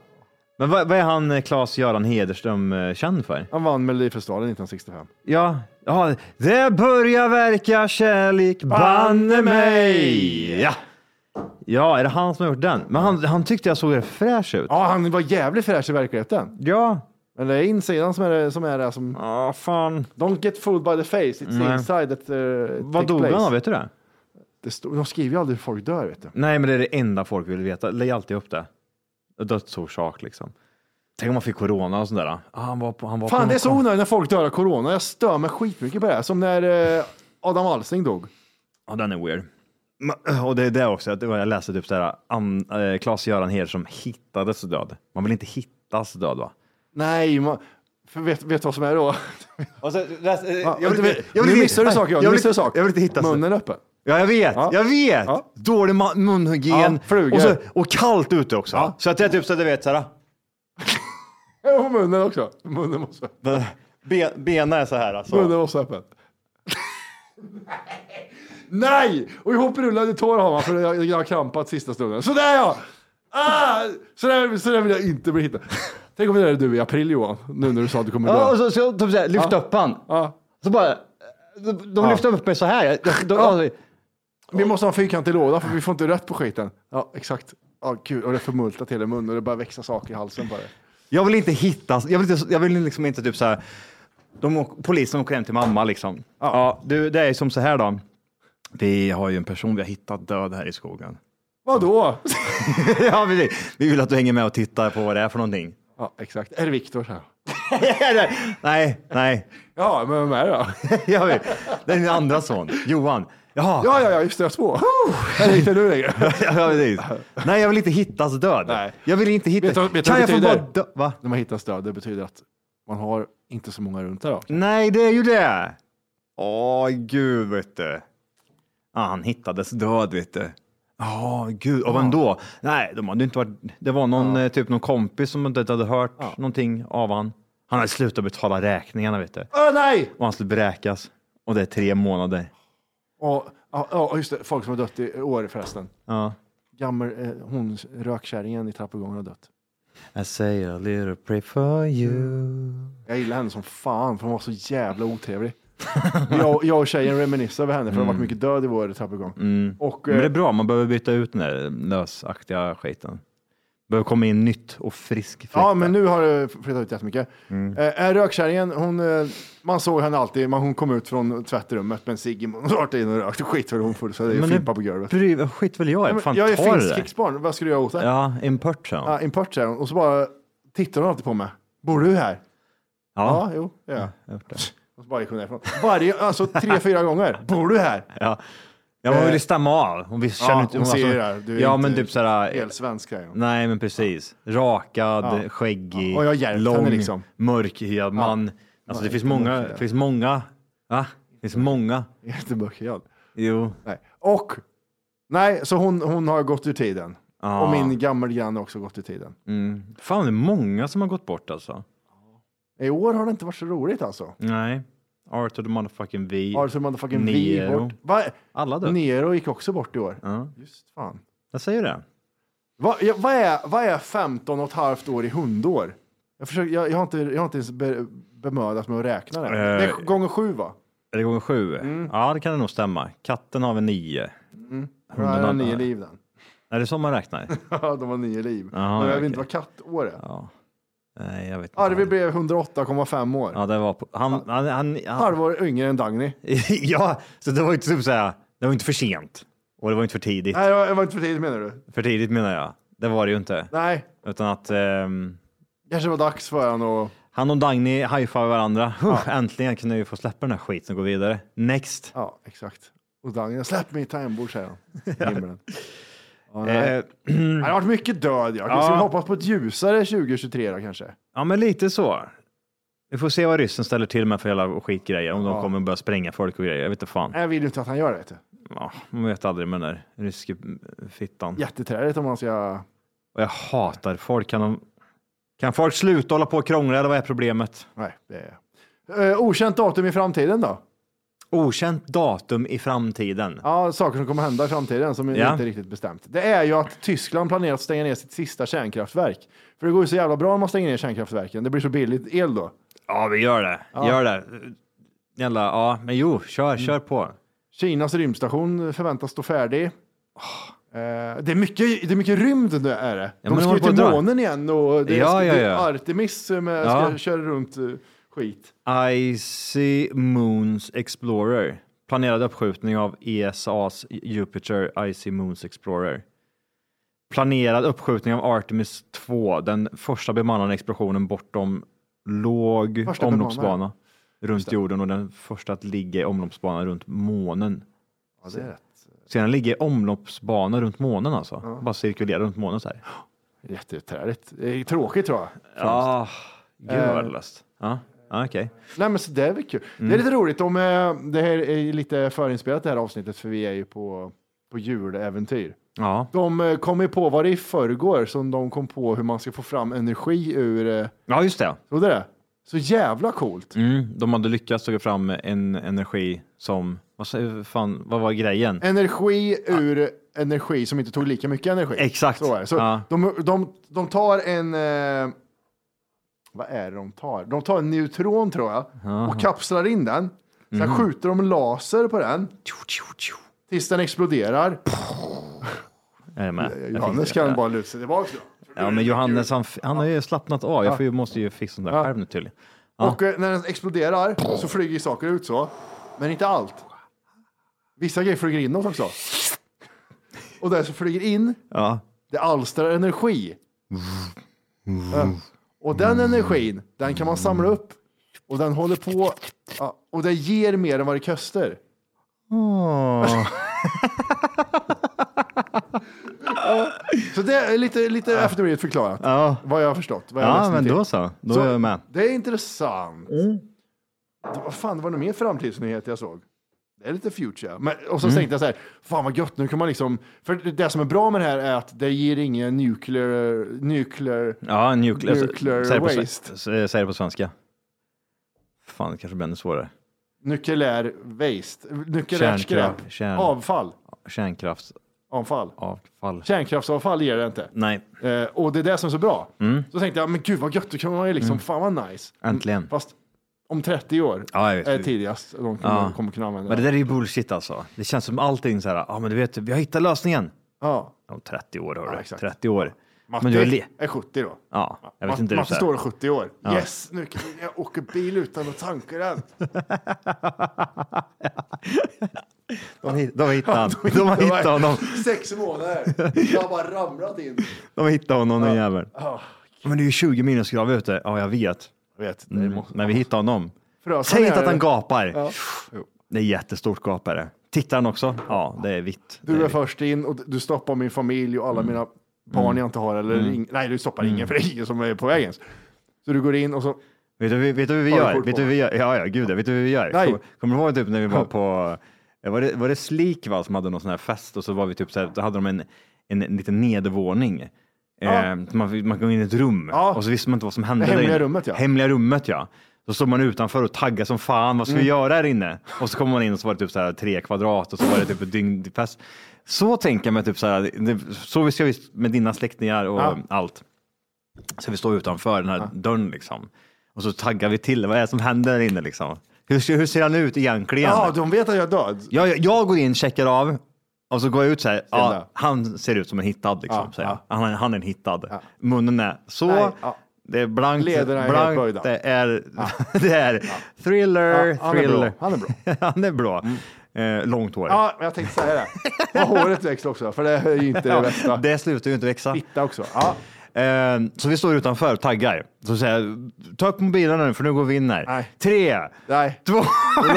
S6: Men vad, vad är han eh, Claes-Göran Hederström eh, känd för?
S5: Han vann Melodifestivalen 1965.
S6: Ja, ja det börjar verka kärlek, banne mig! Ja. ja, är det han som har gjort den? Men han, han tyckte jag såg det fräsch ut.
S5: Ja, han var jävligt fräsch i verkligheten.
S6: Ja,
S5: Men det är insidan som är det som... Är det, som
S6: ja fan.
S5: Don't get fooled by the face, it's the
S6: Nej.
S5: inside that uh,
S6: Vad dog han av, vet du det?
S5: Det stod, de skriver ju aldrig hur folk dör, vet du.
S6: Nej, men det är det enda folk vill veta. Lägg alltid upp det. Dödsorsak liksom. Tänk om man fick corona och sånt där. Ah, han var på, han var på
S5: Fan, det är så
S6: någon-
S5: onödigt när folk dör av corona. Jag stör mig skitmycket på det. här. Som när eh, Adam Alsing dog.
S6: Ja, den är weird. Men- Och det är det också, att det var- jag läste typ såhär, äh, Klas-Göran Heder som hittades död. Man vill inte hittas död va?
S5: Nej, man, för vet, vet du vad som är då? Ja,
S6: Eh, jag vill
S5: du-
S6: inte- jag vill
S5: nu
S6: inte-
S5: missar du saker,
S6: jag
S5: jag,
S6: vill
S5: nu missar du
S6: inte-
S5: saker.
S6: jag vill inte hitta så-
S5: Munnen öppen.
S6: Ja, jag vet,
S5: Ja.
S6: jag vet!
S5: Ja.
S6: Dålig ma- munhygien
S5: Ja, flugor.
S6: och, så, och kallt ute också.
S5: Ja.
S6: Så att jag typ så att du vet såhär,
S5: Ja, Och munnen också. Munnen måste,
S6: ben, bena är så här
S5: munnen
S6: alltså.
S5: måste öppen. Nej! Och ihoprullade tår har man för jag, jag har krampat sista stunden. Sådär ja! Ah! Sådär, sådär vill jag inte bli hittad. Tänk om det där är du i april Johan, nu när du sa att du kommer
S10: Ja, och
S5: dö.
S10: så, så typ såhär, lyft upp han.
S5: Ja.
S10: Så bara, de, de lyfte upp mig så här. Jag, jag, de, alltså,
S5: Vi måste ha en fyrkantig låda för vi får inte rött på skiten. Ja, exakt. Ja, kul. Och det förmultat hela munnen och det börjar växa saker i halsen på det.
S6: Jag vill inte hittas, jag vill, inte, jag vill liksom inte typ såhär, de, åk- polisen åker hem till mamma liksom. Ja. du, det är som så här då. Vi har ju en person vi har hittat död här i skogen.
S5: Vadå?
S6: ja, vi, vi vill att du hänger med och tittar på vad det är för någonting.
S5: Ja, exakt. Är det Viktor så här?
S6: nej, nej.
S5: Ja, men vem är det då?
S6: Jag vet. Det är min andra son, Johan. Jaha.
S5: Ja, ja, ja, just det, jag spår. Här är inte du längre.
S6: Ja, precis. Nej, jag vill inte hittas död.
S5: Nej.
S6: Jag vill inte hittas.
S5: Vet du vad- vet du
S6: kan jag
S5: vad det
S6: få
S5: betyder?
S6: bara dö? Va?
S5: När man hittar stöd, det betyder att man har inte så många runt där. då.
S6: Nej, det är ju det. Åh, gud, vet du. Ja, han hittades död, vet du. Ja, gud. Och vem då? Nej, de hade inte varit... det var någon, eh, typ, någon kompis som inte hade hört någonting av han. Han hade slutat betala räkningarna, vet du.
S5: Åh, nej!
S6: Och han skulle bräkas. Och det är tre månader.
S5: Ja, ja, ja, just det, folk som har dött i år förresten.
S6: Ja.
S5: Gammal, eh, hon, rökkärringen i trappuppgången har dött.
S6: I say a little pray for you.
S5: Jag gillar henne som fan, för hon var så jävla otrevlig. Jag, jag och tjejen reminiscer över henne, för det har varit mycket död i vår trappuppgång. Och,
S6: Mm. Men det är
S5: eh,
S6: bra, man behöver byta ut den där lösaktiga skiten. Behöver komma in nytt och frisk fläktar.
S5: Ja, men nu har det flyttat ut jättemycket.
S6: Mm.
S5: Eh, eh, rökkärringen, hon, eh, man såg henne alltid, man, hon kom ut från tvättrummet med en cigg i munnen och rakt in och rökte. Skit för hon full, så det är
S6: Men
S5: fimpa på golvet.
S6: Bry, skit väl jag
S5: Ja,
S6: i.
S5: men
S6: Fan,
S5: jag är
S6: ta
S5: finsk
S6: det där.
S5: krigsbarn, vad ska du göra åt det? Ja.
S6: Ja, import sa hon.
S5: import säger hon, och så bara tittar hon alltid på mig. Bor du här? Ja,
S6: Ja.
S5: jo, det gör jag.
S6: jag har gjort det.
S5: Och så bara gick hon därifrån. Varje, alltså tre, fyra gånger. Bor du här?
S6: Ja. Ja, man vill ju stämma av. Hon visst känner
S5: Eh, Ja,
S6: inte...
S5: hon ser
S6: alltså-
S5: det här. Du är
S6: Ja,
S5: inte
S6: men typ sådär...
S5: Helt svensk säger hon.
S6: Nej, men precis. Rakad,
S5: Ja.
S6: skäggig,
S5: Ja, och jag har hjälpt
S6: lång,
S5: henne liksom.
S6: mörkhyad man. Alltså det
S5: Nej,
S6: finns
S5: inte
S6: många,
S5: mörkhyad.
S6: det finns många, va? Det finns många.
S5: Jättemörkhyad.
S6: Jo.
S5: Nej. Och, nej, så hon, hon har gått ur tiden.
S6: Ja.
S5: Och min gammelgranne har också gått ur tiden.
S6: Mm. Fan, det är många som har gått bort alltså.
S5: I år har det inte varit så roligt alltså.
S6: Nej. Arthur the motherfucking V.
S5: Arthur motherfucking V
S6: Nero.
S5: bort. Va?
S6: Alla dör.
S5: Nero gick också bort i år.
S6: Ja,
S5: Just fan.
S6: jag säger det.
S5: Va, ja, vad, är, vad är 15 och ett halvt år i hundår? Jag, försöker, jag, jag, har, inte, jag har inte ens be, bemödat mig att räkna det. det är
S6: Eh.
S5: gånger sju va?
S6: Är det gånger sju?
S5: Mm.
S6: Ja, det kan det nog stämma. Katten har väl nio.
S5: Den
S6: Hunden
S5: Mm. har
S6: har-
S5: nio liv den.
S6: Är det så man räknar?
S5: Ja, De har nio liv.
S6: Jaha,
S5: Men jag
S6: okej.
S5: vet inte vad kattår är.
S6: ja. Nej, jag vet inte.
S5: Arvid blev 108,5 år.
S6: Ja, det var på... Han... han, han, han
S5: Halvår yngre än Dagny.
S6: ja, så det var ju inte typ såhär, det var inte för sent. Och det var inte för tidigt.
S5: Nej, det var- det var inte för tidigt menar du?
S6: För tidigt menar jag. Det var det ju inte.
S5: Nej,
S6: Utan att ehm,
S5: kanske var dags för han att...
S6: han och Dagny high-fivar varandra. Huh, Äntligen kan jag ju få släppa den här skiten och gå vidare. Next.
S5: Ja, exakt. Och Dagny, släpp mitt tangentbord säger han. I himlen. det, här... det har varit mycket död. Ja. Ska vi
S6: Eh. Ja.
S5: hoppas på ett ljusare 2023 då kanske?
S6: Ja, men lite så. Vi får se vad ryssen ställer till med för hela skitgrejer. Om de
S5: Ja.
S6: kommer börja spränga folk och grejer. Jag vet inte fan.
S5: Nej, Jag vill ju inte att han gör det. vet du.
S6: Ja, man vet aldrig med den där ryske fittan.
S5: Jätteträligt om man ska...
S6: Och jag hatar folk. Kan, de... kan folk sluta hålla på och krångla eller vad är problemet?
S5: Nej, det är... Eh, okänt datum i framtiden då?
S6: Okänt datum i framtiden.
S5: Ja, saker som kommer hända i framtiden som
S6: Ja.
S5: inte är riktigt bestämt. Det är ju att Tyskland planerar att stänga ner sitt sista kärnkraftverk. För det går ju så jävla bra om man stänger ner kärnkraftverken. Det blir så billigt el då.
S6: Ja, vi gör det.
S5: Ja.
S6: Gör det. Jävla, ja, men jo, kör, kör på.
S5: Kinas rymdstation förväntas stå färdig. Eh, det, är mycket, det är mycket rymd nu är det.
S6: Ah. men
S5: De
S6: de
S5: ska ju
S6: håller på
S5: till
S6: att dra.
S5: månen igen och det är,
S6: Ja, ja,
S5: det är
S6: ja.
S5: Artemis som eh,
S6: Ja.
S5: ska köra runt eh, skit.
S6: Icy Moons Explorer. Planerad uppskjutning av ESAs Jupiter Icy Moons Explorer. Planerad uppskjutning av Artemis 2, den första bemannade explosionen bortom låg
S5: Första
S6: omloppsbana
S5: bemannade.
S6: runt jorden och den första att ligga i omloppsbana runt månen.
S5: Ja, det är rätt.
S6: Sedan ligger i omloppsbana runt månen alltså. Bara cirkulera runt månen så här.
S5: Jätteträligt. Det är tråkigt tror jag.
S6: Ja, Ah, gud
S5: Eh.
S6: vad värdelöst. Ja, ja okej.
S5: Nej men så det är väl kul. Det är lite roligt om eh, det här är ju lite förinspelat det här avsnittet för vi är ju på, på juläventyr.
S6: Ja.
S5: De eh, kom ju på vad det i förrgår som de kom på hur man ska få fram energi ur, eh,
S6: ja, just det.
S5: såg du det? Så jävla coolt.
S6: Mm, de hade lyckats ta fram en energi som, vad, sa- fan, vad var grejen?
S5: Energi ur energi som inte tog lika mycket energi.
S6: Exakt.
S5: Så är det. Så
S6: Ja.
S5: de, de, de tar en... Eh, vad är det de tar? De tar en neutron tror jag och kapslar in den. Sen
S6: Mm.
S5: skjuter de laser på den. Tills den exploderar.
S6: Är det eh, med? Jag
S5: Johannes
S6: fick-
S5: kan bara luta sig tillbaka. då.
S6: Ja, men Johannes han, f- han har ju slappnat av. Jag får ju, måste ju fixa den där
S5: Ja.
S6: själv nu tydligen.
S5: Och eh, när den exploderar så flyger saker ut så. Men inte allt. Vissa grejer flyger inåt också. Och det som flyger in,
S6: Ja.
S5: det alstrar energi. Ja. Och den energin, den kan man samla upp. Och den håller på. Ja, och det ger mer än vad det kostar.
S6: Åh.
S5: Så det är lite, lite efterblivet förklarat.
S6: Ja.
S5: Vad jag har förstått. Vad jag har
S6: ja,
S5: läst mig
S6: men
S5: till.
S6: då så. Då är jag med. Mm.
S5: Det är intressant. Det- Vad fan, det var nog mer framtidsnyhet jag såg. Det är lite future. Men, och
S6: Mm.
S5: så tänkte jag så här, fan vad gött, nu kan man liksom... För det- det som är bra med det här är att det ger ingen nuclear... nuclear
S6: Ja, nuclear,
S5: Nuclear
S6: säg det på,
S5: waste.
S6: s- Säg det på svenska. Fan, det kanske blir ännu svårare.
S5: nucleär waste. Nucleärt
S6: Kärnkraft,
S5: skräp.
S6: kärn-
S5: Avfall.
S6: Kärnkraftsavfall.
S5: Avfall. Kärnkraftsavfall ger det inte.
S6: Nej,
S5: Eh, och det är det som är så bra.
S6: Mm.
S5: Så tänkte jag, men gud vad gött, då kan man ju liksom, fan vad nice.
S6: äntligen.
S5: Fast om 30 år
S6: Ja, jag vet.
S5: är tidigast de kommer,
S6: Ja.
S5: kommer kunna använda
S6: Men det där är ju bullshit alltså. Det känns som allting så här, ja men du vet, vi har hittat lösningen.
S5: Ja.
S6: Om 30 år hörru,
S5: Ja, exakt.
S6: 30 år.
S5: Matti
S6: Men du är le-
S5: är 70 då.
S6: Ja, jag vet
S5: Matt-
S6: inte hur det
S5: Matti
S6: är.
S5: står och 70 år.
S6: Ja.
S5: Yes, nu kan jag åka bil utan att tanka den.
S6: De, hit- de hittade han. De har hittat honom.
S5: Sex månader. Jag har bara ramlat in.
S6: De hittade honom den jäveln.
S5: Ja.
S6: Men det är ju 20 minusgrader ute. Ja, jag vet.
S5: Jag vet. Det
S6: Mm.
S5: måste...
S6: Men vi hittade honom.
S5: Frösan
S6: Säg
S5: är
S6: inte att
S5: det.
S6: han gapar.
S5: Ja. Jo.
S6: Det är jättestort gap är det. Tittar han också? Ja, det är vitt. Det
S5: Du är
S6: vitt.
S5: först in och du stoppar min familj och alla
S6: Mm.
S5: mina barn jag inte har. Eller ing... Nej, du stoppar ingen för det är ingen som är på vägen. Så du går in och så
S6: Vet du, vet du hur vi
S5: Har du
S6: gör?
S5: kort
S6: Vet
S5: på
S6: du hur vi gör? Ja, ja, gud, ja. vet du hur vi gör?
S5: Nej.
S6: Kommer, kommer du ihåg typ när vi var på, eh, var det, var det Slik va, som hade någon sån här fest och så var vi typ så här, då hade de en, en, en liten nedervåning. Eh, man, fick- man kom in i ett rum
S5: Ja.
S6: och så visste man inte vad som hände.
S5: Det hemliga
S6: där inne.
S5: rummet, ja.
S6: Hemliga rummet ja. Så stod man utanför och taggade som fan, vad ska
S5: Mm.
S6: vi göra här inne? Och så kom man in och så var det typ så här tre kvadrat och så var det typ ett dygn fest. Så tänker jag mig typ så här, det- så vi ska vi med dina släktingar och
S5: Ja.
S6: allt. Så vi står utanför den här dörren liksom. Och så taggar vi till, vad är det som händer där inne liksom? Hur, ser- hur ser han ut egentligen?
S5: Ja, de vet att jag är död.
S6: Jag, jag, jag går in, checkar av och så går jag ut så här.
S5: Snälla.
S6: Ja, han ser ut som en hittad liksom.
S5: Ja,
S6: säger jag.
S5: ja.
S6: Han, är- han är en hittad. Munnen är så.
S5: Nej, ja.
S6: Det är blankt.
S5: Lederna är helt böjda.
S6: blankt det är, det är thriller,
S5: Ja, han är
S6: thriller.
S5: bra, han är bra.
S6: han är bra. Eh, långt hår.
S5: Ja, men jag tänkte säga det. Och håret växer också, för det är ju inte det
S6: Ja,
S5: bästa.
S6: det slutar ju inte växa.
S5: Fitta också. Ja.
S6: Eh, så vi står utanför, taggar. Så säger jag, ta upp mobilen nu för nu går vi in här. Tre,
S5: Nej.
S6: två,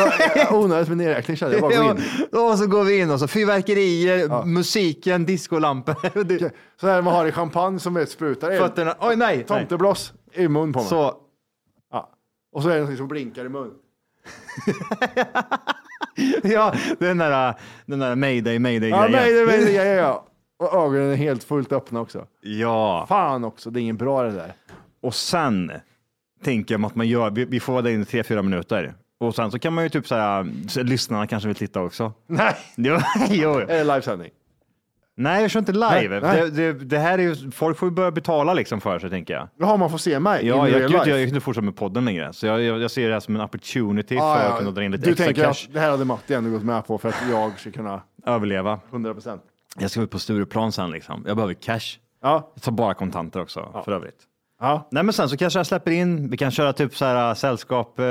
S5: Onödigt med nedräkning kände jag. Bara gå in.
S6: Ja, och så går vi in och så fyrverkerier, musiken, discolampor. Det-
S5: Så här man har i champagne som är sprutar eld.
S6: Fötterna, oj nej! nej.
S5: Tomteblås i mun på mig.
S6: Så,
S5: Ja. Och så är det någonting som blinkar i mun.
S6: ja, den där, den där mayday, mayday
S5: Ja, nej, nej, nej, nej, ja, ja. Och ögonen är helt fullt öppna också.
S6: Ja.
S5: Fan också, det är inget bra det där.
S6: Och sen tänker jag mig att man gör, vi, vi får vara där inne i tre, fyra minuter. Och sen så kan man ju typ så här, så lyssnarna kanske vill titta också.
S5: Nej,
S6: Jo, jo.
S5: är det livesändning?
S6: Nej, jag kör inte live.
S5: Nej, nej.
S6: Det, det, det här är ju, folk får ju börja betala liksom för sig, tänker jag.
S5: Jaha, man får se mig?
S6: Ja,
S5: in
S6: jag, gud,
S5: real
S6: jag,
S5: life.
S6: jag kan inte fortsätta med podden längre, så jag, jag, jag ser det här som en opportunity
S5: Ah,
S6: för
S5: ja.
S6: att kunna dra in lite
S5: Du
S6: extra
S5: tänker
S6: cash,
S5: att det här hade Matti ändå gått med på för att jag ska kunna
S6: överleva.
S5: 100 procent.
S6: Jag ska ut på Stureplan sen liksom. Jag behöver cash.
S5: Ja,
S6: Jag tar bara kontanter också för övrigt.
S5: ja.
S6: Nej, men sen så kanske jag släpper in, vi kan köra typ så här äh, sällskap, äh,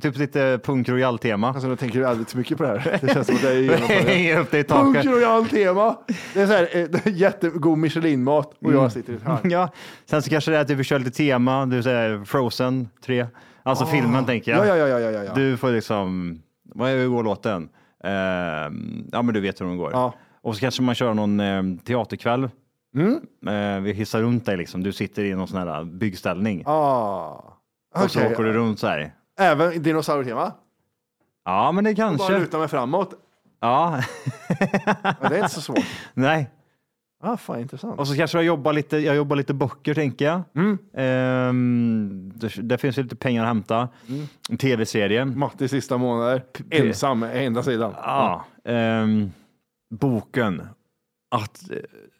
S6: typ lite punk royal tema.
S5: Alltså, nu tänker du alldeles för mycket på det här. Det känns som att det är genomförandet.
S6: Hänga upp det i taket.
S5: Punk royal tema. Det är så här, eh, det är jättegod Michelin-mat och jag sitter här.
S6: Mm. Ja, sen så kanske det är att vi kör lite tema, du säger Frozen 3, alltså filmen tänker jag.
S5: Ah. Ja, ja, ja, ja, ja, ja.
S6: Du får liksom, vad är hur går låten? Ehm, ja, men du vet hur den går.
S5: Ja.
S6: Och så kanske man kör någon eh, teaterkväll.
S5: Mm.
S6: Eh, vi hissar runt dig liksom, du sitter i någon sån här byggställning
S5: Ah.
S6: och så
S5: Okej.
S6: åker du runt så här.
S5: Även dinosaurietema.
S6: Ja, men det
S5: Bara
S6: kanske.
S5: luta mig framåt.
S6: Ja,
S5: Ja, det är inte så svårt.
S6: nej.
S5: Ah, fan, intressant.
S6: Och så kanske jag jobbar lite, jag jobbar lite böcker tänker jag.
S5: Mm.
S6: Ehm, det, det finns ju lite pengar att hämta.
S5: Mm.
S6: En tv-serie.
S5: Matti sista månader, ensam, enda sidan.
S6: Ja, ehm, boken. Att,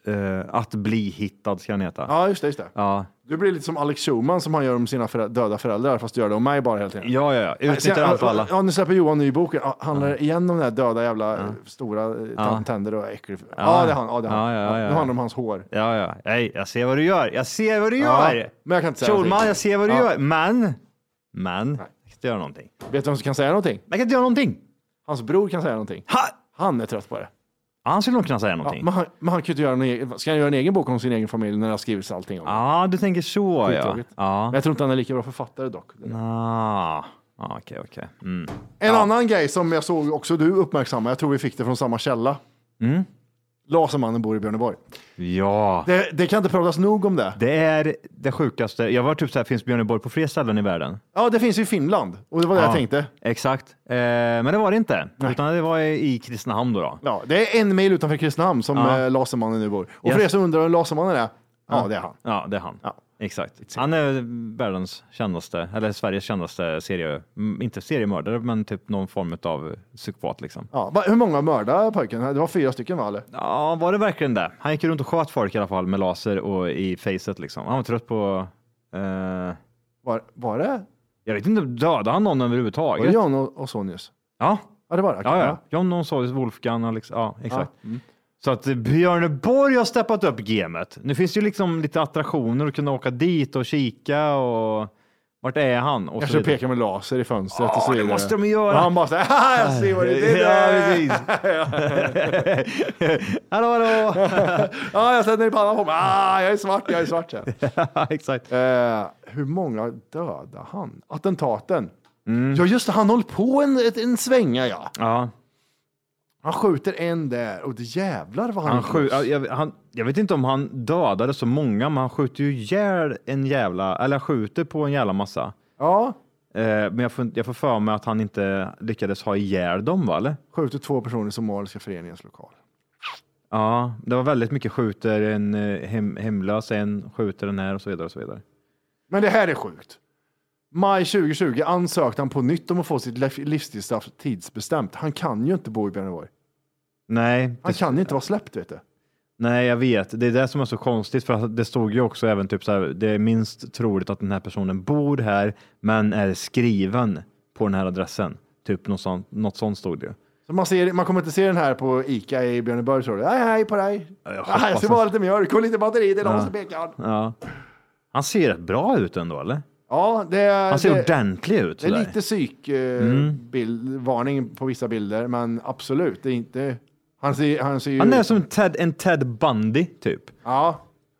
S6: eh, att bli hittad ska den heta.
S5: Ja, just det, just det.
S6: Ja,
S5: Du blir lite som Alex Schulman som han gör om sina förä- döda föräldrar, fast gör det om mig bara hela tiden.
S6: ja, ja. ja. Utnyttjar
S5: Sen-
S6: allt och alla.
S5: Ja, nu släpper Johan ny bok. Ja, handlar det igen om den här döda jävla eh, stora eh,
S6: Ja.
S5: tänder och äcklig... Ja, ja, det är han. Ja, det är han.
S6: Ja, ja, ja.
S5: Nu handlar det om hans hår.
S6: Ja, ja. Nej, jag ser vad du gör. Jag ser vad du gör.
S5: men jag kan inte säga
S6: Schulman,
S5: någonting.
S6: jag ser vad du
S5: Ja.
S6: gör. Men, men, jag kan inte göra någonting.
S5: Vet du vem som kan säga någonting?
S6: Jag kan inte göra någonting.
S5: Hans bror kan säga någonting.
S6: Ha!
S5: Han är trött på det.
S6: Han skulle nog kunna säga
S5: Ja,
S6: någonting.
S5: men, han, men han kan ju inte göra en egen... Ska han göra en egen bok om sin egen familj när det har skrivits allting om det?
S6: Ja, du tänker så Ah, ja.
S5: Skittråkigt. Men
S6: Ja.
S5: jag tror inte han är lika bra författare dock.
S6: Ah, ah, okej, okej. Mm.
S5: En annan grej som jag såg också du uppmärksamma, jag tror vi fick det från samma källa.
S6: Mm.
S5: Lasermannen bor i Björneborg.
S6: Ja,
S5: Det, det kan inte pratas nog om det.
S6: det är det sjukaste. Jag var typ så här, finns Björneborg på fler ställen i världen?
S5: Ja, det finns ju i Finland och det var det
S6: Ja,
S5: jag tänkte.
S6: Exakt, eh, men det var det inte, utan det var i Kristinehamn då. då.
S5: Ja, det är en mil utanför Kristinehamn som
S6: Ja.
S5: eh, Lasermannen nu bor. Och för
S6: Yes.
S5: er som undrar vem Lasermannen är, ja, det är han.
S6: Ja, det är han.
S5: Ja.
S6: Exakt. Han är världens kändaste, eller Sveriges kändaste serie, m, inte seriemördare, men typ någon form av psykopat liksom.
S5: Ja, va, hur många mördade pojken? Det var fyra stycken va? Eller?
S6: Ja, var det verkligen det? Han gick runt och sköt folk i alla fall med laser och i facet liksom. Han var trött på eh,
S5: Var, var det?
S6: Jag vet inte, dödade han någon
S5: Var det
S6: överhuvudtaget?
S5: Jan och, och Sonius?
S6: Ja,
S5: Ja, det var det.
S6: ja, ja.
S5: Ja.
S6: John Nonsorius, Wolfgang, Alex, ja exakt.
S5: Ja. Mm.
S6: Så att Björneborg har steppat upp gamet. Nu finns det ju liksom lite attraktioner att kunna åka dit och kika och vart är han? Och
S5: Kanske
S6: så vidare.
S5: pekar med laser i fönstret och så
S6: Ja, det
S5: vidare.
S6: måste de ju göra.
S5: Och han bara så här, "Haha, jag ser vad det är.
S6: Ja, precis. hallå, hallå!
S5: Ja, jag sätter i pannan på mig. Ah, jag är svart, jag är svart. Ja.
S6: exakt.
S5: Eh, hur många dödade han? Attentaten?
S6: Mm.
S5: Ja, just det, han håller på en, ett- en svänga, ja.
S6: Ja,
S5: Han skjuter en där och det jävlar vad han,
S6: han skjut,
S5: är gross.
S6: jag, han, jag vet inte om han dödade så många, men han skjuter ju ihjäl en jävla, eller han skjuter på en jävla massa.
S5: Ja,
S6: Eh, men jag får, jag får för mig att han inte lyckades ha ihjäl dem, va? Eller?
S5: skjuter två personer i Somaliska föreningens lokal.
S6: Ja, det var väldigt mycket skjuter en eh, hem, hemlös, en skjuter den här och så vidare och så vidare.
S5: Men det här är sjukt. Maj 2020 ansökte han på nytt om att få sitt lef- livstidsstraff tidsbestämt. Han kan ju inte bo i Björneborg.
S6: Nej,
S5: Han
S6: det,
S5: kan ju inte vara släppt, vet du.
S6: nej, jag vet. Det är det som är så konstigt för att det stod ju också även typ så här. Det är minst troligt att den här personen bor här, men är skriven på den här adressen. Typ något sånt, något sånt stod det ju.
S5: Så man, ser, man kommer inte se den här på Ica i Björneborg, tror du? Hej, hej på dig!
S6: Ja, jag
S5: Ah, jag
S6: hoppas
S5: ser bara
S6: det.
S5: lite mjölk och lite batteri, det är någon
S6: Ja.
S5: som pekar.
S6: Ja. Han ser rätt bra ut ändå, eller?
S5: Ja, det är...
S6: Han ser
S5: det-
S6: ordentlig ut. Mm.
S5: Det är
S6: sådär.
S5: lite psykvarning på vissa bilder, men absolut, det är inte... Han ser, han ser ju...
S6: Han är som Ted, en Ted Bundy typ.
S5: Ja, han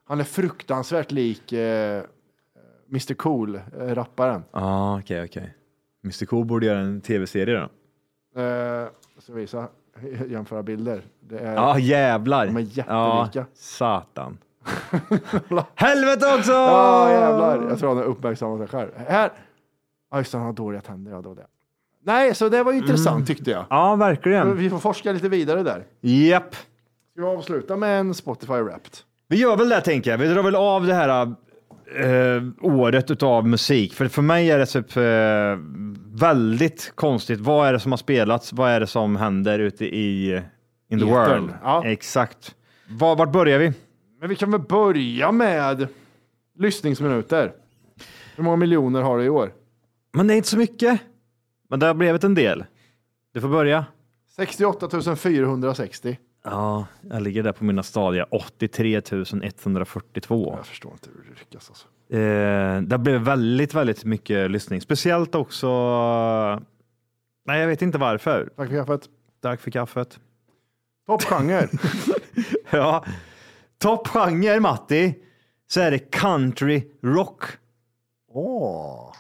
S5: Han är fruktansvärt lik eh, Mr Cool, eh, rapparen.
S6: Ja, ah, okej, okej. Mr Cool borde göra en tv-serie då.
S5: Eh, så visa, jämföra bilder. Det är,
S6: Ja, ah, jävlar.
S5: De är jättelika.
S6: Ja, satan. Helvete också!
S5: Ja, jävlar. Jag tror han har uppmärksammat sig själv. Här. Ja, just det, han har dåliga tänder. Ja, det var det. Nej, så det var ju intressant
S6: Mm.
S5: tyckte jag.
S6: Ja, verkligen.
S5: Vi får forska lite vidare där.
S6: Japp.
S5: Ska vi avsluta med en Spotify Wrapped?
S6: Vi gör väl det tänker jag. Vi drar väl av det här eh, året utav musik. För för mig är det typ, eh, väldigt konstigt. Vad är det som har spelats? Vad är det som händer ute i in the
S5: Etern,
S6: world?
S5: ja.
S6: Exakt. Var, vart börjar vi?
S5: Men vi kan väl börja med lyssningsminuter. Hur många miljoner har du i år?
S6: Men det är inte så mycket. Men det har blivit en del. Du får börja.
S5: 68 460.
S6: Ja, jag ligger där på mina stadiga 83 142.
S5: Jag förstår inte hur det lyckas. Alltså.
S6: Eh, det blev väldigt, väldigt mycket lyssning. Speciellt också... Nej, jag vet inte varför.
S5: Tack för kaffet.
S6: Tack för kaffet.
S5: Toppgenre.
S6: Ja. Toppgenre, Matti, så är det country rock.
S5: Åh.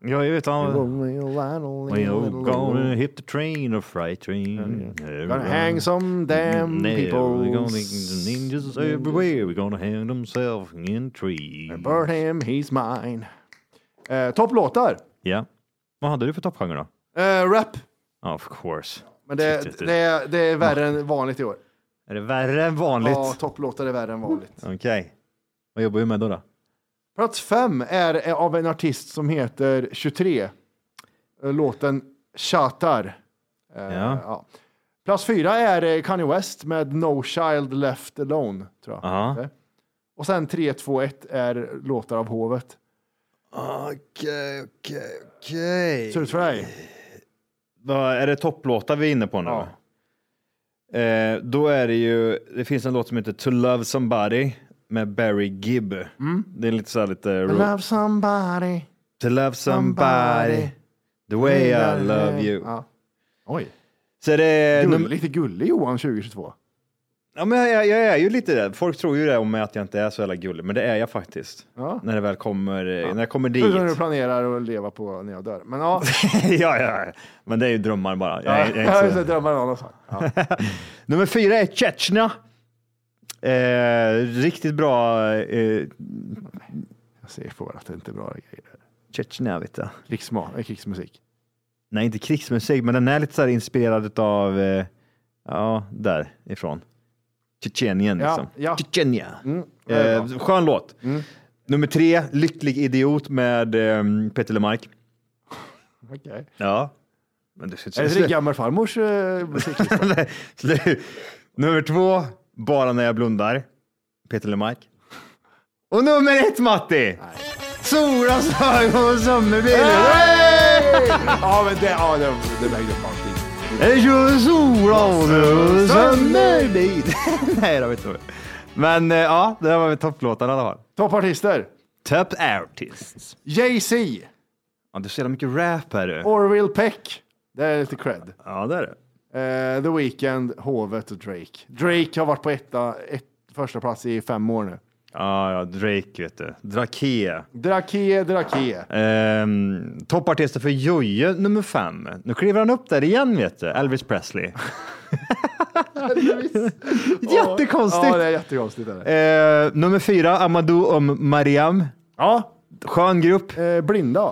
S6: Ja, jag vet inte. When you're gonna
S5: Gonna
S6: hit the train or freight train.
S5: hang some
S6: Mm,
S5: damn
S6: We're
S5: people.
S6: gonna ninjas everywhere. We're gonna hang themselves in trees.
S5: Burn him, he's mine. Eh, Topplåtar.
S6: Ja. Vad hade du för toppgenre då?
S5: Eh, rap.
S6: Of course.
S5: Men det, det, är- det är värre än vanligt i år.
S6: Är det värre än vanligt?
S5: Ja, topplåtar är värre än vanligt.
S6: Okej. Vad jobbar vi med då? då?
S5: Plats fem är av en artist som heter 23. Eh, Låten Tjatar. Eh,
S6: Ja.
S5: ja. Plats fyra är eh, Kanye West med No Child Left Alone. Tror jag.
S6: Ja.
S5: Det. Och sen 3, 2, 1 är låtar av hovet.
S6: Okej, okej, okej.
S5: Ser ut för dig?
S6: Vad- Är det topplåtar vi är inne på nu?
S5: Ja.
S6: Eh, då är det ju, det finns en låt som heter To Love Somebody med Barry Gibb. Det är lite så här lite...
S5: I Mm. love somebody.
S6: to love somebody,
S5: somebody, Mm.
S6: the way I love you.
S5: Ja. Oj,
S6: Så det är
S5: Gull,
S6: num-
S5: lite gullig Johan 2022.
S6: ja, men jag, jag är ju lite det. Folk tror ju det om mig att jag inte är så jävla gullig, men det är jag faktiskt.
S5: Ja.
S6: När det väl kommer, eh, när jag kommer dit.
S5: Förutom när du planerar att leva på när jag dör. Men ja,
S6: ja, ja, ja. men det är ju drömmar bara. Jag, är- jag är
S5: jag
S6: inte
S5: har
S6: så...
S5: drömmar om något sånt. Ja.
S6: Nummer fyra är Chechnya. Eh, riktigt bra eh,
S5: Jag ser på er att det inte är bra grejer.
S6: Chechnya, vet du.
S5: Krigsma, eh, krigsmusik.
S6: Nej, inte krigsmusik, men den är lite så här inspirerad av, eh, ja, därifrån. Tjetjenien,
S5: Ja,
S6: liksom.
S5: ja.
S6: Tjetjenja.
S5: Mm, det är bra.
S6: Eh, skön låt.
S5: Mm.
S6: Nummer tre, Lycklig idiot med eh, Peter LeMarc.
S5: Okej.
S6: Ja. Men du,
S5: Är det din gammelfarmors eh, musik?
S6: Nej, så det är- nummer två, Bara när jag blundar, Peter LeMarc. Och nummer ett, Matti! Solas ögon och sommarbilen.
S5: ja, men det, ja, det, det vägde upp allting.
S6: Jag kör solas och sommarbil. Nej, det vet inte. Men eh, ja, det var väl topplåtarna i alla fall.
S5: Toppartister.
S6: Top artists.
S5: Jay-Z,
S6: Ja, du ser jävla mycket rap här du.
S5: Orville Peck. Det är lite cred.
S6: Ja, det är det.
S5: Eh, The Weeknd, Hovet och Drake. Drake har varit på etta, ett, första plats i fem år nu.
S6: Ja, ja, Drake vet du. Drake.
S5: Drake, Drake.
S6: Ehm, toppartister för Joje nummer fem. Nu kliver han upp där igen vet du, Elvis Presley. Jättekonstigt.
S5: Ja, det är jättekonstigt. Är det.
S6: Ehm, nummer fyra, Amadou om Mariam.
S5: Ja,
S6: Skön grupp,
S5: eh, blinda.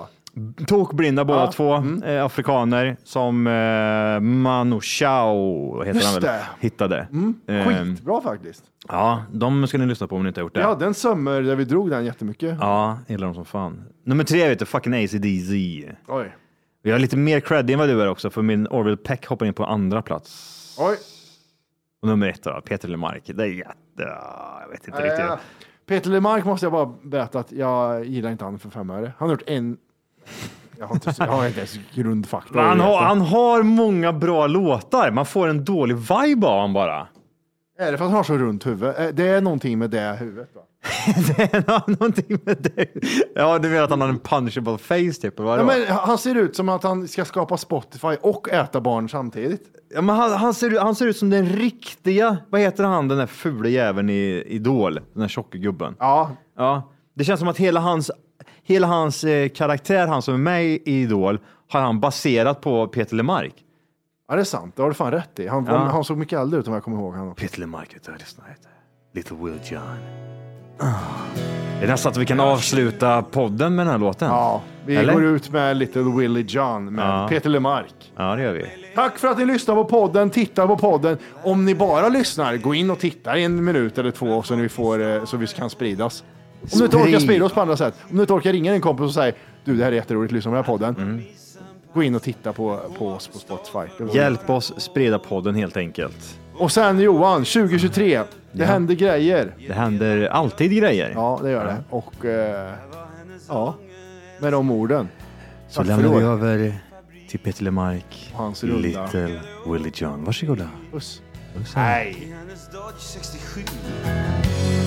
S6: tokblinda båda
S5: Ja, Mm.
S6: två, eh, afrikaner som eh, Manu Chao heter
S5: Just
S6: han väl,
S5: det. Mm.
S6: hittade. Ehm,
S5: Skitbra faktiskt.
S6: ja, de ska ni lyssna på om ni inte har gjort det.
S5: Vi hade en sömmer där vi drog den jättemycket.
S6: Ja, jag gillar dem som fan. Nummer tre vet du, fucking ACDZ.
S5: Oj.
S6: Jag har lite mer cred än vad du är också, för min Orville Peck hoppar in på andra plats.
S5: Oj.
S6: Och nummer ett då, Peter LeMarc. Det är jätte... ah, Jag vet inte
S5: Eh,
S6: riktigt.
S5: Peter LeMarc måste jag bara berätta att jag gillar inte han för fem öre. Han har gjort en... Jag har inte, jag har inte ens grundfakta.
S6: Men han, har, han har många bra låtar. Man får en dålig vibe av honom bara.
S5: Är det för att han har så runt huvud? Eh, Det är någonting med det huvudet. Va?
S6: det är någonting med det. Ja, du menar att han har en punchable face typ? eller vad
S5: Ja,
S6: det var?
S5: men han ser ut som att han ska skapa Spotify och äta barn samtidigt.
S6: Ja, men han, han, ser, han ser ut som den riktiga, vad heter han, den där fula jäveln i Idol, den där tjocka gubben.
S5: Ja.
S6: ja. Det känns som att hela hans, hela hans eh, karaktär, han som är med i Idol, har han baserat på Peter Lemark.
S5: Ja, det är sant. Det har du fan rätt i. Han, var-
S6: Ja.
S5: han såg mycket äldre ut om jag kommer ihåg honom.
S6: Peter Lemark vet du, jag lyssnar inte. Little Will John. Ah. Det är nästan att vi kan avsluta podden med den här låten.
S5: Ja, vi
S6: Eller?
S5: går ut med Little Willie John med
S6: Ja.
S5: Peter LeMarc.
S6: Ja, det gör vi.
S5: Tack för att ni lyssnar på podden, tittar på podden. Om ni bara lyssnar, gå in och titta i en minut eller två så, ni får, eh, så vi kan spridas. Om du inte orkar
S10: Sprid.
S5: sprida oss på andra sätt, om du inte orkar ringa din kompis och säga du det här är jätteroligt, lyssna på den här podden. Gå in och titta på, på oss på Spotify. Det var-
S6: Hjälp oss sprida podden helt enkelt.
S5: Och sen Johan, 2023. Det
S6: Ja.
S5: händer grejer.
S6: Det händer alltid grejer.
S5: Ja, det gör det. Och eh, ja, med de orden.
S6: Så
S5: Tack för
S6: lämnar
S5: i år.
S6: vi över till Peter LeMarc,
S5: Hans runda.
S6: Little Willie John. Varsågoda.
S5: Puss.
S6: Nej.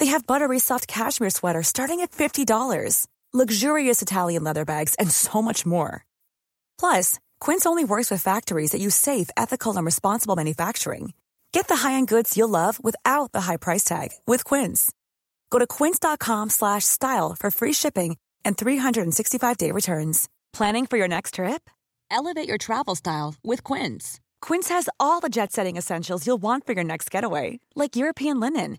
S11: They have buttery soft cashmere sweaters starting at $50, luxurious Italian leather bags, and so much more. Plus, Quince only works with factories that use safe, ethical, and responsible manufacturing. Get the high-end goods you'll love without the high price tag with Quince. Go to quince.com slash style for free shipping and 365-day returns. Planning for your next trip? Elevate your travel style with Quince. Quince has all the jet-setting essentials you'll want for your next getaway, like European linen,